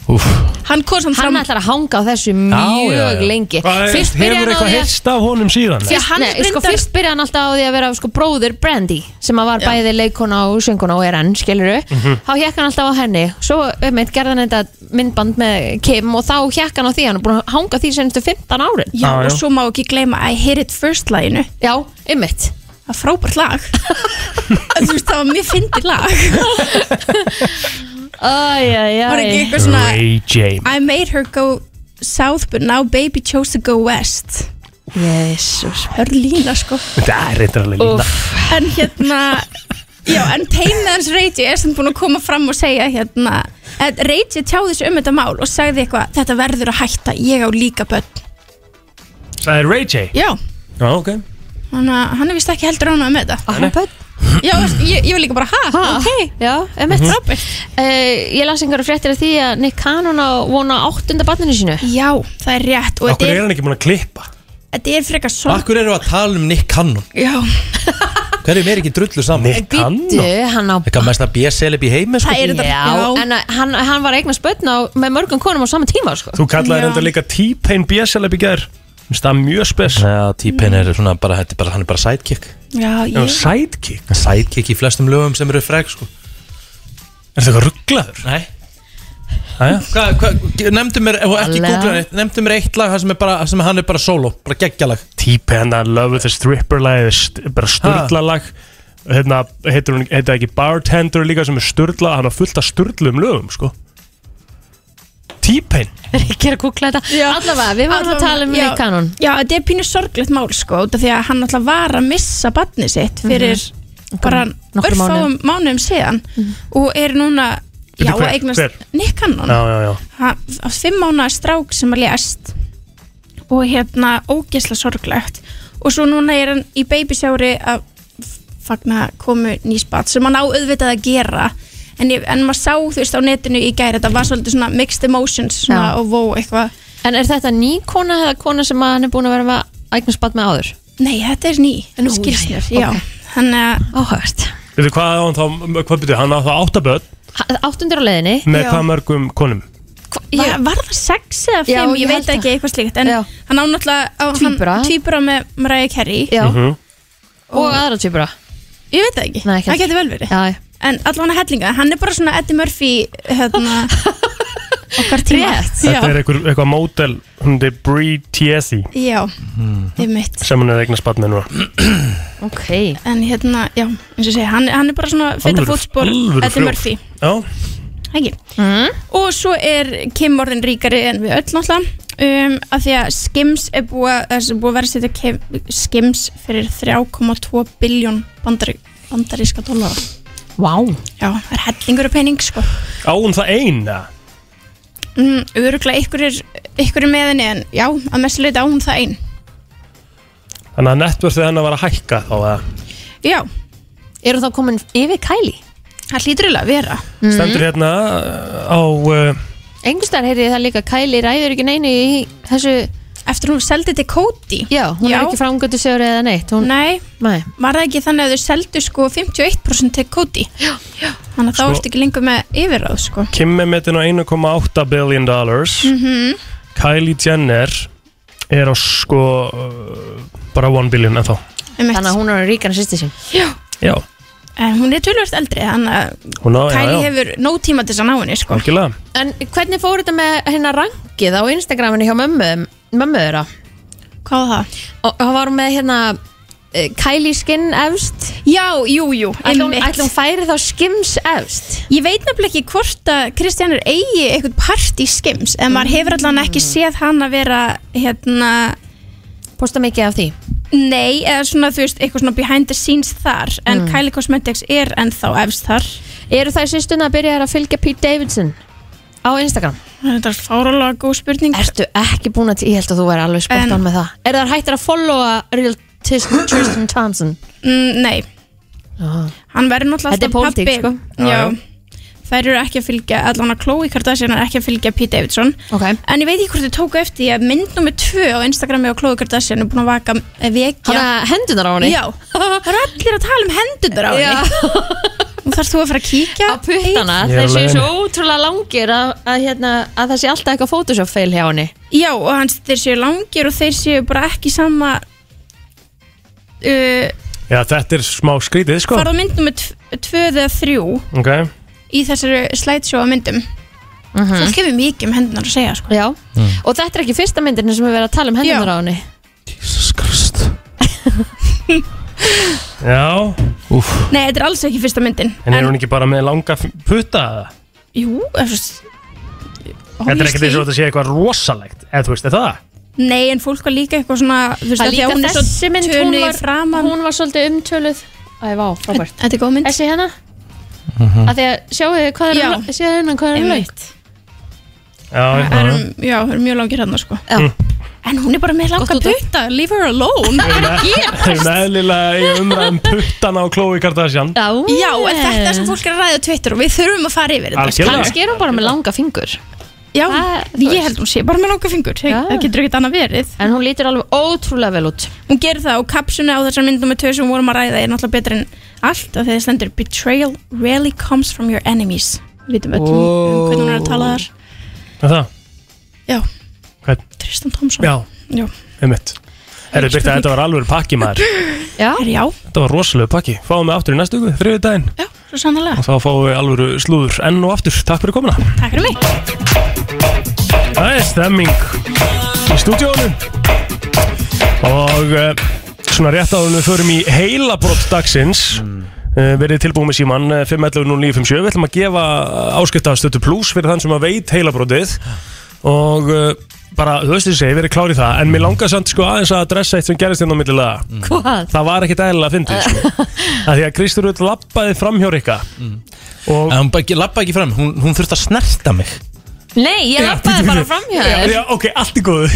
[SPEAKER 1] Úf,
[SPEAKER 9] Hann, hann
[SPEAKER 5] ætlar að hanga á þessu mjög lengi
[SPEAKER 4] Hvað er,
[SPEAKER 5] Fyrst byrjaði hann á
[SPEAKER 4] hefur eitthvað
[SPEAKER 5] því að-
[SPEAKER 4] heyrst af honum síðan?
[SPEAKER 5] Fyrst, nei, sko, fyrst byrjaði hann alltaf á því að vera sko, bróður Brandy sem að var bæði leikona og sönguna og er enn, skiluru
[SPEAKER 4] Mhm.
[SPEAKER 5] þá hjekk hann alltaf á henni svo einmitt, gerði hann þetta myndband með Kim og þá hjekk hann á því hann er búin að hanga því senastu 15 árin
[SPEAKER 9] Já,
[SPEAKER 4] Ah,
[SPEAKER 9] og svo má ekki gleyma I Hear It First laginu
[SPEAKER 5] Já, ymmit
[SPEAKER 9] Það er frábært lag Þú veist, það var mjög fyndið lag
[SPEAKER 5] Æjæjæj
[SPEAKER 9] Var ekki eitthvað svona I made her go south but now baby chose to go west Jésús Hörlína sko
[SPEAKER 4] Þetta er reyndar alveg lína
[SPEAKER 9] En hérna Já, en teimið hans Reyji er sem búin að koma fram og segja hérna Reyji tjáði sig um þetta mál og sagði eitthvað Þetta verður að hætta, ég á líka börn
[SPEAKER 4] Það er Ray J
[SPEAKER 9] Já,
[SPEAKER 4] Já, ok
[SPEAKER 9] þannig að hann er vist ekki heldur ánað með þetta
[SPEAKER 5] Hann börn?
[SPEAKER 9] Já, veist, ég, ég var líka bara, ha, ok
[SPEAKER 5] Já, emitt
[SPEAKER 9] Mhm.
[SPEAKER 5] Robert Ég las einhverju fréttir af því að Nick Cannon á vona áttunda barninu sínu
[SPEAKER 9] Já, það er rétt og
[SPEAKER 1] Akkur
[SPEAKER 9] þetta
[SPEAKER 1] er
[SPEAKER 9] er,
[SPEAKER 1] hann ekki búin að klippa?
[SPEAKER 9] þetta er frekar svo
[SPEAKER 1] Akkur eru að tala um Nick Cannon?
[SPEAKER 9] Já,
[SPEAKER 1] Hverjum er ekki drullu saman? Nick
[SPEAKER 5] Bíddu, hann á
[SPEAKER 1] Eitthvað mesta B-celeb í heimi sko.
[SPEAKER 5] Já, en að- hann, hann var að eignast börn á, með mörgum konum á sama tíma sko.
[SPEAKER 4] Þú kallaði reyndar líka T-Pain B-Celeb í gær Mér finnst Það er mjög spes
[SPEAKER 1] Já, T-Pain er svona bara, þetta er bara, hann er bara sidekick
[SPEAKER 9] Já,
[SPEAKER 4] ég Sidekick?
[SPEAKER 1] Sidekick í flestum lögum sem eru frek sko.
[SPEAKER 4] Er það eitthvað rugglaður?
[SPEAKER 1] Nei
[SPEAKER 4] Æja
[SPEAKER 1] hva, hva, Nefndu mér, og ekki
[SPEAKER 4] Alla.
[SPEAKER 1] googla neitt Nefndu mér eitt lag þar sem, er bara, sem hann er bara solo Bara geggjalag
[SPEAKER 4] T-Pain, að Love with a Stripper lag bara sturla lag hérna, heitir hún, heitir það ekki Bartender líka sem er sturla, hann á fullt af sturlum lögum sko T-Pain
[SPEAKER 5] Rikki er að kúkla þetta Allavega, við varum að tala um
[SPEAKER 9] já,
[SPEAKER 5] Nick Cannon
[SPEAKER 9] Já, þetta er pínu sorglegt mál sko út af því að hann alltaf var að missa barnið sitt fyrir bara
[SPEAKER 5] Mhm. Nokkrum
[SPEAKER 9] örfáum
[SPEAKER 5] mánuðum. Mhm.
[SPEAKER 9] mánuðum síðan og er núna
[SPEAKER 4] Bíddu,
[SPEAKER 9] já,
[SPEAKER 4] hver-
[SPEAKER 9] að eignast
[SPEAKER 4] hver?
[SPEAKER 9] Nick Cannon
[SPEAKER 4] Já, já, já
[SPEAKER 9] Ha- á fimm mánuða strák sem að lést og hérna ógesla sorglegt og svo núna er hann í babysjári að f- fagna komu nýspat sem hann á auðvitað að gera en, ég, en maður sá þú veist á netinu í gæri þetta var svolítið svona mixed emotions svona,
[SPEAKER 5] Já.
[SPEAKER 9] og vó eitthvað
[SPEAKER 5] En er þetta ný kona eða kona sem að hann er búin að vera með að eignast börn með áður?
[SPEAKER 9] Nei, þetta er ný,
[SPEAKER 5] Nú,
[SPEAKER 9] skilst
[SPEAKER 5] jæja,
[SPEAKER 9] mér, já eh,
[SPEAKER 5] ok.
[SPEAKER 9] Þannig að
[SPEAKER 5] Áhört
[SPEAKER 4] Veitu hvað á hann þá, hvað byrju, hann á þá áttaböð
[SPEAKER 5] Áttundir á leiðinni
[SPEAKER 4] með hvað mörgum konum
[SPEAKER 9] Var, var það sex eða
[SPEAKER 5] Já,
[SPEAKER 9] fimm, ég,
[SPEAKER 5] ég
[SPEAKER 9] veit
[SPEAKER 5] held
[SPEAKER 9] ekki eitthvað slíkt En hann á náttúrulega á,
[SPEAKER 5] Tvíbura.
[SPEAKER 9] hann, Tvíbura með Mariah Carey
[SPEAKER 5] Já.
[SPEAKER 4] Mhm.
[SPEAKER 5] Og aðra týpura
[SPEAKER 9] Ég veit það ekki,
[SPEAKER 5] Nei, ekki
[SPEAKER 9] það
[SPEAKER 5] heldur.
[SPEAKER 9] getur vel verið
[SPEAKER 5] Já, já.
[SPEAKER 9] En allan að hellinga, hann er bara svona Eddie Murphy hérna, okkar tíma
[SPEAKER 4] Þetta er
[SPEAKER 9] Já,
[SPEAKER 4] einhver, eitthvað mótel, hún er Bree Tiesi
[SPEAKER 9] já, einmitt
[SPEAKER 4] sem hann er eignast barnið núna
[SPEAKER 5] Ok
[SPEAKER 9] En hérna, já, eins og segja, hann, hann er bara svona fyrta
[SPEAKER 4] Alvöru-
[SPEAKER 9] fótspor
[SPEAKER 4] alvöru
[SPEAKER 9] Eddie
[SPEAKER 4] frjór.
[SPEAKER 9] Murphy
[SPEAKER 4] Já,
[SPEAKER 9] ekki og svo er Kim orðin ríkari en við öll náttúrulega um, af því að Skims er búið að, þessi er búið að vera að setja Kim, Skims fyrir 3,2 biljón bandari, bandaríska dólara
[SPEAKER 5] Vá wow.
[SPEAKER 9] já, það er hellingur af pening sko
[SPEAKER 4] á hún það eina
[SPEAKER 9] mm, öruglega ykkur er, ykkur er með henni en já, að mestu leita á hún það ein
[SPEAKER 4] Þannig að netverðið hennar var að hækka þá eða
[SPEAKER 9] já
[SPEAKER 5] Eru þá komin yfir Kylie?
[SPEAKER 9] það hlýtur eiginlega að vera
[SPEAKER 4] Stendur hérna uh, á uh,
[SPEAKER 5] Engustar heyrði ég það líka Kylie ræður ekki neinu í þessu
[SPEAKER 9] Eftir hún seldi til Cody
[SPEAKER 5] Já, hún
[SPEAKER 9] Já.
[SPEAKER 5] er ekki framgötu sjóri eða neitt hún...
[SPEAKER 9] Nei,
[SPEAKER 5] Nei.
[SPEAKER 9] var það ekki þannig að þau seldu sko 51% til Cody Já, já Þannig að þá
[SPEAKER 4] Sko-
[SPEAKER 9] ertu ekki lengur með yfirráð sko
[SPEAKER 4] Kim er metin á 1,8 billion dollars
[SPEAKER 9] Mhm.
[SPEAKER 4] Kylie Jenner er á sko uh, bara 1 billion en þá
[SPEAKER 5] Þannig að hún er ríkana sýsti sín
[SPEAKER 9] Já,
[SPEAKER 4] Já,
[SPEAKER 9] en hún er tölvöld eldri Þannig að
[SPEAKER 4] hún á,
[SPEAKER 9] Kylie
[SPEAKER 4] já, já,
[SPEAKER 9] hefur nóg tíma til þess að ná henni sko
[SPEAKER 4] algjörlega
[SPEAKER 5] En hvernig fór þetta með hérna rangið á Instagraminu hjá mömmu, mömmu þeirra?
[SPEAKER 9] Hvað var það?
[SPEAKER 5] Og hún var með hérna eh, Kylie Skin efst
[SPEAKER 9] Já, jú, jú
[SPEAKER 5] Ætla hún,
[SPEAKER 9] einmitt.
[SPEAKER 5] ætla hún færi þá Skims efst
[SPEAKER 9] Ég veit nefnilega ekki hvort að Kristján er eigi eitthvað part í skims en maður hefur allan ekki séð hann að vera hérna
[SPEAKER 5] Posta mikið af því
[SPEAKER 9] Nei, eða svona þú veist, eitthvað svona behind the scenes þar en Kylie Cosmetics er ennþá efst þar
[SPEAKER 5] Eru þær sýstuna að byrja að fylgja Pete Davidson á Instagram?
[SPEAKER 9] Þetta er fáralega góð spurning
[SPEAKER 5] Ertu ekki búin að, ég held að þú væri alveg spott
[SPEAKER 9] En-
[SPEAKER 5] án með það Er þær hættir að followa Real Tis- Tristan Thompson?
[SPEAKER 9] mm, Nei,
[SPEAKER 5] Ah.
[SPEAKER 9] hann verður
[SPEAKER 5] Þetta
[SPEAKER 9] náttúrulega
[SPEAKER 5] er pólitík, sko.
[SPEAKER 9] Já,
[SPEAKER 5] Já, já.
[SPEAKER 9] Þær eru ekki að fylgja, allan að Khloe Kardashian er ekki að fylgja Pete Davidson
[SPEAKER 5] okay.
[SPEAKER 9] En ég veit ekki hvort þau tóku eftir því að mynd nummer 2 á Instagrami og Khloe Kardashian er búin að vaka eh, vekja
[SPEAKER 5] Hana hendunar á henni?
[SPEAKER 9] Já, það eru allir að tala um hendunar á
[SPEAKER 5] Já.
[SPEAKER 9] henni Nú þarf þú að fara að kíkja Á
[SPEAKER 5] puttana,
[SPEAKER 9] Ég er
[SPEAKER 5] þeir séu
[SPEAKER 9] alveg
[SPEAKER 5] svo ótrúlega langir að, að, hérna, að það sé alltaf eitthvað Photoshop fail hjá henni
[SPEAKER 9] Já, og hans, þeir séu langir og þeir séu bara ekki sama uh,
[SPEAKER 4] Já, þetta er smá skrítið sko
[SPEAKER 9] Farðu á mynd nummer 2 eða 3
[SPEAKER 4] Ok,
[SPEAKER 9] í þessari slideshow á myndum
[SPEAKER 5] Mhm.
[SPEAKER 9] Fólk hefur mikið um hendunar að segja sko.
[SPEAKER 5] Já,
[SPEAKER 4] Mm.
[SPEAKER 5] og þetta er ekki fyrsta myndin sem við verðum að tala um hendunar á henni
[SPEAKER 4] já Úf.
[SPEAKER 9] Nei, þetta er alls ekki fyrsta myndin
[SPEAKER 4] En er hún ekki bara með langa f- putta eða?
[SPEAKER 9] Jú, eða þú veist
[SPEAKER 4] Þetta er ekkert eins og þetta sé eitthvað rosalegt eða þú veist, er það?
[SPEAKER 9] Nei, en fólk var líka eitthvað svona þú veist,
[SPEAKER 5] Það
[SPEAKER 9] af því
[SPEAKER 5] líka
[SPEAKER 9] að hún er svo
[SPEAKER 5] þessi mynd, hún
[SPEAKER 9] tönuð í
[SPEAKER 5] var-
[SPEAKER 9] framan Mm-hmm.
[SPEAKER 5] Hún var svolítið umtöluð Æ, vá, frábært
[SPEAKER 9] Þetta er góð mynd
[SPEAKER 5] Þessi hérna
[SPEAKER 4] Mhm.
[SPEAKER 5] Af því að sjáu þið hvað er hún Sjáu hérna hvað er hún lögt
[SPEAKER 4] Já,
[SPEAKER 9] Það eru, já, það eru mjög langir hérna sko
[SPEAKER 5] Já.
[SPEAKER 4] Mm.
[SPEAKER 9] En hún er bara með langa putta, leave her alone
[SPEAKER 4] Það er meðlilega í umræðum puttana á Chloe Kardashian
[SPEAKER 5] Já,
[SPEAKER 9] Já, en þetta er sem fólk er að ræða á Twitter og við þurfum að fara yfir þetta sko.
[SPEAKER 4] Algjörlega.
[SPEAKER 5] Kannski er hún bara með langa fingur
[SPEAKER 9] Já, ég held hún sé bara með langa fingur Það getur ekkert annað verið
[SPEAKER 5] En hún lítur alveg ótrúlega vel út
[SPEAKER 9] Hún gerir það og kapsuna á þessar myndum með tvö sem við vorum að ræða er náttúrulega betur en allt og þegar stendur Betrayal rarely comes from your enemies Við vitum öll um- um hvernig hún er að tala þar
[SPEAKER 4] Er það?
[SPEAKER 9] Já,
[SPEAKER 4] Hvern?
[SPEAKER 9] Tristan Thompson
[SPEAKER 4] Já,
[SPEAKER 9] Já,
[SPEAKER 4] einmitt Herru, Birta, þetta var alveg pakki maður
[SPEAKER 5] Já.
[SPEAKER 9] Herri, já
[SPEAKER 4] Þetta var rosalegu pakki Fáum við aftur í næstu ykkur, þriðu daginn
[SPEAKER 9] svo sannlega
[SPEAKER 4] Og þá fáum við alveg slúður enn og aftur Takk fyrir komuna
[SPEAKER 9] Takk fyrir mig
[SPEAKER 4] Það er stemming í stúdíónu Og uh, svona rétt áður en við förum í heilabrott dagsins Uh, verið tilbúið með eh, síman 511-0957 við ætlum að gefa áskiptaðastötu pluss fyrir þann sem að veit heilabrótið og uh, bara, þú veist þið segi, verið klár í það en mér langar samt sko aðeins að adressa eitt sem gerist hérna á millilega mm.
[SPEAKER 5] Hvað?
[SPEAKER 4] það var ekkit eðlilega að fyndið sko. að því að Kristur Rut lappaði fram hjá Rikka og...
[SPEAKER 1] en hún bara ekki- labbaði ekki fram, hún, hún þurfti að snerta mig
[SPEAKER 5] Nei, ég lappaði bara framhjá
[SPEAKER 4] Já,
[SPEAKER 5] þér
[SPEAKER 4] já, ok, allt í góðu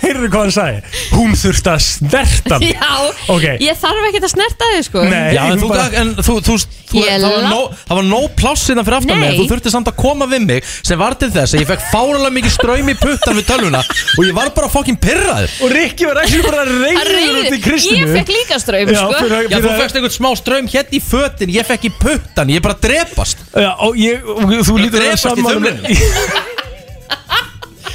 [SPEAKER 4] Heyrðu hvað hann sagði Hún þurfti að snerta mig
[SPEAKER 5] Já,
[SPEAKER 4] Ok.
[SPEAKER 5] ég þarf ekki að snerta þig sko
[SPEAKER 4] Nei,
[SPEAKER 1] Já, en
[SPEAKER 4] hún
[SPEAKER 1] þú,
[SPEAKER 4] Eh, bara-
[SPEAKER 1] bara... en þú, þú, þú
[SPEAKER 5] Ég
[SPEAKER 1] það, var
[SPEAKER 5] la-
[SPEAKER 1] no, það var nóg pláss innan fyrir aftan mig
[SPEAKER 5] Nei.
[SPEAKER 1] Þú þurfti samt að koma við mig sem var til þess að ég fekk fáralega mikið ströym í puttan við tölvuna og ég var bara fokkin pirraður
[SPEAKER 4] Og Rikki var ekki bara
[SPEAKER 5] Hann reiður- Ég fekk líka ströym
[SPEAKER 1] Já,
[SPEAKER 5] sko
[SPEAKER 1] fyrir, þú fegst einhvern smá ströym hérna í fötin, ég fekk í puttan, ég er bara að drepast
[SPEAKER 4] Já, og ég, og þú lítur að vera
[SPEAKER 1] drepast í
[SPEAKER 4] sammála með-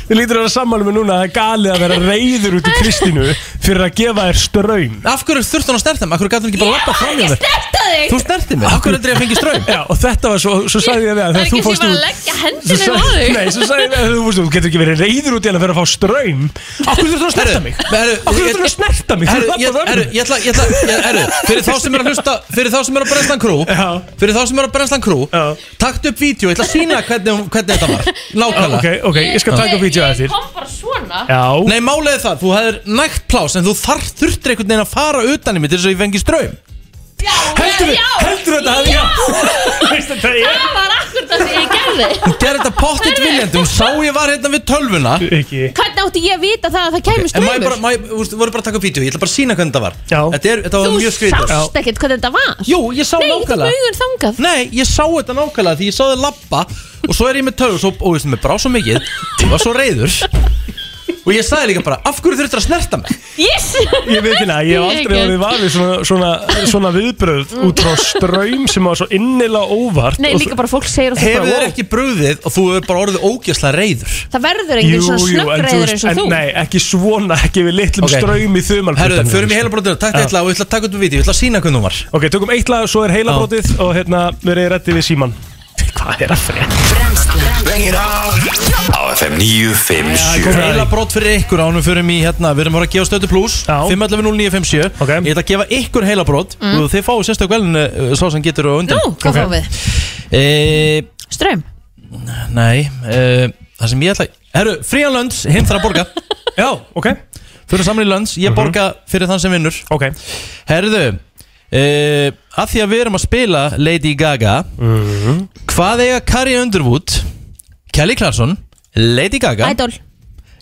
[SPEAKER 4] Þú lítur að vera sammála með núna að það er galið að vera reyður út í Kristínu fyrir að gefa þér ströym
[SPEAKER 1] Af hverju þurfti hann að snerta mig? Af hverju gæti hann ekki bara lappa fram hjá mig?
[SPEAKER 5] Snerta þig
[SPEAKER 1] Þú snerti mig, af hverju heldur ég að fengi ströym?
[SPEAKER 4] Já, og þetta var svo, svo sagði ég við að
[SPEAKER 5] Það er
[SPEAKER 4] þegar
[SPEAKER 5] ekki
[SPEAKER 4] þú
[SPEAKER 5] sem
[SPEAKER 4] fórst
[SPEAKER 5] bara að
[SPEAKER 4] út
[SPEAKER 5] leggja hendinu
[SPEAKER 4] Svo
[SPEAKER 5] á
[SPEAKER 4] sagði,
[SPEAKER 5] þig
[SPEAKER 4] nei, svo sagði ég við að þú fórst út, þú getur ekki verið reyður út í hana fyrir að fá ströym Af hverju þurftu að snerta mig? Af hverju þurftu að snerta mig? Þú
[SPEAKER 1] Herru, ég,
[SPEAKER 4] labbaði fram hjá
[SPEAKER 1] herru,
[SPEAKER 4] mér.
[SPEAKER 1] ég ætla, ég ætla, ég, herru, fyrir þá sem er að hlusta Fyrir þá sem er að brennslan krú Fyrir þá sem er að brennslan krú Takt upp vídeo, ég ætla að sína hvernig, hvernig þetta var Nákvæmlega
[SPEAKER 4] Ok, ok, ég skal taka vídeo að þér
[SPEAKER 5] Kom bara svona
[SPEAKER 4] Já
[SPEAKER 1] Nei, málega það, þú hefðir nægt plás En þú þarf þurftir einhvern veginn að fara utan í mig Til þess að ég fengi ströym
[SPEAKER 4] Heldur
[SPEAKER 5] já,
[SPEAKER 4] heldur þetta að já Veist þetta ég
[SPEAKER 5] Það var akkur það sem ég gerði
[SPEAKER 1] Hún gerði þetta pottitt viljandi, hún sá ég var hérna við tölvuna
[SPEAKER 4] Ekki
[SPEAKER 5] Hvernig átti ég að vita það að það kæmi
[SPEAKER 1] En maður bara,
[SPEAKER 5] ströymur?
[SPEAKER 1] maður, þú veist, voru bara að taka upp vídeo Ég ætla bara að sína hvernig þetta var
[SPEAKER 4] Já
[SPEAKER 1] Þetta, er, þetta var
[SPEAKER 5] Þú
[SPEAKER 1] mjög skrítið
[SPEAKER 5] sást ekkert hvað þetta var
[SPEAKER 1] Jú, ég sá
[SPEAKER 5] Nei, þú
[SPEAKER 1] nákvæmlega
[SPEAKER 5] maugun þangað
[SPEAKER 1] Nei, ég sá þetta nákvæmlega því ég sá þið lappa og svo er ég með tölv og svo, og veist, mér brá svo mikið ég var svo reyður og ég sagði líka bara, af hverju þurftur að snerta mig?
[SPEAKER 5] Yes
[SPEAKER 4] Ég veit hérna, ég hef aldrei orðið varið svona, svona, svona viðbröð út frá ströym sem var svo innilega óvart
[SPEAKER 5] Nei,
[SPEAKER 4] og-
[SPEAKER 5] líka bara fólk segir og þú
[SPEAKER 1] Hefur
[SPEAKER 5] bara
[SPEAKER 1] þér
[SPEAKER 5] wow.
[SPEAKER 1] ekki brugðið og þú er bara orðið ógjastlega reyður
[SPEAKER 5] Það verður enginn svona snöggreiður eins og þú
[SPEAKER 4] Nei, ekki svona, ekki við litlum
[SPEAKER 1] Ok.
[SPEAKER 4] okay. ströym í þumalputtan
[SPEAKER 1] Herðu, förum í heila brotinu, takk
[SPEAKER 4] sko. Já.
[SPEAKER 1] eitthvað og ég ætla að taka upp við vídeo, ég ætla að sína hvernig hún var
[SPEAKER 4] Ok, tökum eitt lag, svo er heilabrótið og hérna, verið rætti við síman Hvað er að frétta?
[SPEAKER 2] Á FM 957
[SPEAKER 1] Heila brot fyrir ykkur ánum förum í hérna, við erum að fara að gefa stötu pluss 512957, okay. ég ætla að gefa ykkur heila brot
[SPEAKER 5] Mm.
[SPEAKER 1] og þið fáu sérstök velin svo sem getur á undan
[SPEAKER 5] Nú, hvað fáum við?
[SPEAKER 1] við?
[SPEAKER 5] Ströym
[SPEAKER 1] Nei, uh, það sem ég ætla Herru, frían lönns, hinn þarf að borga
[SPEAKER 4] Já, ok
[SPEAKER 1] Fyrir saman í lönns, ég borga fyrir þann sem vinnur
[SPEAKER 4] Ok
[SPEAKER 1] Herðu, uh, að því að við erum að spila Lady Gaga Hvað eiga Carrie Underwood, Kelly Clarkson, Lady Gaga
[SPEAKER 5] Idol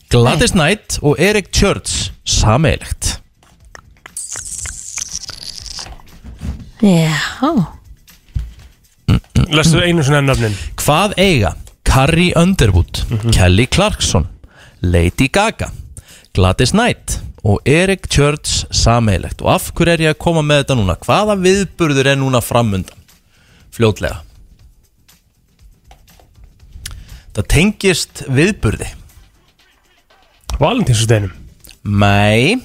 [SPEAKER 1] Gladys Knight og Eric Church sameilegt
[SPEAKER 5] Já
[SPEAKER 4] Lestu einu svona nöfnin
[SPEAKER 1] Hvað eiga Carrie Underwood, Kelly Clarkson, Lady Gaga, Gladys Knight og Eric Church sameilegt og af hverju er ég að koma með þetta núna? Hvaða viðburður er núna framundan? Fljótlega Það tengist viðburði
[SPEAKER 4] Valentínsusteinum
[SPEAKER 1] Nei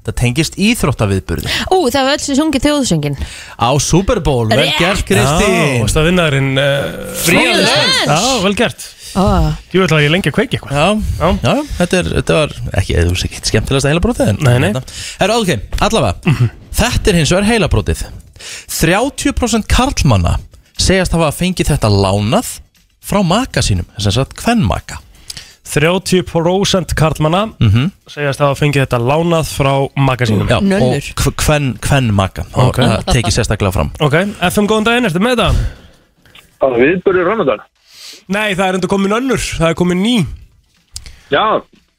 [SPEAKER 1] Það tengist íþróttaviðburði
[SPEAKER 5] Ú, það var öll sem sungið þjóðsöngin
[SPEAKER 1] Á Super Bowl, vel
[SPEAKER 5] Rétt.
[SPEAKER 1] gert Kristín
[SPEAKER 4] Vast að vinnaðurinn uh,
[SPEAKER 1] Frían
[SPEAKER 5] Lens.
[SPEAKER 4] Já, vel gert
[SPEAKER 5] oh.
[SPEAKER 4] Ég ætla að ég lengi að kveiki eitthvað
[SPEAKER 1] Já, já. þetta, er, þetta var ekki, þú veist ekki, skemmtilegast að heilabrótið en,
[SPEAKER 4] Nei, nei. Mhm.
[SPEAKER 1] Herra, ok, allavega Þetta er hins vegar heilabrótið 30% karlmanna segjast hafa fengið þetta lánað frá maka sínum, þess að hvern maka
[SPEAKER 4] 30% karlmanna
[SPEAKER 1] Mhm.
[SPEAKER 4] segjast að hafa fengið þetta lánað frá magasínum
[SPEAKER 1] Já, og hv- hvern, hvern maka og
[SPEAKER 4] Ok.
[SPEAKER 1] það tekið sérstaklega fram
[SPEAKER 4] Ok, FM góðan daginn, ertu með það?
[SPEAKER 7] Að viðbörður Ramadan?
[SPEAKER 4] Nei, það er enda komin önnur, það er komin ný
[SPEAKER 7] Já,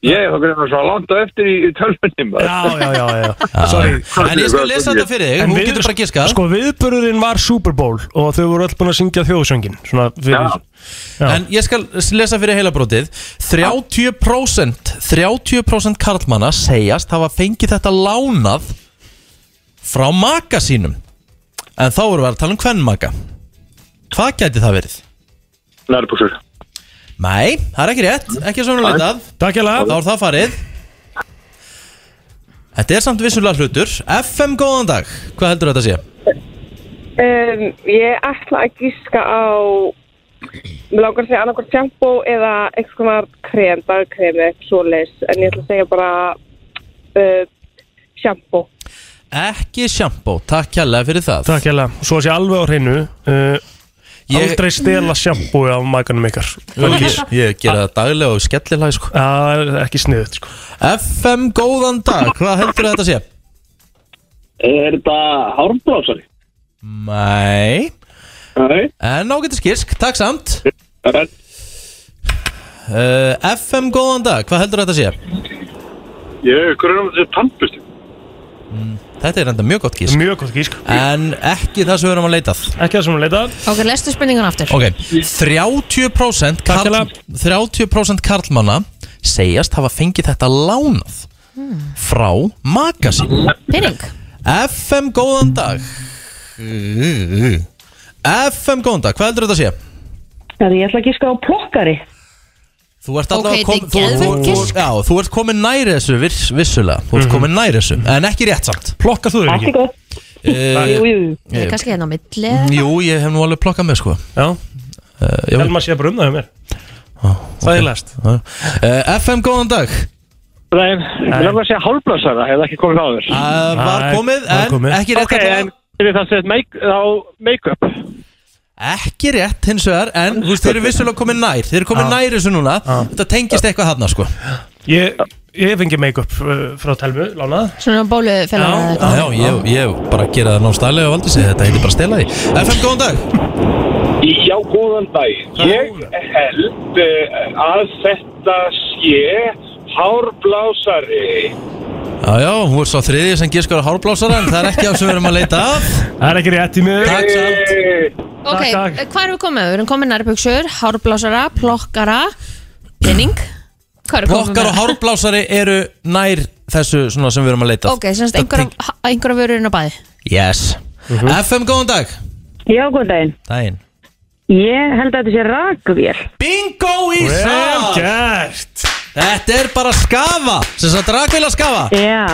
[SPEAKER 7] ég hef verið svo langt á eftir í, í tölvunni
[SPEAKER 4] Já, já, já, já. Sorry.
[SPEAKER 1] En ég skal lesa þetta fyrir þig,
[SPEAKER 4] En
[SPEAKER 1] hún
[SPEAKER 4] við-
[SPEAKER 1] getur bara giskað
[SPEAKER 4] Sko, viðburðurinn var Super Bowl og þau voru öll búin að syngja þjóðsöngin Svona fyrir
[SPEAKER 1] En ég skal lesa fyrir heilabrótið 30% 30% karlmanna segjast hafa fengið þetta lánað frá maka sínum En þá erum við að tala um hvern maka Hvað gæti það verið?
[SPEAKER 7] Nærbúsur
[SPEAKER 1] Nei, það er ekki rétt, ekki svona litað
[SPEAKER 4] Takk ég
[SPEAKER 1] Þá er það farið Þetta er samt vissulega hlutur FM góðan dag, hvað heldur þetta að sé?
[SPEAKER 11] Um, ég ætla að gíska á Mér langar að segja annarkvært sjampo eða einhvers konar krem, dagkremi, svoleiðis en ég ætla að segja bara uh, sjampo
[SPEAKER 1] Ekki sjampó, takk hérlega fyrir það
[SPEAKER 4] Takk hérlega, svo sé alveg á hreinu uh,
[SPEAKER 1] Ég-
[SPEAKER 4] Aldrei stela sjampúi af maganum ykkar
[SPEAKER 1] Ég, ég gera það daglega og skellilega sko.
[SPEAKER 4] Það er ekki sniðut sko.
[SPEAKER 1] FM, góðan dag, hvað heldur þetta sé?
[SPEAKER 7] Er þetta hárblásari?
[SPEAKER 1] Nei
[SPEAKER 7] Nei
[SPEAKER 1] En ágættu skisk, takk samt uh, FM, góðan dag, hvað heldur þetta sé?
[SPEAKER 7] Ég, hver er um þetta tannbusti?
[SPEAKER 1] Mm, Þetta er enda mjög gott gísk
[SPEAKER 4] Mjög gott gísk
[SPEAKER 1] En ekki það sem við erum að leitað
[SPEAKER 4] Ekki það sem við erum að leitað
[SPEAKER 5] Ok, lestu spurningun aftur
[SPEAKER 1] Ok, 30% karl, 30% karlmanna segjast hafa fengið þetta lánað frá magasin
[SPEAKER 5] Pening
[SPEAKER 1] FM, góðan dag FM, góðan dag, hvað heldur þetta að sé?
[SPEAKER 12] Það ég ætla að gíska á plokkari.
[SPEAKER 1] Þú ert
[SPEAKER 12] Ok,
[SPEAKER 1] allavega
[SPEAKER 12] þetta er
[SPEAKER 1] þú,
[SPEAKER 12] geðveikt
[SPEAKER 1] þú,
[SPEAKER 12] gisk.
[SPEAKER 1] já, þú ert komin næri þessu viss, vissulega Þú ert komin næri þessu, en ekki rétt samt
[SPEAKER 4] Plokka þú
[SPEAKER 12] Allt í góð. Jú, jú, jú.
[SPEAKER 5] Það er
[SPEAKER 1] Eh,
[SPEAKER 5] kannski hérna á milli
[SPEAKER 1] Jú, ég hef nú alveg plokkað með sko
[SPEAKER 4] Já
[SPEAKER 1] já.
[SPEAKER 4] Helma sé bara um það hjá mér Það er læst
[SPEAKER 1] FM, Eh, góðan dag
[SPEAKER 7] Nei, ég langar að segja hárblásara, hefði ekki komið áður
[SPEAKER 1] uh, Var komið, en ekki rétt
[SPEAKER 7] Ok,
[SPEAKER 1] allavega.
[SPEAKER 7] en er það sett make, á make-up?
[SPEAKER 1] Ekki rétt hins vegar, en þú veist, þeir eru vissulega komin nær Þeir eru komin
[SPEAKER 4] Já.
[SPEAKER 1] nær þessu núna Þetta tengist eitthvað hann sko
[SPEAKER 4] Ég, ég fengi make-up uh, frá Telmu, lánað
[SPEAKER 5] Svona bólufellar
[SPEAKER 1] Já, já, ég, ég bara gera það námstælega og aldrei segja þetta heitir bara að stela því FM, góðan dag
[SPEAKER 8] Já, góðan dag. Ég held eh, að þetta sé hárblásari.
[SPEAKER 1] Já, já, hún er svo þriðið sem gískar á hárblásara en það er ekki á sem við erum að leita að
[SPEAKER 4] Það er ekki rétt í mig
[SPEAKER 1] Takk samt
[SPEAKER 5] Ok, eh,
[SPEAKER 1] Takk,
[SPEAKER 5] hvað erum við komið? Við erum komið nærbuksur, hárblásara, plokkara Pening Hvað erum við komið
[SPEAKER 1] Plokkar og hárblásari eru nær þessu svona sem við erum að leita að.
[SPEAKER 5] Ok, semst einhverja einhver vörurinn á bæði
[SPEAKER 1] Yes FM, góðan dag
[SPEAKER 12] Já, góðan daginn.
[SPEAKER 1] Daginn
[SPEAKER 12] Ég held að þetta sé rakvél.
[SPEAKER 1] Bingo í
[SPEAKER 12] Vel
[SPEAKER 1] sal
[SPEAKER 4] gert
[SPEAKER 1] Þetta er bara skafa sem sagt rakveila skafa
[SPEAKER 12] Já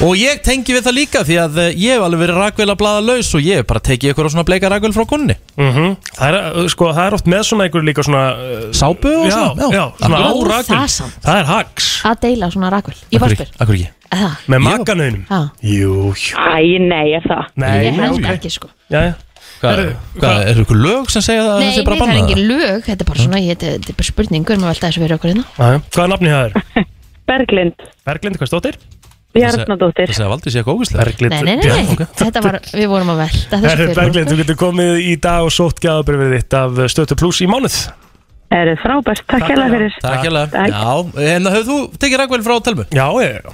[SPEAKER 1] Og ég tengi við það líka því að eh, ég hef alveg verið rakveila blaða laus og ég hef bara tekið ykkur á svona bleika rakveil frá kunni
[SPEAKER 4] Mm það, er, uh, sko, það er oft með svona einhver líka svona uh,
[SPEAKER 1] Sápu og
[SPEAKER 4] já,
[SPEAKER 1] svona, já.
[SPEAKER 4] Já, svona
[SPEAKER 1] Akkur-
[SPEAKER 4] árakul
[SPEAKER 5] Það
[SPEAKER 4] Það,
[SPEAKER 5] samt.
[SPEAKER 4] er hags
[SPEAKER 5] Að deila svona rakvel Ég bara spyr
[SPEAKER 1] Akkur ekki
[SPEAKER 5] Það.
[SPEAKER 4] Með makanauðinum
[SPEAKER 5] Ah. Já.
[SPEAKER 4] Jú, jú
[SPEAKER 12] Æ, nei, er það?
[SPEAKER 4] Nei,
[SPEAKER 5] Ég
[SPEAKER 4] nei,
[SPEAKER 5] held
[SPEAKER 4] ok.
[SPEAKER 5] ekki sko
[SPEAKER 4] Jæja.
[SPEAKER 1] Hvað, hvað, eru ykkur lög sem segja það að
[SPEAKER 5] Nei,
[SPEAKER 1] þessi
[SPEAKER 5] nei,
[SPEAKER 1] bara
[SPEAKER 5] það er
[SPEAKER 1] bannað?
[SPEAKER 5] engin lög Þetta er bara svona, ég- þetta þetta er bara spurning Við erum að velta þessu fyrir okkur hérna
[SPEAKER 4] Jæja. Hvað er nafnið það er?
[SPEAKER 12] Berglind
[SPEAKER 4] Berglind, hvað stóttir?
[SPEAKER 12] Bjarnadóttir
[SPEAKER 1] Það segja aldrei sé eitthvað ógæslega
[SPEAKER 4] Berglind
[SPEAKER 5] Nei, nei, nei,
[SPEAKER 4] Bjarn, ok.
[SPEAKER 5] þetta var, við vorum að velta þessu
[SPEAKER 4] Herri,
[SPEAKER 5] fyrir okkur.
[SPEAKER 4] Berglind, þú getur komið í dag og sótt gæðabrifið þitt af stötu pluss í mánuð
[SPEAKER 12] Er þið frábært, takk hérlega fyrir
[SPEAKER 1] Takk hérlega Já, en hefur þú tekið rakveil frá Telmu?
[SPEAKER 4] Já, ég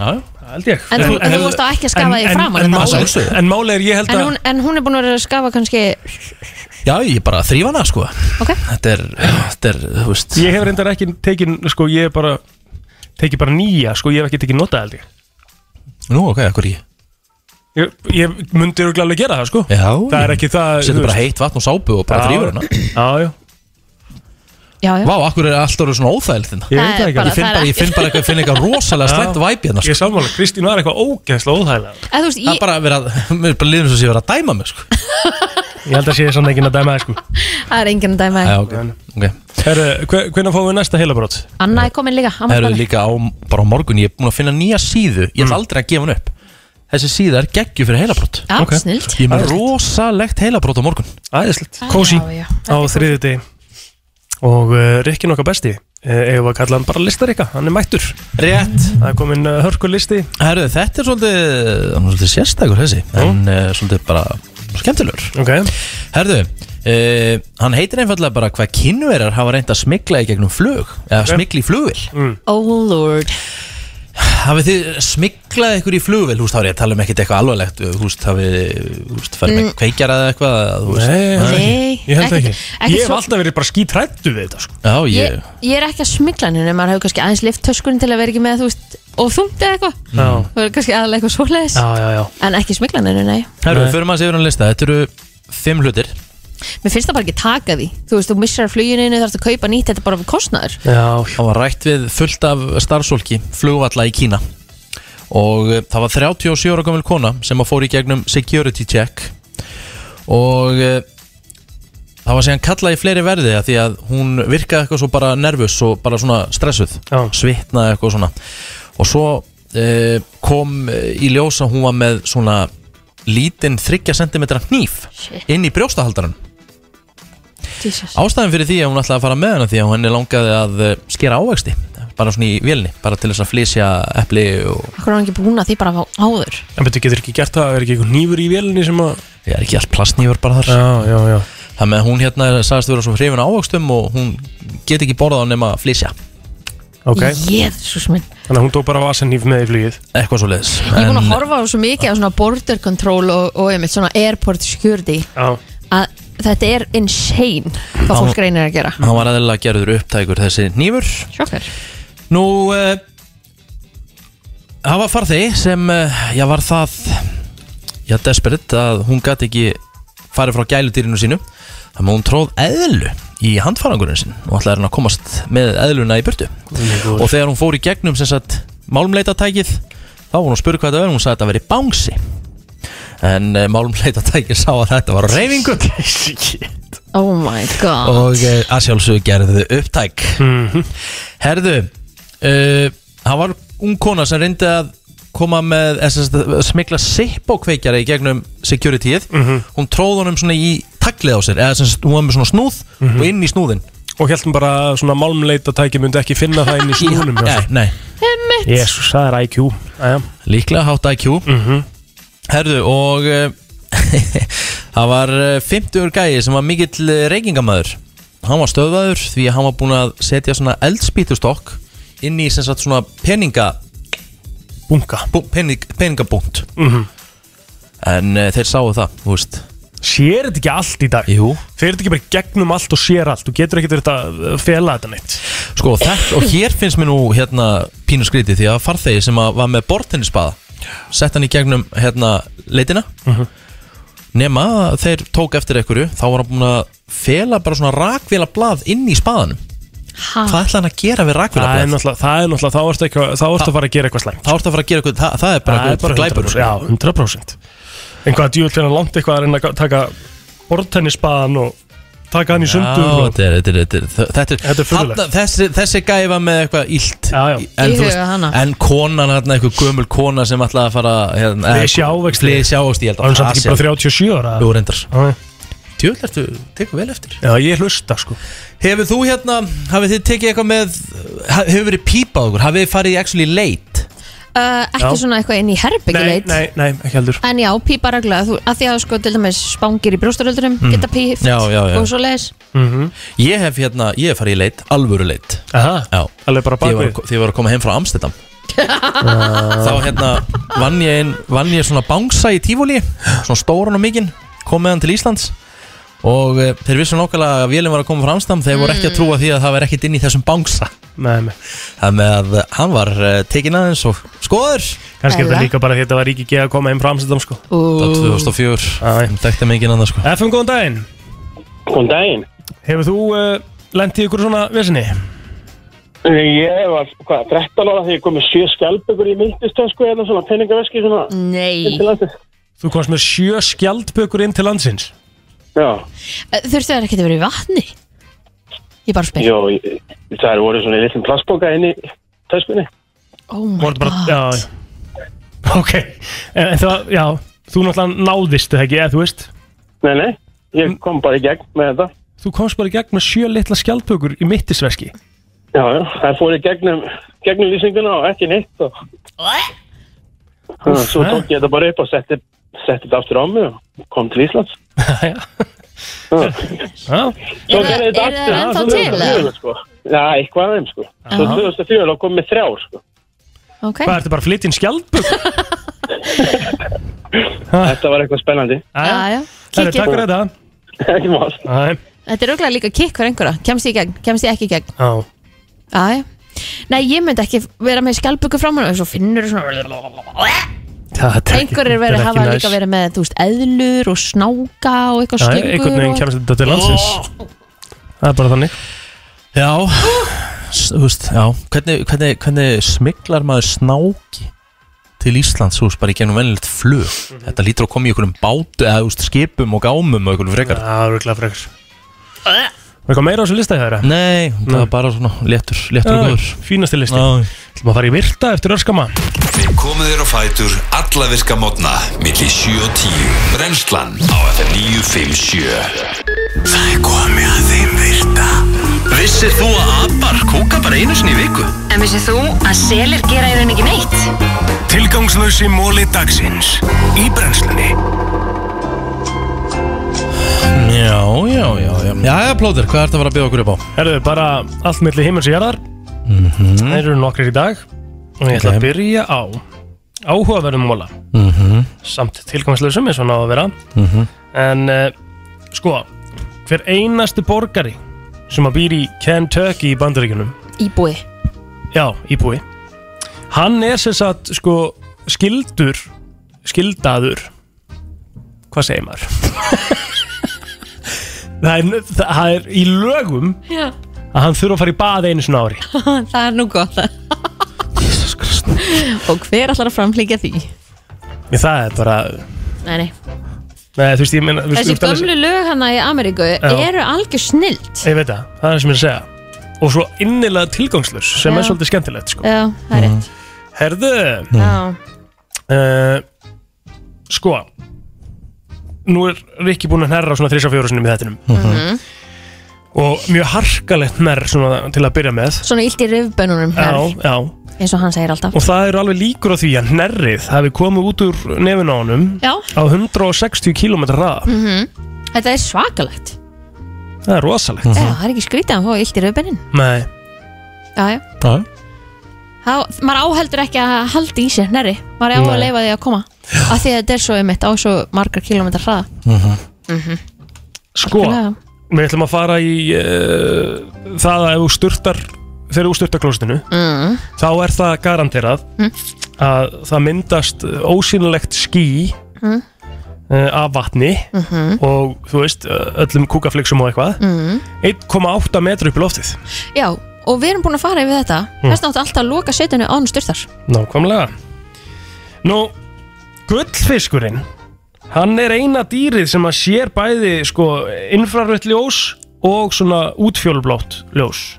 [SPEAKER 4] Held ég
[SPEAKER 5] En þú- en þú varst þá ekki að skafa þig framan
[SPEAKER 4] En,
[SPEAKER 5] hérna.
[SPEAKER 4] en,
[SPEAKER 1] Að
[SPEAKER 4] en,
[SPEAKER 1] sjálfsögðu.
[SPEAKER 4] en máli er ég held
[SPEAKER 5] En
[SPEAKER 4] að
[SPEAKER 5] hún, en hún er búin að vera að skafa kannski
[SPEAKER 1] Já, ég bara þrýf hana sko
[SPEAKER 5] Ok.
[SPEAKER 1] Þetta er, þetta er, þú veist
[SPEAKER 4] Ég hef reyndar ekki tekin, sko, ég hef bara tekið bara nýja, sko, ég hef ekki tekið nota held ég
[SPEAKER 1] Nú, ok, akkur ég
[SPEAKER 4] Ég, ég myndi örgulega alveg gera það, sko
[SPEAKER 1] Já,
[SPEAKER 4] Það er ekki það
[SPEAKER 1] Setur bara heitt vatn og sápu og bara
[SPEAKER 4] Já.
[SPEAKER 1] þrýfur hana
[SPEAKER 4] Já, já
[SPEAKER 5] Já, já
[SPEAKER 1] Vá, akkur er alltaf orðið svona óþægild þetta
[SPEAKER 4] Ég veit það ekki.
[SPEAKER 1] Ég finn bara, ég finn bara eitthvað, finn eitthvað rosalega slæmt væpi hérna
[SPEAKER 4] Ég er sammála, Kristín var eitthvað ógeðslega óþægilega
[SPEAKER 5] eða, þú veist,
[SPEAKER 1] Það er
[SPEAKER 5] ég,
[SPEAKER 1] bara að vera, mér er bara liðum sem sé að vera að dæma mig sko
[SPEAKER 4] Ég held að sé samt ekki að dæma það, sko
[SPEAKER 5] Það er enginn að dæma
[SPEAKER 1] Já,
[SPEAKER 5] þig.
[SPEAKER 1] ok, ok
[SPEAKER 4] Herru, hve- hvenær fáum við næsta heilabrót?
[SPEAKER 5] Anna er komin líka
[SPEAKER 1] Það eru líka á, bara á morgun, ég er búin að finna nýja síðu Ég ætla aldrei að gefa hann upp Þessi síða er geggju fyrir heilabrót
[SPEAKER 5] Já, Ok. snillt.
[SPEAKER 1] Ég er með rosalegt heilabrót á morgun
[SPEAKER 4] Æðislegt
[SPEAKER 5] Ah, Já,
[SPEAKER 4] Kósi
[SPEAKER 5] já, já.
[SPEAKER 4] á þriðjudegi og uh, Rikkin okkar besti uh, eigum við að kalla hann bara listarikka, hann er mættur
[SPEAKER 1] Rétt
[SPEAKER 4] Það er komin uh, hörkulisti
[SPEAKER 1] Herru, þetta er svolítið, hann er svolítið sérstakur þessi En uh, svolítið bara skemmtilegur
[SPEAKER 4] okay.
[SPEAKER 1] Herru, uh, hann heitir einfallega bara hvað kynverar hafa reynd að smikla í gegnum flug Eða
[SPEAKER 5] Ok.
[SPEAKER 1] smikla í flugvill
[SPEAKER 4] mm.
[SPEAKER 5] Oh lord
[SPEAKER 1] Hafið þið smiklað ykkur í flugvill, húst, þá er ég að tala um ekkert eitthvað alvarlegt Húst, hafið, húst, farið með
[SPEAKER 5] Mm.
[SPEAKER 1] kveikjara eða eitthvað þú veist.
[SPEAKER 4] Nei,
[SPEAKER 5] held ekki. Nei,
[SPEAKER 4] Ég held
[SPEAKER 5] ekkert-
[SPEAKER 4] ekki,
[SPEAKER 5] ekkert
[SPEAKER 4] Ég hef
[SPEAKER 5] svo-
[SPEAKER 4] alltaf verið bara skítrættu við þetta sko.
[SPEAKER 1] Já,
[SPEAKER 5] ég, ég er ekki að smikla hann en maður hefur kannski aðeins lift töskunni til að vera ekki með þú veist, og þungt eða eitthvað
[SPEAKER 4] Já,
[SPEAKER 5] það er kannski aðalega eitthvað svoleiðis
[SPEAKER 4] já, já, já.
[SPEAKER 5] en ekki smikla hann, nei
[SPEAKER 1] Herru, við förum að séu hann lista, þetta eru fimm hlutir
[SPEAKER 5] mér finnst það bara ekki taka því þú veist, þú missar fluginu, þarfst að kaupa nýtt þetta er bara fyrir kostnaður
[SPEAKER 4] Já
[SPEAKER 1] Það var rætt við fullt af starfsólki flugvalla í Kína og eh, það var 37 ára gömul kona sem að fór í gegnum security check og eh, það var síðan kallað í fleiri verði af því að hún virkaði eitthvað svo bara nervus og bara svona stressuð Já. svitnaði eitthvað svona og svo eh, kom eh, í ljós að hún var með svona lítinn 30 cm hníf inn í brjóstahaldaran Ástæðan fyrir því að hún ætlaði að fara með hana því að henni langaði að eh, skera ávexti bara svona í vélni, bara til þess að flysja epli og...
[SPEAKER 5] okkur er hann ekki búin að því bara á- áður
[SPEAKER 4] En betur getur ekki gert það, er ekki einhver nýfur í vélinni sem að
[SPEAKER 1] Ég er ekki allt plastnýfur bara þar
[SPEAKER 4] Já, já, já
[SPEAKER 1] Það með að hún hérna sagðist vera svo hrifin á ávextum og hún get ekki borðað hann nema að flysja
[SPEAKER 4] okay.
[SPEAKER 5] Jésus minn
[SPEAKER 4] Þannig að hún tók bara vasanýf með í flugið
[SPEAKER 1] Eitthvað svo leiðis
[SPEAKER 5] ég er búin að horfa á svo mikið á svona border control og, og einmitt svona airport security
[SPEAKER 4] Já
[SPEAKER 5] að þetta er insane hvað fólk reynir að gera
[SPEAKER 1] Hann var aðeinslega gerður upptækur þessi nýfur
[SPEAKER 5] Sjokkar
[SPEAKER 1] Nú uh, Það var farþegi sem uh, Já var það Já desperate að hún gæti ekki farið frá gæludýrinu sínu þannig að hún tróð eðlu í handfarangurinn sinn og ætlaði hann að komast með eðluna í burtu
[SPEAKER 4] og
[SPEAKER 1] þegar hún fór í gegnum sem sagt málumleitatækið þá var hún að spurði hvað þetta verið hún sagði að þetta verið bánsi en uh, málumleitatækið sá að þetta var á reyfingu
[SPEAKER 5] oh my god
[SPEAKER 1] og uh, að sjálfsög gerðu þau upptæk Herðu uh, hann var ung kona sem reyndi að koma með eh, sem sagt, að smikla sippókveikjara í gegnum securityið hún tróð honum svona í taglið á sér eða sem sagt, hún var með svona snúð og inn í snúðin
[SPEAKER 4] Og heldum bara að svona málmleita tæki myndi ekki finna það inn í snúnum
[SPEAKER 1] Nei, nei
[SPEAKER 5] Einmitt.
[SPEAKER 4] Jésus, það er IQ Æja.
[SPEAKER 1] Líklega hátt IQ Herðu og eh, það var eh, 50 gæi sem var mikill eh, reykingamæður hann var stöðvaður því að hann var búinn að setja svona eldspýtustokk inn í sem sagt svona peninga
[SPEAKER 4] bunga
[SPEAKER 1] pening, peningabúnt en uh, þeir sáu það, þú veist
[SPEAKER 4] Sér þetta ekki allt í dag?
[SPEAKER 1] Jú
[SPEAKER 4] Þeir eru ekki bara í gegnum allt og sér allt Þú getur ekki verið að uh, fela þetta neitt
[SPEAKER 1] Sko og, þetta, og hér finnst mér nú hérna pínu skríti því að farþegi sem að var með bortinnisbaða sett hann í gegnum hérna leitina
[SPEAKER 4] Mhm.
[SPEAKER 1] nema að þeir tók eftir einhverju þá var hann búin að fela bara svona rakvila blað inn í spaðanum
[SPEAKER 5] Ah.
[SPEAKER 1] Hvað ætla hann að gera við
[SPEAKER 4] Það er
[SPEAKER 1] rakvélablað?
[SPEAKER 4] náttúrulega, það er náttúrulega, þá ertu eitthvað, þá ertu að fara að gera eitthvað slæmt
[SPEAKER 1] Þá ertu að fara að gera eitthvað, það, það er bara
[SPEAKER 4] Það er
[SPEAKER 1] eitthvað
[SPEAKER 4] bara
[SPEAKER 1] glæpur
[SPEAKER 4] 100%, já, 100% En hvað djúvill er hann langt eitthvað að reyna að taka bortennisbaðan og taka hann í sundur
[SPEAKER 1] Já,
[SPEAKER 4] og...
[SPEAKER 1] þetta er, þetta er, þetta er, þetta er,
[SPEAKER 4] Þetta er furðulegt.
[SPEAKER 1] Þarna- þessi, þessi gæi var með eitthvað illt
[SPEAKER 4] já, já.
[SPEAKER 1] En,
[SPEAKER 5] Í
[SPEAKER 1] þú
[SPEAKER 5] huga hana.
[SPEAKER 1] en konan hann eitthvað gömul kona sem ætlaði að fara hérna,
[SPEAKER 4] Flysja ávexti.
[SPEAKER 1] Flysja ávexti, ég held
[SPEAKER 4] Var hann samt ekki bara 37 ára?
[SPEAKER 1] Jú, reyndar
[SPEAKER 4] Já,
[SPEAKER 1] Tjóðl ertu, tekur vel eftir
[SPEAKER 4] Já, ég hlusta sko
[SPEAKER 1] Hefur þú hérna, hafið þið tekið eitthvað með Hefur verið pípað okkur, hafið þið farið í actually late
[SPEAKER 5] uh, ekki
[SPEAKER 1] Já.
[SPEAKER 5] svona eitthvað inn í herbyggi
[SPEAKER 4] Nei,
[SPEAKER 5] leit
[SPEAKER 4] nei, nei, ekki heldur
[SPEAKER 5] En já, pípa regla, þú, að því að sko til dæmis spangir í brjóstaröldunum
[SPEAKER 4] Mhm.
[SPEAKER 1] Mm.
[SPEAKER 5] geta píft
[SPEAKER 1] Já, já, já.
[SPEAKER 5] og svo leiðis
[SPEAKER 4] -hmm.
[SPEAKER 1] Ég hef hérna, ég hef farið í leit, alvöru leit
[SPEAKER 4] Aha,
[SPEAKER 1] Já.
[SPEAKER 4] alveg bara
[SPEAKER 1] Því ég var
[SPEAKER 4] bakvið.
[SPEAKER 1] að- því ég var að koma heim frá Amsterdam Þá hérna vann ég, inn, vann ég svona bangsa í tífúli Svona stóran og mikinn Kom með hann til Íslands Og e, þeir vissu nokkulega að vélum var að koma frá Amsterdam Þeir voru ekki að trúa því að það var ekkit inn í þessum bangsa
[SPEAKER 4] Nei, nei
[SPEAKER 1] Þannig að eh, hann var e, tekin aðeins og skoður
[SPEAKER 4] Kannski er þetta líka bara því að þetta var ríki geð að koma einn frá Amsterdam sko
[SPEAKER 1] Það var 2004, þeim þekkti mig ekki annað sko
[SPEAKER 4] FM, góðan daginn
[SPEAKER 1] Góðan daginn
[SPEAKER 4] Hefur þú uh, lendið ykkur svona vesinni?
[SPEAKER 8] Ég var, hvað, 13 ára þegar ég kom með sjö skjálpökur í myndistösku eða svona peningaveski svona
[SPEAKER 5] Nei
[SPEAKER 8] inn til landsins.
[SPEAKER 4] Þú komst með sjö skjaldbökur inn til landsins
[SPEAKER 8] Já,
[SPEAKER 5] Eh, Þurftu þær ekki að vera í vatni? Ég bara spyr
[SPEAKER 8] Jó, ég- það eru voru svona í litlum plastboka inn í töskunni
[SPEAKER 5] oh my
[SPEAKER 4] Voru bara, já, já. Ok, en, en það, já Þú náttúrulega náðist það ekki, eða þú veist
[SPEAKER 10] Mm.
[SPEAKER 8] Nei, nei, ég kom bara í gegn með þetta
[SPEAKER 4] Þú komst bara í gegn með sjö litla skjaldbökur í mittisveski
[SPEAKER 8] Já, já, það fór í gegnum, gegnum lýsinguna og ekki neitt og Svo tók ég þetta bara upp og setti, setti þetta aftur á mig og kom til Íslands
[SPEAKER 4] Já,
[SPEAKER 8] Svo
[SPEAKER 10] Eru-
[SPEAKER 8] gerði þetta
[SPEAKER 10] eru
[SPEAKER 8] aftur
[SPEAKER 10] þær ennþá
[SPEAKER 8] svo
[SPEAKER 10] til,
[SPEAKER 8] 2004,
[SPEAKER 10] eða?
[SPEAKER 8] sko. Já, eitthvað aðeins sko Svo
[SPEAKER 4] Já.
[SPEAKER 8] 2004 þá kom með þrjár sko
[SPEAKER 5] Ok
[SPEAKER 4] Hvað, ertu bara að flytja inn skjaldbökur?
[SPEAKER 8] Þetta var eitthvað spennandi
[SPEAKER 5] Jæja,
[SPEAKER 4] Herru,
[SPEAKER 5] kíkjum.
[SPEAKER 4] takk fyrir þetta
[SPEAKER 8] Ekki mál
[SPEAKER 5] Þetta er auðvitað líka kikk fyrir einhverja Kemst ég í gegn, kemst ég ekki í gegn
[SPEAKER 4] Já
[SPEAKER 5] Jæja Nei, ég myndi ekki vera með skjálpöku framan og svo finnur svona Einhverjir verið hafa líka verið með, þú veist, eðlur og snáka og eitthvað
[SPEAKER 4] Já,
[SPEAKER 5] slöngur
[SPEAKER 4] einhvern veginn
[SPEAKER 5] og-
[SPEAKER 4] kemst þetta til landsins. Það er bara þannig
[SPEAKER 1] Já, s- þú veist, já Hvernig, hvernig, hvernig smiklar maður snáki til Íslands, þú veist, bara í genum venjulegt flug Þetta lítur að koma í einhverjum bátu eða, þú veist, skipum og gámum og einhverjum frekar
[SPEAKER 4] Já, það er glæð frekar Var eitthvað meira á þessu lista hjá þeirra?
[SPEAKER 1] Nei, það var bara svona léttur, léttur og
[SPEAKER 4] Já,
[SPEAKER 1] góður
[SPEAKER 4] Fínasti listi Þú maður fara í virta eftir örskama
[SPEAKER 2] Við komum þér á fætur alla virka mótna millir 7 og 10 Brenslan á FM 957 Það er komið að þeim virta Vissir þú að abar kúka bara einu sinni í viku?
[SPEAKER 10] En vissið þú að selir gera í rauninni ekki neitt?
[SPEAKER 2] Tilgangslösi móli dagsins í Brenslunni
[SPEAKER 1] Já, já, já, já Jæja, plóður, hvað ertu að fara að byggja okkur upp á?
[SPEAKER 4] Herðu, bara allt milli heimils og jarðar Það eru nokkrir í dag Og ég
[SPEAKER 1] Mhm. Ok.
[SPEAKER 4] ætla að byrja á Áhugaverðum móla
[SPEAKER 1] Mhm,
[SPEAKER 4] Samt tilgangslösum eins og náða að vera
[SPEAKER 1] mhm
[SPEAKER 4] En uh, sko Hver einasti borgari Sem að býr í Kentucky í bandaríkjunum
[SPEAKER 5] Íbúi
[SPEAKER 4] Já, íbúi Hann er sem sagt sko skildur Skildaður Hvað segir maður? það, er, það er í lögum
[SPEAKER 5] Já,
[SPEAKER 4] að hann þurfa að fara í bað einu svona ári
[SPEAKER 5] það er nú gott Jesus Krist Og hver allar að framflíkja því?
[SPEAKER 4] Ég, Það er bara
[SPEAKER 5] Nei, nei
[SPEAKER 4] Nei, þú veist, ég meina þú veist,
[SPEAKER 5] Þessi
[SPEAKER 4] þú veist,
[SPEAKER 5] gömlu lög hana í Ameríku eru algjör snill
[SPEAKER 4] annars- Ég veit það, það er það sem ég er að segja Og svo innilega tilgangslös sem er
[SPEAKER 5] Já.
[SPEAKER 4] svolítið skemmtilegt sko.
[SPEAKER 5] Já, það er rétt
[SPEAKER 4] Herðu
[SPEAKER 5] Já,
[SPEAKER 4] uh, Sko Nú er Rikki búinn að hnerra svona 3-4 sinni með þettinum
[SPEAKER 5] Mhm.
[SPEAKER 4] Og mjög harkalegt hnerr svona til að byrja með
[SPEAKER 5] svona illt í rifbönunum
[SPEAKER 4] Já,
[SPEAKER 5] hér,
[SPEAKER 4] já
[SPEAKER 5] eins og hann segir alltaf
[SPEAKER 4] Og það eru alveg líkur á því að hnerrið hafi komið út úr nefin á honum
[SPEAKER 5] Já.
[SPEAKER 4] á 160 km ræða
[SPEAKER 5] mm Þetta er svakalegt
[SPEAKER 4] Það er rosalegt
[SPEAKER 5] Já, það er ekki skrítið að hann fóði illt í rifbönin
[SPEAKER 4] Nei
[SPEAKER 5] Já, já
[SPEAKER 1] Já.
[SPEAKER 5] Þá, maður áheldur ekki að halda í sér nærri maður á að
[SPEAKER 4] Nei.
[SPEAKER 5] leifa því að koma af því að þetta er svo einmitt á svo margar kilómetrar hraða
[SPEAKER 4] Sko,
[SPEAKER 5] Algjörlega.
[SPEAKER 4] við ætlum að fara í uh, það að ef þú sturtar þegar þú sturtar klóstinu
[SPEAKER 5] mm.
[SPEAKER 4] þá er það garanterað að það myndast ósýnilegt ský
[SPEAKER 5] Mm.
[SPEAKER 4] uh, af vatni
[SPEAKER 5] Mhm.
[SPEAKER 4] og þú veist uh, öllum kúkafliksum og eitthvað
[SPEAKER 5] Mm.
[SPEAKER 4] 1,8 metri upp í loftið
[SPEAKER 5] Já, og við erum búin að fara yfir þetta
[SPEAKER 4] Mm.
[SPEAKER 5] þess náttu alltaf að loka setjunni án styrtar
[SPEAKER 4] Nákvæmlega Nú, gullfiskurinn hann er eina dýrið sem að sér bæði sko infrarött ljós og svona útfjólublátt ljós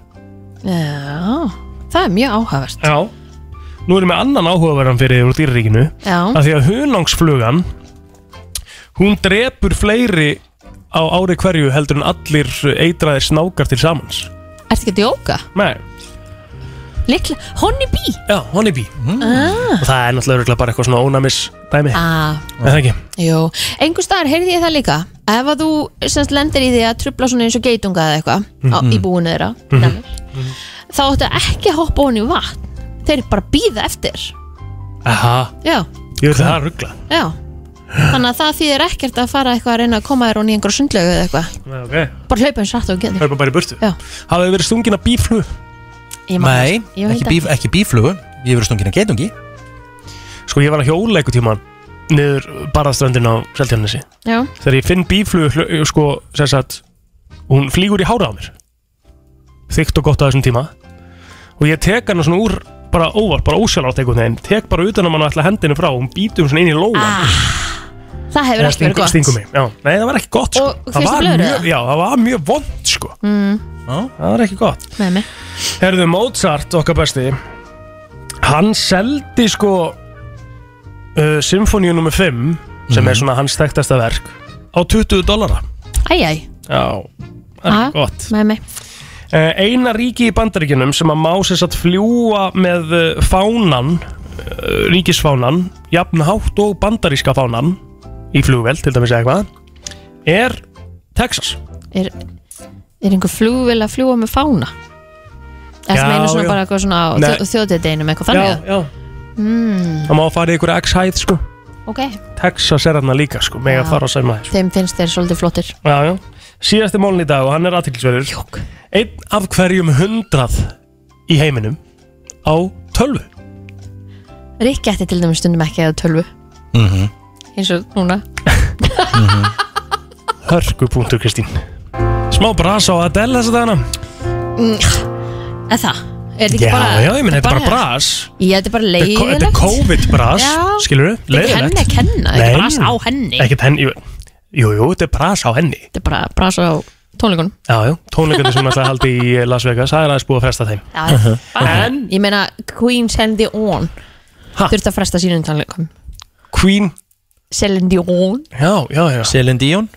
[SPEAKER 5] Já, það er mjög áhagast
[SPEAKER 4] Já Nú erum við annan áhugaverðan fyrir þér úr dýrríkinu
[SPEAKER 5] Já.
[SPEAKER 4] að því að hunangsflugan hún drepur fleiri á ári hverju heldur en allir eitraðir snákar til samans
[SPEAKER 5] Ertu ekki að djóka?
[SPEAKER 4] Nei
[SPEAKER 5] Likla, honni bí?
[SPEAKER 4] Já, honeybee Mm.
[SPEAKER 5] Ah,
[SPEAKER 4] og það er náttúrulega örugglega bara eitthvað svona ónæmis dæmi
[SPEAKER 5] ah,
[SPEAKER 4] Er það ekki?
[SPEAKER 5] jú Engu staðar heyrði ég það líka Ef að þú semst lendir í því að trubla svona eins og geitunga eða eitthvað á-
[SPEAKER 4] Mhm.
[SPEAKER 5] í búinu þeirra
[SPEAKER 4] Mhm.
[SPEAKER 5] þá áttu ekki að hoppa honni í vatn þeir bara býða eftir
[SPEAKER 4] Aha,
[SPEAKER 5] Já,
[SPEAKER 4] ég veit að það er ruggla
[SPEAKER 5] já Þannig að það þýðir ekkert að fara eitthvað að reyna að koma þér honni í einhverju sundlegu eða eitthvað
[SPEAKER 4] okay.
[SPEAKER 5] Bara hlaupa eins rætt og þú getur
[SPEAKER 4] Hörpa bara í burtu
[SPEAKER 5] Já.
[SPEAKER 4] Hafið þið verið stungin að bíflu?
[SPEAKER 5] Ég man
[SPEAKER 1] Nei,
[SPEAKER 5] það- sko. ég veit
[SPEAKER 1] ekki, bíf, ekki bíflugu Ég verið stungin að geitungi
[SPEAKER 4] Sko ég var að hjóla einhver tíma niður barðaströndin á Seltjarnesi
[SPEAKER 5] Já.
[SPEAKER 4] Þegar ég finn bíflug hl- sko, sem sagt, hún flýgur í hára á mér þykkt og gott á þessum tíma og ég tek hana svona úr bara óvart, bara ósjálfrátt einhvern veginn tek bara utan á hana og ætla hendinu frá og hún býtum svona inn í lóan ah,
[SPEAKER 5] Það hefur ekki verið gott
[SPEAKER 4] stingu mig, já, nei það var ekki gott sko.
[SPEAKER 5] Og þú
[SPEAKER 4] það,
[SPEAKER 5] fyrstu
[SPEAKER 4] var
[SPEAKER 5] blöðru,
[SPEAKER 4] mjög, já, það var mjög vond sko.
[SPEAKER 5] mm,
[SPEAKER 4] það var ekki gott
[SPEAKER 5] Með mig
[SPEAKER 4] Herðu, Mozart, okkar besti Hann seldi sko uh, Symfóníu nr. 5 sem er svona hans þekktasta verk á 20 dollara
[SPEAKER 5] Æjæj
[SPEAKER 4] Já, það það
[SPEAKER 5] Ah,
[SPEAKER 4] er gott
[SPEAKER 5] með mig
[SPEAKER 4] Eh, Eina ríki í bandaríkjunum sem að má sér satt fljúa með eh, fánan, eh, ríkisfánan, jafn hátt og bandaríska fánan í flugvel, til dæmis eða eitthvað, er Texas.
[SPEAKER 5] Er, er einhver flugvél að fljúa með fána? Er
[SPEAKER 4] Já,
[SPEAKER 5] það meina svona
[SPEAKER 4] já.
[SPEAKER 5] bara eitthvað svona á
[SPEAKER 4] Nei.
[SPEAKER 5] þjóðdeginum eitthvað þannig?
[SPEAKER 4] Já, já.
[SPEAKER 5] já mm,
[SPEAKER 4] Það má fara í ykkur X-hæð, sko.
[SPEAKER 5] Ok,
[SPEAKER 4] Texas er þarna líka, sko, með
[SPEAKER 5] Já.
[SPEAKER 4] að fara að sæma þér.
[SPEAKER 5] þeim finnst þeir svolítið flottir
[SPEAKER 4] Já, já. Síðasti mólin í dag og hann er aðtilsverður. Jók. Einn af hverjum hundrað í heiminum á tölvu.
[SPEAKER 5] Rikki ætti til dæmis stundum ekki að tölvu
[SPEAKER 4] Mm -hmm.
[SPEAKER 5] eins og núna
[SPEAKER 4] Hörkupunktur, Kristín. Smá brasa á Adele þessa dagana.
[SPEAKER 5] mm, Er það? Er þetta ekki
[SPEAKER 4] Já,
[SPEAKER 5] bara
[SPEAKER 4] já, ég meina, þetta er bara
[SPEAKER 5] hér?
[SPEAKER 4] bras
[SPEAKER 5] Ég, þetta er bara
[SPEAKER 4] Þetta er ko-
[SPEAKER 5] leiðilegt
[SPEAKER 4] Þetta er COVID-bras,
[SPEAKER 5] Já.
[SPEAKER 4] skilur við,
[SPEAKER 5] Þetta er ekki henni að kenna, þetta er bras á henni
[SPEAKER 4] Ekkert henni, jú, jú, jú, þetta er bras á henni
[SPEAKER 5] Þetta er bara bras á tónleikunum
[SPEAKER 4] Já, já, tónleikarnir sem alltaf haldi í eh, Las Vegas, það er aðeins búið að fresta þeim
[SPEAKER 5] Já,
[SPEAKER 4] Mhm.
[SPEAKER 5] en, Ég meina Queen Celine Dion Þurfti að fresta sínum tónleikum
[SPEAKER 4] Queen
[SPEAKER 5] Celine Dion
[SPEAKER 4] Já, já, já
[SPEAKER 1] Celine Dion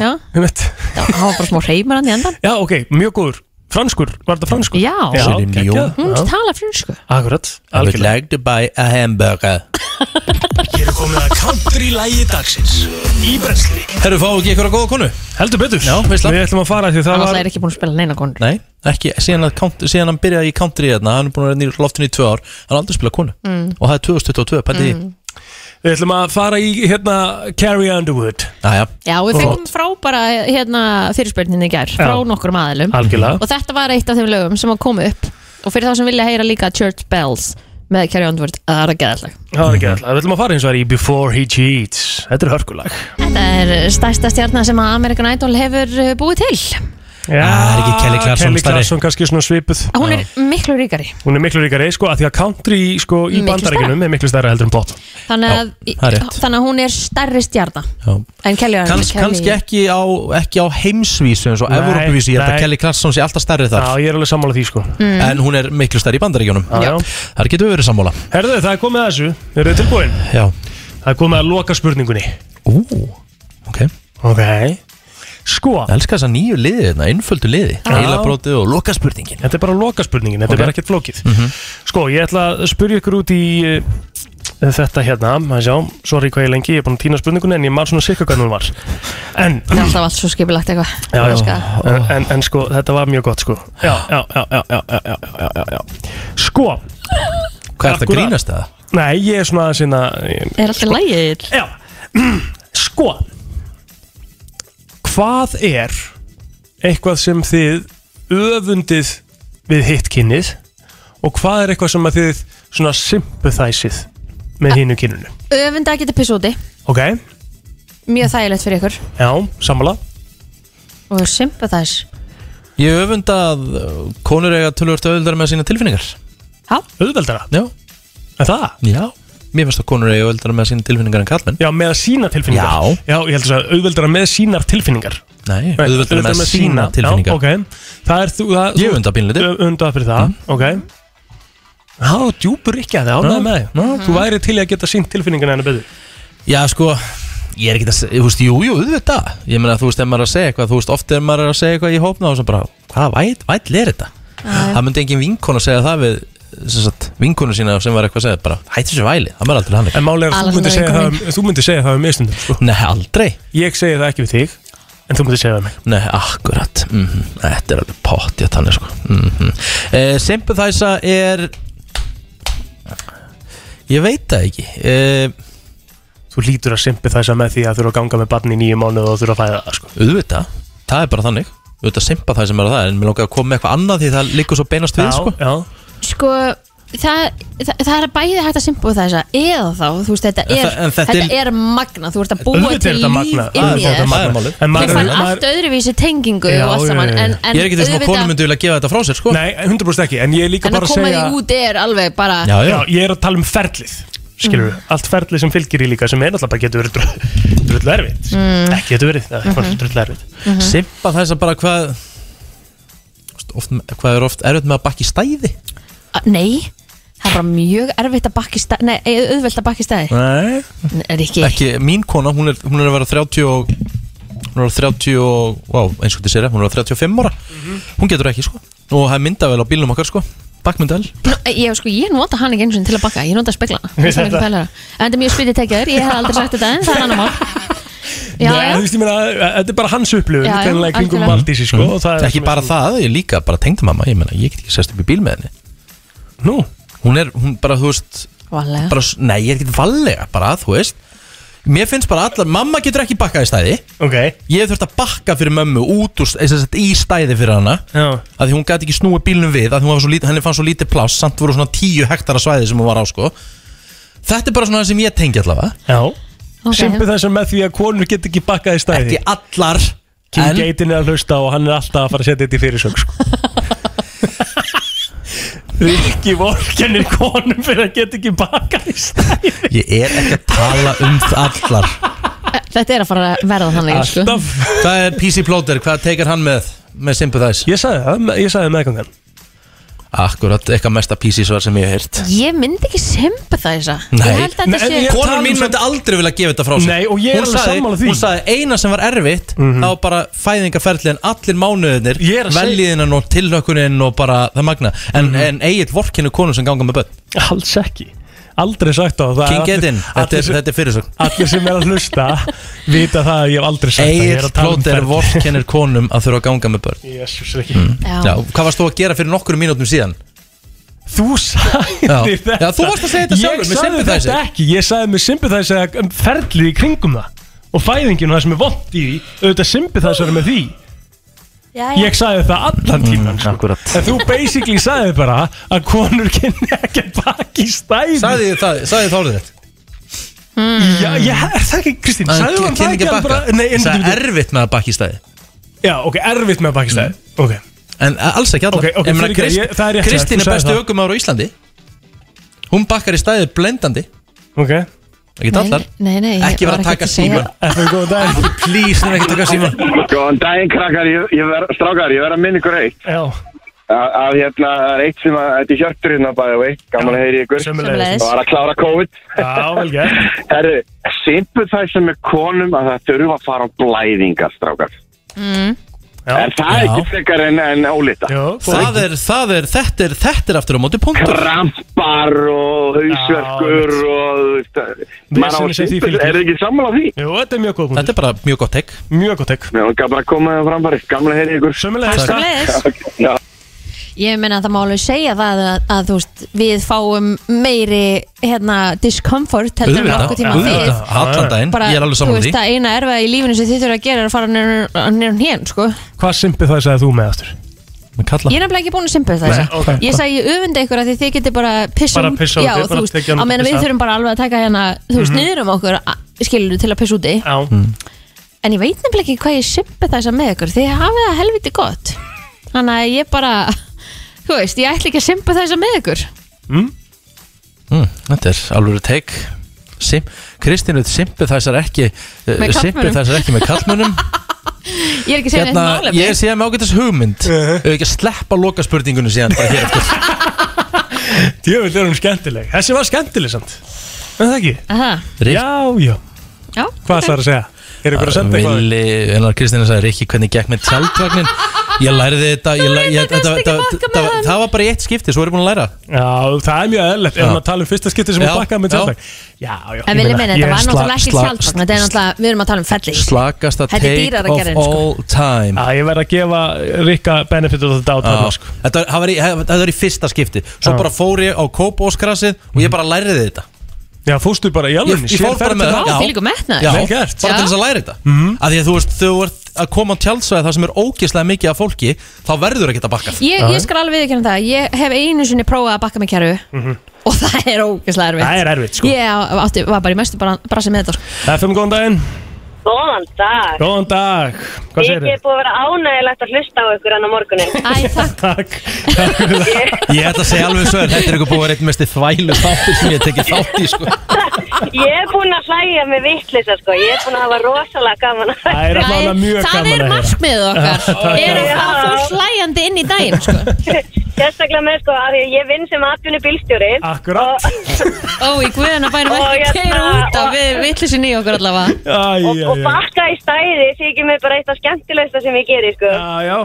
[SPEAKER 5] Já,
[SPEAKER 4] um eitt
[SPEAKER 5] Já, hann var bara smá reymar hann í endan
[SPEAKER 4] Já, ok, mjög góður, franskur, var þetta franskur?
[SPEAKER 5] Já,
[SPEAKER 1] Celine Dion.
[SPEAKER 4] geggjað,
[SPEAKER 5] hún
[SPEAKER 4] já.
[SPEAKER 5] talar frönsku
[SPEAKER 4] Akkurat,
[SPEAKER 1] I would like to buy a hamburger
[SPEAKER 4] Hér er komið að country lægi dagsins Í Bresli
[SPEAKER 1] Herru, fáum við ekki ykkur að góða konu?
[SPEAKER 4] Heldur betur
[SPEAKER 1] Já, veistla
[SPEAKER 4] Við ætlum að fara því það
[SPEAKER 5] Hann
[SPEAKER 4] var
[SPEAKER 5] alltaf er ekki búin að spila neina konur
[SPEAKER 1] Nei, ekki, síðan, að, count- síðan hann byrjaði í country hérna, hann er búin að vera í loftinu í tvö ár hann er aldrei að spila konu
[SPEAKER 5] Mm.
[SPEAKER 1] og það er 2022, pæti mm.
[SPEAKER 4] Við ætlum að fara í, hérna, Carrie Underwood
[SPEAKER 1] því Æja,
[SPEAKER 5] Já, við
[SPEAKER 4] Flott.
[SPEAKER 5] fengum frábæra hérna, fyrirspurninni í gær frá
[SPEAKER 4] Já.
[SPEAKER 5] nokkrum aðilum
[SPEAKER 4] Algjörlega.
[SPEAKER 5] og þetta var eitt af þeim lögum sem að koma upp og fyrir þá sem vilja heyra líka Church Bells með Carrie Underwood, það er að geða alltaf
[SPEAKER 4] Það er
[SPEAKER 1] Mhm.
[SPEAKER 4] ekki alltaf, við ætlum að fara eins og það í Before He Cheats Þetta er hörkulag
[SPEAKER 5] Þetta er stærsta stjarnar sem að American Idol hefur uh, búið til
[SPEAKER 4] Já,
[SPEAKER 1] það er ekki Kelly Clarkson
[SPEAKER 4] Ah, Kelly
[SPEAKER 1] stærri.
[SPEAKER 4] Clarkson kannski svona svipuð
[SPEAKER 5] Hún er miklu ríkari
[SPEAKER 4] Hún er miklu ríkari, sko, að því að country sko, í
[SPEAKER 5] Miklu
[SPEAKER 4] bandaríkinum er miklu stærra heldur en pop
[SPEAKER 5] Þannig að,
[SPEAKER 1] það er rétt.
[SPEAKER 5] þannig að hún er stærri stjarnar en Kelly
[SPEAKER 1] Kanns, kannski ekki á, ekki á heimsvísu eins og
[SPEAKER 4] Nei,
[SPEAKER 1] Evrópavísu, ég held
[SPEAKER 4] nei.
[SPEAKER 1] að Kelly Clarkson sé alltaf stærri þar
[SPEAKER 4] Já, ég er alveg sammála því, sko
[SPEAKER 5] Mm.
[SPEAKER 1] en hún er miklu stærri í bandaríkjónum
[SPEAKER 4] Já.
[SPEAKER 1] þar getum við verið sammála
[SPEAKER 4] Herðu, það er komið að þessu, eru þið tilbúin?
[SPEAKER 1] Já.
[SPEAKER 4] Það er komið að loka spurningunni
[SPEAKER 1] Ú, ok
[SPEAKER 4] Ok Sko
[SPEAKER 1] Það elskar þess að nýju liði þetta, einföldu liði
[SPEAKER 4] Já.
[SPEAKER 1] Heilabrótið og loka spurningin
[SPEAKER 4] Þetta er bara loka spurningin, þetta
[SPEAKER 1] Ok. Mhm.
[SPEAKER 4] er bara ekkert flókið Sko, ég ætla að spyrja ykkur út í uh, þetta hérna, maður sjá, sorry hvað ég er lengi, ég er búin að týna spurningunni en ég man svona sikka hvernig hún var En
[SPEAKER 5] Það er alltaf allt svo skipilagt eitthvað
[SPEAKER 4] já,
[SPEAKER 5] Ég elska
[SPEAKER 4] já.
[SPEAKER 5] það.
[SPEAKER 4] En, en, en sko, þetta var mjög gott sko Já, já, já, já, já, já, já, já, já, já. Sko
[SPEAKER 1] Hvað er þetta
[SPEAKER 4] Akkúrat.
[SPEAKER 1] grínast það?
[SPEAKER 4] Nei, ég er svona sinna ég-
[SPEAKER 5] Er alltaf lægir
[SPEAKER 4] Já, Sko Hvað er eitthvað sem þið öfundið við hitt kynnið og hvað er eitthvað sem að þið svona sympathisið með hínu kynninu
[SPEAKER 5] Öfunda að geta piss úti,
[SPEAKER 4] Ok,
[SPEAKER 5] mjög þægilegt fyrir ykkur
[SPEAKER 4] já, sammála
[SPEAKER 5] og sympathize
[SPEAKER 1] Ég öfund að uh, konur eiga tölvört auðveldar með sína tilfinningar
[SPEAKER 5] Já.
[SPEAKER 4] Auðveldara?
[SPEAKER 1] Já
[SPEAKER 4] Er það?
[SPEAKER 1] Já Mér finnst að konur eiga auðveldar með sína tilfinningar en kallmenn
[SPEAKER 4] Já, með sína tilfinningar
[SPEAKER 1] Já.
[SPEAKER 4] ég heldur að auðveldara með sínar tilfinningar
[SPEAKER 1] Nei, auðveldar með sína tilfinningar
[SPEAKER 4] já, ok. Það er þú það,
[SPEAKER 1] Ég öfunda pínlítið.
[SPEAKER 4] Öfunda fyrir
[SPEAKER 1] Mm.
[SPEAKER 4] það, ok Já, djúpur ekki að það
[SPEAKER 1] Já,
[SPEAKER 4] ánæði með þig.
[SPEAKER 5] Mm.
[SPEAKER 1] já.
[SPEAKER 4] Þú væri til í að geta sínt tilfinningana hennar betur
[SPEAKER 1] Já, sko Ég er ekki að, þú veist, jú, jú, auðvitað Ég meina, þú veist, ef maður er að segja eitthvað Þú veist, oft ef maður er að segja eitthvað í hópna Og svo bara, hvað væt, væt er þetta? Það myndi engin vinkona segja það við sem sagt, vinkonu sína sem var eitthvað að segja bara, hætti þessu væli, það maður aldrei hann
[SPEAKER 4] En málega er að þú myndir segja það um- þú myndir segja það um meðstundum sko.
[SPEAKER 1] Nei, aldrei
[SPEAKER 4] Ég segi það ekki við þig En þú myndir segja það um mig
[SPEAKER 1] Nei, akkurat mm Þetta er alveg pott, ég þannig sko mm -hmm. Sympathiza er Ég veit það ekki uh,
[SPEAKER 4] Þú lítur að sympathiza með því að þurfa að ganga með barn í nýju mánuð og þurfa að fæða það sko.
[SPEAKER 1] Auðvitað, það er bara þannig Auðvitað sympathiza mér á það En mér lókaði að koma með eitthvað annað því það liggur svo beinast við
[SPEAKER 4] Já,
[SPEAKER 1] sko
[SPEAKER 4] já.
[SPEAKER 5] Sko, það, það, það er bæði hægt að sympathiza eða þá, þú veist, þetta
[SPEAKER 1] En
[SPEAKER 5] er,
[SPEAKER 1] það- en þetta
[SPEAKER 5] þetta,
[SPEAKER 1] er-
[SPEAKER 5] er magna Þú ert að búa
[SPEAKER 1] Auðvitað
[SPEAKER 5] til
[SPEAKER 1] er
[SPEAKER 5] líf
[SPEAKER 1] þetta magnað. Það
[SPEAKER 5] inn í
[SPEAKER 1] er bara-
[SPEAKER 5] þér
[SPEAKER 1] það er málið.
[SPEAKER 4] En
[SPEAKER 5] Ég
[SPEAKER 4] maður
[SPEAKER 5] fann
[SPEAKER 4] maður-
[SPEAKER 5] allt öðruvísi tengingu
[SPEAKER 4] Já,
[SPEAKER 5] og allt
[SPEAKER 4] já,
[SPEAKER 5] saman
[SPEAKER 4] já, já.
[SPEAKER 5] en, en
[SPEAKER 1] Ég er ekki þess að konum myndi vilja gefa þetta frá sér sko
[SPEAKER 4] Nei, 100% ekki En ég er líka
[SPEAKER 5] En að
[SPEAKER 4] bara að
[SPEAKER 5] koma
[SPEAKER 4] segja
[SPEAKER 5] því út er alveg bara
[SPEAKER 1] Já, já.
[SPEAKER 4] já, ég er að tala um ferlið skilur við, allt ferlið sem fylgir í líka sem er náttúrulega bara getur verið drullu drull erfitt
[SPEAKER 1] Mm.
[SPEAKER 4] ekki getur verið, það er bara
[SPEAKER 1] Mhm.
[SPEAKER 4] drullu erfitt
[SPEAKER 1] mm -hmm. Sympathiza bara hvað oft, Hvað er oft erfitt með að bakka í stæði
[SPEAKER 5] A- Nei, það er bara mjög erfitt að bakki stæði Nei, auðvelt að bakki stæði
[SPEAKER 1] Nei
[SPEAKER 5] Er ekki
[SPEAKER 1] Mín kona, hún er, hún er að vera 30 og Hún hún er á 30 og, wow, eins og þetta sér, hún er á 35 ára Hún getur ekki, sko Og það er myndavel á bílnum okkar, sko Bakmyndavel
[SPEAKER 5] Ég, sko, ég nota hann ekki eins og til að bakka, ég nota speglana
[SPEAKER 1] Við
[SPEAKER 5] Ég sem ekki
[SPEAKER 1] þetta.
[SPEAKER 5] pælara. En þetta er mjög spytið tekjaður, ég hef aldrei sagt þetta en það er annar mál Já,
[SPEAKER 4] Nei,
[SPEAKER 5] já.
[SPEAKER 4] þú veist, ég meina, þetta er bara hans upplifun
[SPEAKER 5] Já, já,
[SPEAKER 4] greinilega, í kringum
[SPEAKER 5] algjörlega.
[SPEAKER 4] Valdísi, sko og það er
[SPEAKER 1] Mhm. Ekki bara það, ég líka bara tengd mamma Ég meina, ég get ekki sest upp í bíl með henni Nú? Hún er, hún bara, þú veist
[SPEAKER 5] Varlega.
[SPEAKER 1] bara, s- Nei, ég er ekki vallega, bara, þú veist Mér finnst bara allar, mamma getur ekki bakkað í stæði
[SPEAKER 4] okay.
[SPEAKER 1] Ég hef þurft að bakka fyrir mömmu út úr, eða sett í stæði fyrir hana
[SPEAKER 4] Já.
[SPEAKER 1] að því hún gæti ekki snúið bílnum við að því hún var svo lítið, henni fann svo lítið pláss samt voru svona 10 hektara svæði sem hún var á sko Þetta er bara svona það sem ég tengi allavega
[SPEAKER 4] Já,
[SPEAKER 5] Ok.
[SPEAKER 4] Simpu þessum með því að konur get ekki bakkað í stæði Ekki
[SPEAKER 1] allar
[SPEAKER 4] King
[SPEAKER 1] en-
[SPEAKER 4] Gaten er að hlusta og hann er alltaf að fara að setja þetta í fyrirsög sko. Rikki vorkenir konum fyrir að geta ekki bakkað í stæði
[SPEAKER 1] Ég er ekki að tala um það allar
[SPEAKER 5] Þetta er að fara að verða þannig sko.
[SPEAKER 1] Hvað er PC Plotter, hvað teikar hann með með Sympathize?
[SPEAKER 4] Ég sagði það, ég sagði meðgangan
[SPEAKER 1] Akkurat, eitthvað mesta PC svar sem ég hef heyrt
[SPEAKER 5] Ég myndi ekki sympathize
[SPEAKER 1] Nei. um-
[SPEAKER 5] Ég held að þetta sé
[SPEAKER 1] Konan mín myndi aldrei vilja gefa þetta frá sér
[SPEAKER 4] um Nei, og ég er
[SPEAKER 1] Hún
[SPEAKER 4] alveg
[SPEAKER 1] sagði-
[SPEAKER 4] sammála því. Mhm.
[SPEAKER 1] Hún sagði eina sem var erfitt Það var bara fæðingarferðlinn Allir mánuðinir
[SPEAKER 4] Ég er að segja- Mhm.
[SPEAKER 1] Veljiðinan og tilhlökkunin og bara það magna En, mm -hmm. en eigið vorkinu konu sem ganga með börn
[SPEAKER 4] Alls ekki Aldrei sagt á það
[SPEAKER 1] King
[SPEAKER 4] allir-
[SPEAKER 1] Gedin, þetta
[SPEAKER 4] allir
[SPEAKER 1] er,
[SPEAKER 4] sem-
[SPEAKER 1] þetta er fyrirsögn
[SPEAKER 4] Allir sem er að hlusta Vita það að ég hef aldrei sagt það Ég er
[SPEAKER 1] Egil
[SPEAKER 4] að tala
[SPEAKER 1] Plóter
[SPEAKER 4] um ferli.
[SPEAKER 1] vorkennir konum að þurfa að ganga með börn
[SPEAKER 4] Jesús, ekki
[SPEAKER 5] Já.
[SPEAKER 1] Já, Hvað varst þú að gera fyrir nokkrum mínútum síðan?
[SPEAKER 4] Þú sagði
[SPEAKER 1] Já.
[SPEAKER 4] þetta
[SPEAKER 1] Já, þú varst að segja þetta sjálfur,
[SPEAKER 4] Ég
[SPEAKER 1] með
[SPEAKER 4] sagði
[SPEAKER 1] sympathizer.
[SPEAKER 4] þetta ekki, ég sagði með sympathize um ferlið í kringum það Og fæðingin og það sem er vond í því Auðvitað sympathizer með því Ég sagði það allan tíman sko.
[SPEAKER 1] Mm, Akkurat
[SPEAKER 4] En þú basically sagði bara að konur kynni ekki að baki í stæði
[SPEAKER 1] Sagði ég það, sagði þálið þetta
[SPEAKER 4] Já, já, er það ekki, Kristín, sagði hann það ekki alveg bara- Nei, en
[SPEAKER 1] Það
[SPEAKER 4] þú-
[SPEAKER 1] er erfitt með að bakka í stæði
[SPEAKER 4] Já, ok, erfitt með að baki í stæði Ok
[SPEAKER 1] En a- alls ekki allar
[SPEAKER 4] Ok, ok,
[SPEAKER 1] Ég meina,
[SPEAKER 4] fyrirgefðu, ég- það er rétt hjá þér,
[SPEAKER 1] Kristín
[SPEAKER 4] þú
[SPEAKER 1] er
[SPEAKER 4] sagðir
[SPEAKER 1] bestu
[SPEAKER 4] það.
[SPEAKER 1] ökumár á Íslandi Hún bakkar í stæði blendandi
[SPEAKER 4] Ok
[SPEAKER 1] Ekki allar
[SPEAKER 5] Nei, nei,
[SPEAKER 1] Ekki vera að taka síma
[SPEAKER 4] Eftir góðan dag
[SPEAKER 1] Please, það er ekki að taka síma
[SPEAKER 13] Góðan daginn krakkar, ég, ég ver, strákar, ég verð að minna ykkur eitt
[SPEAKER 4] Já
[SPEAKER 13] Að að hérna, það er eitt sem að, þetta er hjörtur hérna by the way, gaman að heyri ykkur
[SPEAKER 4] sömuleiðis.
[SPEAKER 13] Það var að klára COVID
[SPEAKER 4] Já, vel gert
[SPEAKER 13] Herru, simpur það sem er konum að það þurfa að fara á blæðingar, strákar
[SPEAKER 5] Mm.
[SPEAKER 13] Er það
[SPEAKER 1] Já.
[SPEAKER 13] ekki frekar en, en álita?
[SPEAKER 4] Jó,
[SPEAKER 1] Það er, það er, þetta er, þetta er aftur á móti punktur
[SPEAKER 13] Krampar og hausverkur og þú veist, maður á
[SPEAKER 4] Vesenið sem því
[SPEAKER 13] simpur,
[SPEAKER 4] fylgir.
[SPEAKER 13] er það ekki sammála því?
[SPEAKER 4] Jú, þetta er mjög góð punktur
[SPEAKER 1] Þetta er bara mjög gott tek
[SPEAKER 4] Mjög gott tek
[SPEAKER 13] Mér langar bara að koma það framfæri, gaman að heyri ykkur
[SPEAKER 4] Sömulegis
[SPEAKER 5] Takk. Sömuleiðis.
[SPEAKER 13] Já,
[SPEAKER 5] Ég meina að það má alveg segja það að, að þú veist, við fáum meiri hérna, discomfort heldur en okkur tíma við
[SPEAKER 1] auðvitað, allan daginn,
[SPEAKER 5] bara,
[SPEAKER 1] ég er alveg saman
[SPEAKER 5] Þú
[SPEAKER 1] því
[SPEAKER 5] veist að eina erfa í lífinu sem þið þurfa að gera er að fara nýrn hén, sko
[SPEAKER 4] Hvað simpið það sagði þú með aftur?
[SPEAKER 1] Með kalla
[SPEAKER 5] Ég er nefnilega ekki búin að simpa um
[SPEAKER 4] Nei,
[SPEAKER 5] það
[SPEAKER 4] ok.
[SPEAKER 5] Ég sagði ég öfundi ykkur að þið þið getur bara pissa
[SPEAKER 4] Bara
[SPEAKER 5] út-
[SPEAKER 4] pissa út,
[SPEAKER 5] Já,
[SPEAKER 4] þið bara
[SPEAKER 5] þú veist,
[SPEAKER 4] tekið hann
[SPEAKER 5] á
[SPEAKER 4] út að
[SPEAKER 5] meðan við
[SPEAKER 4] pissa.
[SPEAKER 5] þurfum bara alveg að taka hérna Þú veist,
[SPEAKER 4] Mhm.
[SPEAKER 5] niður um okkur, skilur til að pissa úti
[SPEAKER 4] Já
[SPEAKER 5] En ég veit nefnilega ekki hvað ég simpa það með ykkur Þið hafið það helviti gott Þannig að ég bara, þú veist, ég ætla ekki að simpa það með ykkur
[SPEAKER 1] mm, Þetta er alveg tek Sim, Kristín veit sympathisar ekki uh,
[SPEAKER 5] Með karlmönnum.
[SPEAKER 1] Sympathisar ekki með kallmönnum Hérna,
[SPEAKER 5] Ég er ekki að
[SPEAKER 4] Hérna,
[SPEAKER 5] segja neitt málefni
[SPEAKER 1] Ég sé að með ágættis hugmynd Ef uh ekki að sleppa loka spurningunum síðan bara hér eftir
[SPEAKER 4] Djöfull er hún skemmtileg Þessi var skemmtileg samt En það ekki?
[SPEAKER 5] Aha,
[SPEAKER 4] Já, já
[SPEAKER 5] já
[SPEAKER 4] Hvað ætlar að segja? Er ykkur að senda eitthvað?
[SPEAKER 1] Vili, en að Kristina sagði Rikki hvernig gekk með tjaldvagnin Ég læriði þetta ég læ, ég, þetta, þetta, þetta, það, það var bara í eitt skipti, svo er ég búin að læra
[SPEAKER 4] Já, það er mjög eðlert Ef
[SPEAKER 1] Já.
[SPEAKER 4] maður tala um fyrsta skipti sem
[SPEAKER 1] Já,
[SPEAKER 4] hún bakkaði með
[SPEAKER 1] já.
[SPEAKER 4] tjálfæk Já, já
[SPEAKER 5] En
[SPEAKER 4] ég
[SPEAKER 5] vilja
[SPEAKER 4] meina,
[SPEAKER 5] minna,
[SPEAKER 4] ég
[SPEAKER 5] þetta var
[SPEAKER 4] sla-
[SPEAKER 5] náttúrulega ekki
[SPEAKER 4] sla-
[SPEAKER 5] sjálfsvagn Þetta er náttúrulega, við erum að tala um felli
[SPEAKER 1] Slagasta
[SPEAKER 5] Þetta er
[SPEAKER 1] take
[SPEAKER 5] dýrara
[SPEAKER 1] of
[SPEAKER 5] gerðin, sko
[SPEAKER 1] all time
[SPEAKER 4] Já, ég verð að gefa Rikka benefit of the doubt
[SPEAKER 1] Já,
[SPEAKER 4] þarna, sko.
[SPEAKER 1] Þetta Ah, það var, Ah. í, það var í fyrsta skipti Svo
[SPEAKER 4] Já.
[SPEAKER 1] bara fór ég á kópóskrasið og ég bara læriði þetta
[SPEAKER 4] Já, fórstu bara í
[SPEAKER 1] Ég,
[SPEAKER 4] alveg
[SPEAKER 1] ég fór bara með
[SPEAKER 5] Vá,
[SPEAKER 1] já.
[SPEAKER 5] þvílíkur metnaður.
[SPEAKER 1] Já,
[SPEAKER 5] Vel
[SPEAKER 1] bara
[SPEAKER 5] gert.
[SPEAKER 1] til
[SPEAKER 5] Já.
[SPEAKER 1] þess að læra þetta Af því að þú veist, þau ert að koma á tjaldsvæði þar sem er ógislega mikið af fólki þá verður ekki að bakka
[SPEAKER 5] Ég, ég skal alveg viðkjörna það, ég hef einu sinni prófað að bakka með kæru og það er ógeðslega erfitt
[SPEAKER 4] Mhm. Það er erfitt, sko.
[SPEAKER 5] Ég á- átti, var bara í mestu bara, bara sem með þetta sko.
[SPEAKER 4] FM, góðan daginn
[SPEAKER 14] Góðan dag.
[SPEAKER 4] Góðan dag Hvað segir
[SPEAKER 14] Mikið er búið að vera ánægilegt að hlusta á ykkur hann á morgunin.
[SPEAKER 5] Æ, takk.
[SPEAKER 4] takk.
[SPEAKER 1] Ég ætla að segja alveg svo, þetta er eitthvað búið að vera einn mest þvælu þáttur sem ég hef tekið þátt í sko.
[SPEAKER 14] Ég er búin að hlæja með vittlisa, sko. Ég er búin að hafa rosalega gaman að
[SPEAKER 4] Það er allavega mjög
[SPEAKER 5] Það
[SPEAKER 4] gaman að
[SPEAKER 5] er
[SPEAKER 4] heyra.
[SPEAKER 5] markmiðið okkar
[SPEAKER 4] Já, takk.
[SPEAKER 5] Er að fá fólk hlæjandi inn í daginn sko.
[SPEAKER 9] sérstaklega með sko að ég vinn sem atvinni bílstjóri
[SPEAKER 4] Akkurat
[SPEAKER 5] Ó, í guðana bænum
[SPEAKER 9] Og
[SPEAKER 5] ekki
[SPEAKER 9] hérna,
[SPEAKER 5] keira út af við
[SPEAKER 9] og-
[SPEAKER 5] vittlisin í okkur allavega
[SPEAKER 4] og,
[SPEAKER 9] og bakka í stæði þykir mér bara eitt af skemmtilegsta sem ég geri sko
[SPEAKER 4] já, já.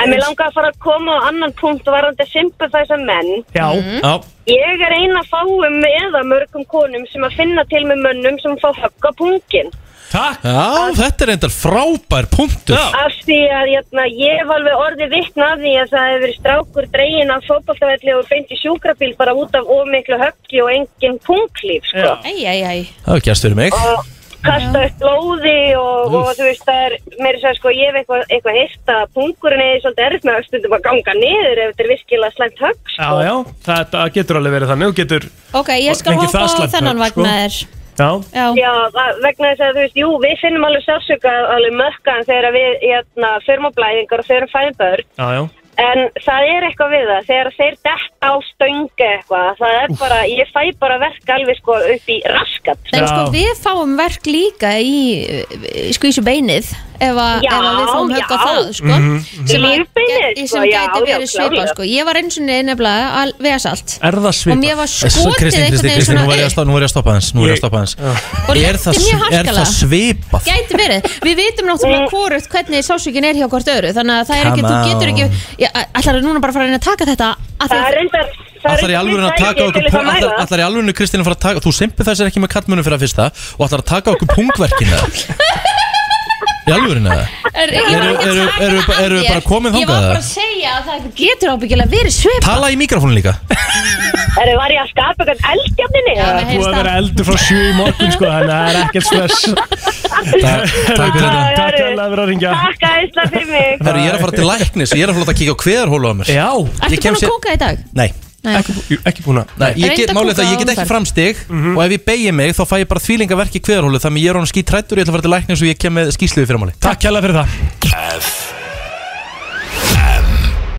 [SPEAKER 9] En mér langar að fara að koma á annan punkt og varandi sympathize menn
[SPEAKER 4] Já,
[SPEAKER 5] Mhm.
[SPEAKER 4] já.
[SPEAKER 9] Ég er eina fáum eða mörgum konum sem að finna til með mönnum sem fá högg á pungin
[SPEAKER 4] Takk
[SPEAKER 1] Já, þetta er endar frábær punktur
[SPEAKER 9] Af því að jæna, ég hef alveg orðið vittna af því að það hefur verið strákur dregin af fótballtafelli og beint í sjúkrabíl bara út af ómiklu höggi og engin punglíf sko.
[SPEAKER 5] Æj, æj, æj
[SPEAKER 1] Það er gæst fyrir mig
[SPEAKER 9] og kasta upp blóði og, og
[SPEAKER 1] Úff.
[SPEAKER 9] þú veist það er mér er að sko ég hef eitthvað eitthva heyrt að pungurinn er svolítið erfitt með að stundum að ganga niður ef þetta er virkilega slæmt högg sko.
[SPEAKER 4] já, já. Þetta getur alveg verið þannig Þú getur
[SPEAKER 5] Ok, ég skal
[SPEAKER 4] Fengi
[SPEAKER 5] hoppa
[SPEAKER 4] það
[SPEAKER 5] á
[SPEAKER 4] slæmt
[SPEAKER 5] þennan
[SPEAKER 4] högg, sko.
[SPEAKER 5] vagnar
[SPEAKER 4] Já,
[SPEAKER 5] Já,
[SPEAKER 9] Já, það- vegna þess að þú veist, jú, við finnum alveg sársöka alveg mökkan þegar við hérna, förum á blæðingar og förum fæðum börn
[SPEAKER 4] já, já
[SPEAKER 9] En það er eitthvað við það, þegar þeir dett á stöngu eitthvað, það er bara, ég fæ bara verk alveg sko upp í raskat.
[SPEAKER 5] En sko við fáum verk líka í, í skvísu beinið ef, a,
[SPEAKER 9] Já,
[SPEAKER 5] ef að við fáum högg á
[SPEAKER 9] já.
[SPEAKER 5] það sko,
[SPEAKER 4] Mhm, mhm.
[SPEAKER 5] sem, að,
[SPEAKER 9] Lífbeinið,
[SPEAKER 5] ge-
[SPEAKER 9] sko,
[SPEAKER 5] sem
[SPEAKER 9] já,
[SPEAKER 5] gæti
[SPEAKER 9] já,
[SPEAKER 5] verið svipað
[SPEAKER 9] klárlega.
[SPEAKER 5] sko. Ég var eins og niður nefnilega að vega salt
[SPEAKER 4] Er það svipað?
[SPEAKER 5] Og mér var skotið
[SPEAKER 1] Svo, Kristín,
[SPEAKER 5] einhvern
[SPEAKER 1] Kristín,
[SPEAKER 5] veginn
[SPEAKER 1] Kristín,
[SPEAKER 5] svona
[SPEAKER 1] nú var ég að
[SPEAKER 5] upp.
[SPEAKER 1] stoppa, nú var ég að stoppa hans, nú var ég að stoppa hans
[SPEAKER 5] Og
[SPEAKER 1] Er
[SPEAKER 5] lenti
[SPEAKER 1] það,
[SPEAKER 5] mjög
[SPEAKER 1] er það
[SPEAKER 5] harkalega.
[SPEAKER 1] svipað?
[SPEAKER 5] Gæti verið, við vitum náttúrulega
[SPEAKER 9] Mm.
[SPEAKER 5] hvort hvernig sásökin er hjá hvort öðru þannig að það er ekki,
[SPEAKER 1] Come
[SPEAKER 5] þú getur
[SPEAKER 1] on.
[SPEAKER 5] ekki Ætlar þú núna bara að fara að reyna að taka þetta að
[SPEAKER 9] Það er reyndar, það
[SPEAKER 1] Ætlar í alvöru að taka okkur pung- ætlar- Ætlar í alvöru Kristín að fara að taka Þú simpið þessir ekki með kattmunum fyrir að fyrsta Og ætlar að taka okkur pungverkinu Í alvöru neða
[SPEAKER 5] Er- ég var
[SPEAKER 1] Eru
[SPEAKER 5] ekki að
[SPEAKER 1] eru-
[SPEAKER 5] taka
[SPEAKER 1] eru-
[SPEAKER 5] af
[SPEAKER 1] eru
[SPEAKER 5] þér.
[SPEAKER 1] bara
[SPEAKER 5] Ég
[SPEAKER 1] komin
[SPEAKER 5] var
[SPEAKER 1] þangað
[SPEAKER 5] bara
[SPEAKER 1] eða?
[SPEAKER 5] að segja að það getur ábyggilega verið svipað
[SPEAKER 1] Tala í mikrofónu líka
[SPEAKER 9] Erðu var ég að skapa eitthvað eldjafninni? Já,
[SPEAKER 4] Það er búið að vera eldur frá sjö í morgun sko, Þannig að það er ekkert stress Takk
[SPEAKER 1] fyrir þetta.
[SPEAKER 4] Takk fyrir að vera að ringja
[SPEAKER 9] Takk æsla fyrir mig.
[SPEAKER 1] Herru, ég er að fara til læknis Ég er að fara að láta kíkja á hveðarhólu á mér
[SPEAKER 4] Já
[SPEAKER 5] Ertu búin að kóka í dag?
[SPEAKER 1] Nei,
[SPEAKER 5] Nei.
[SPEAKER 4] Ekki, bú- ekki búin að
[SPEAKER 1] Nei, ég
[SPEAKER 5] Reyndu
[SPEAKER 1] get,
[SPEAKER 5] að
[SPEAKER 1] málið
[SPEAKER 5] kúka
[SPEAKER 1] það, ég get
[SPEAKER 5] á
[SPEAKER 1] ekki
[SPEAKER 5] umferð.
[SPEAKER 1] framstig og ef ég beigi mig þá fæ ég bara þvílingaverk í kveðarhólu þannig ég er honum skítrættur, ég ætla að fara til læknis og ég kem með skýsluði fyrir máli
[SPEAKER 4] Takk kjærlega fyrir það
[SPEAKER 15] F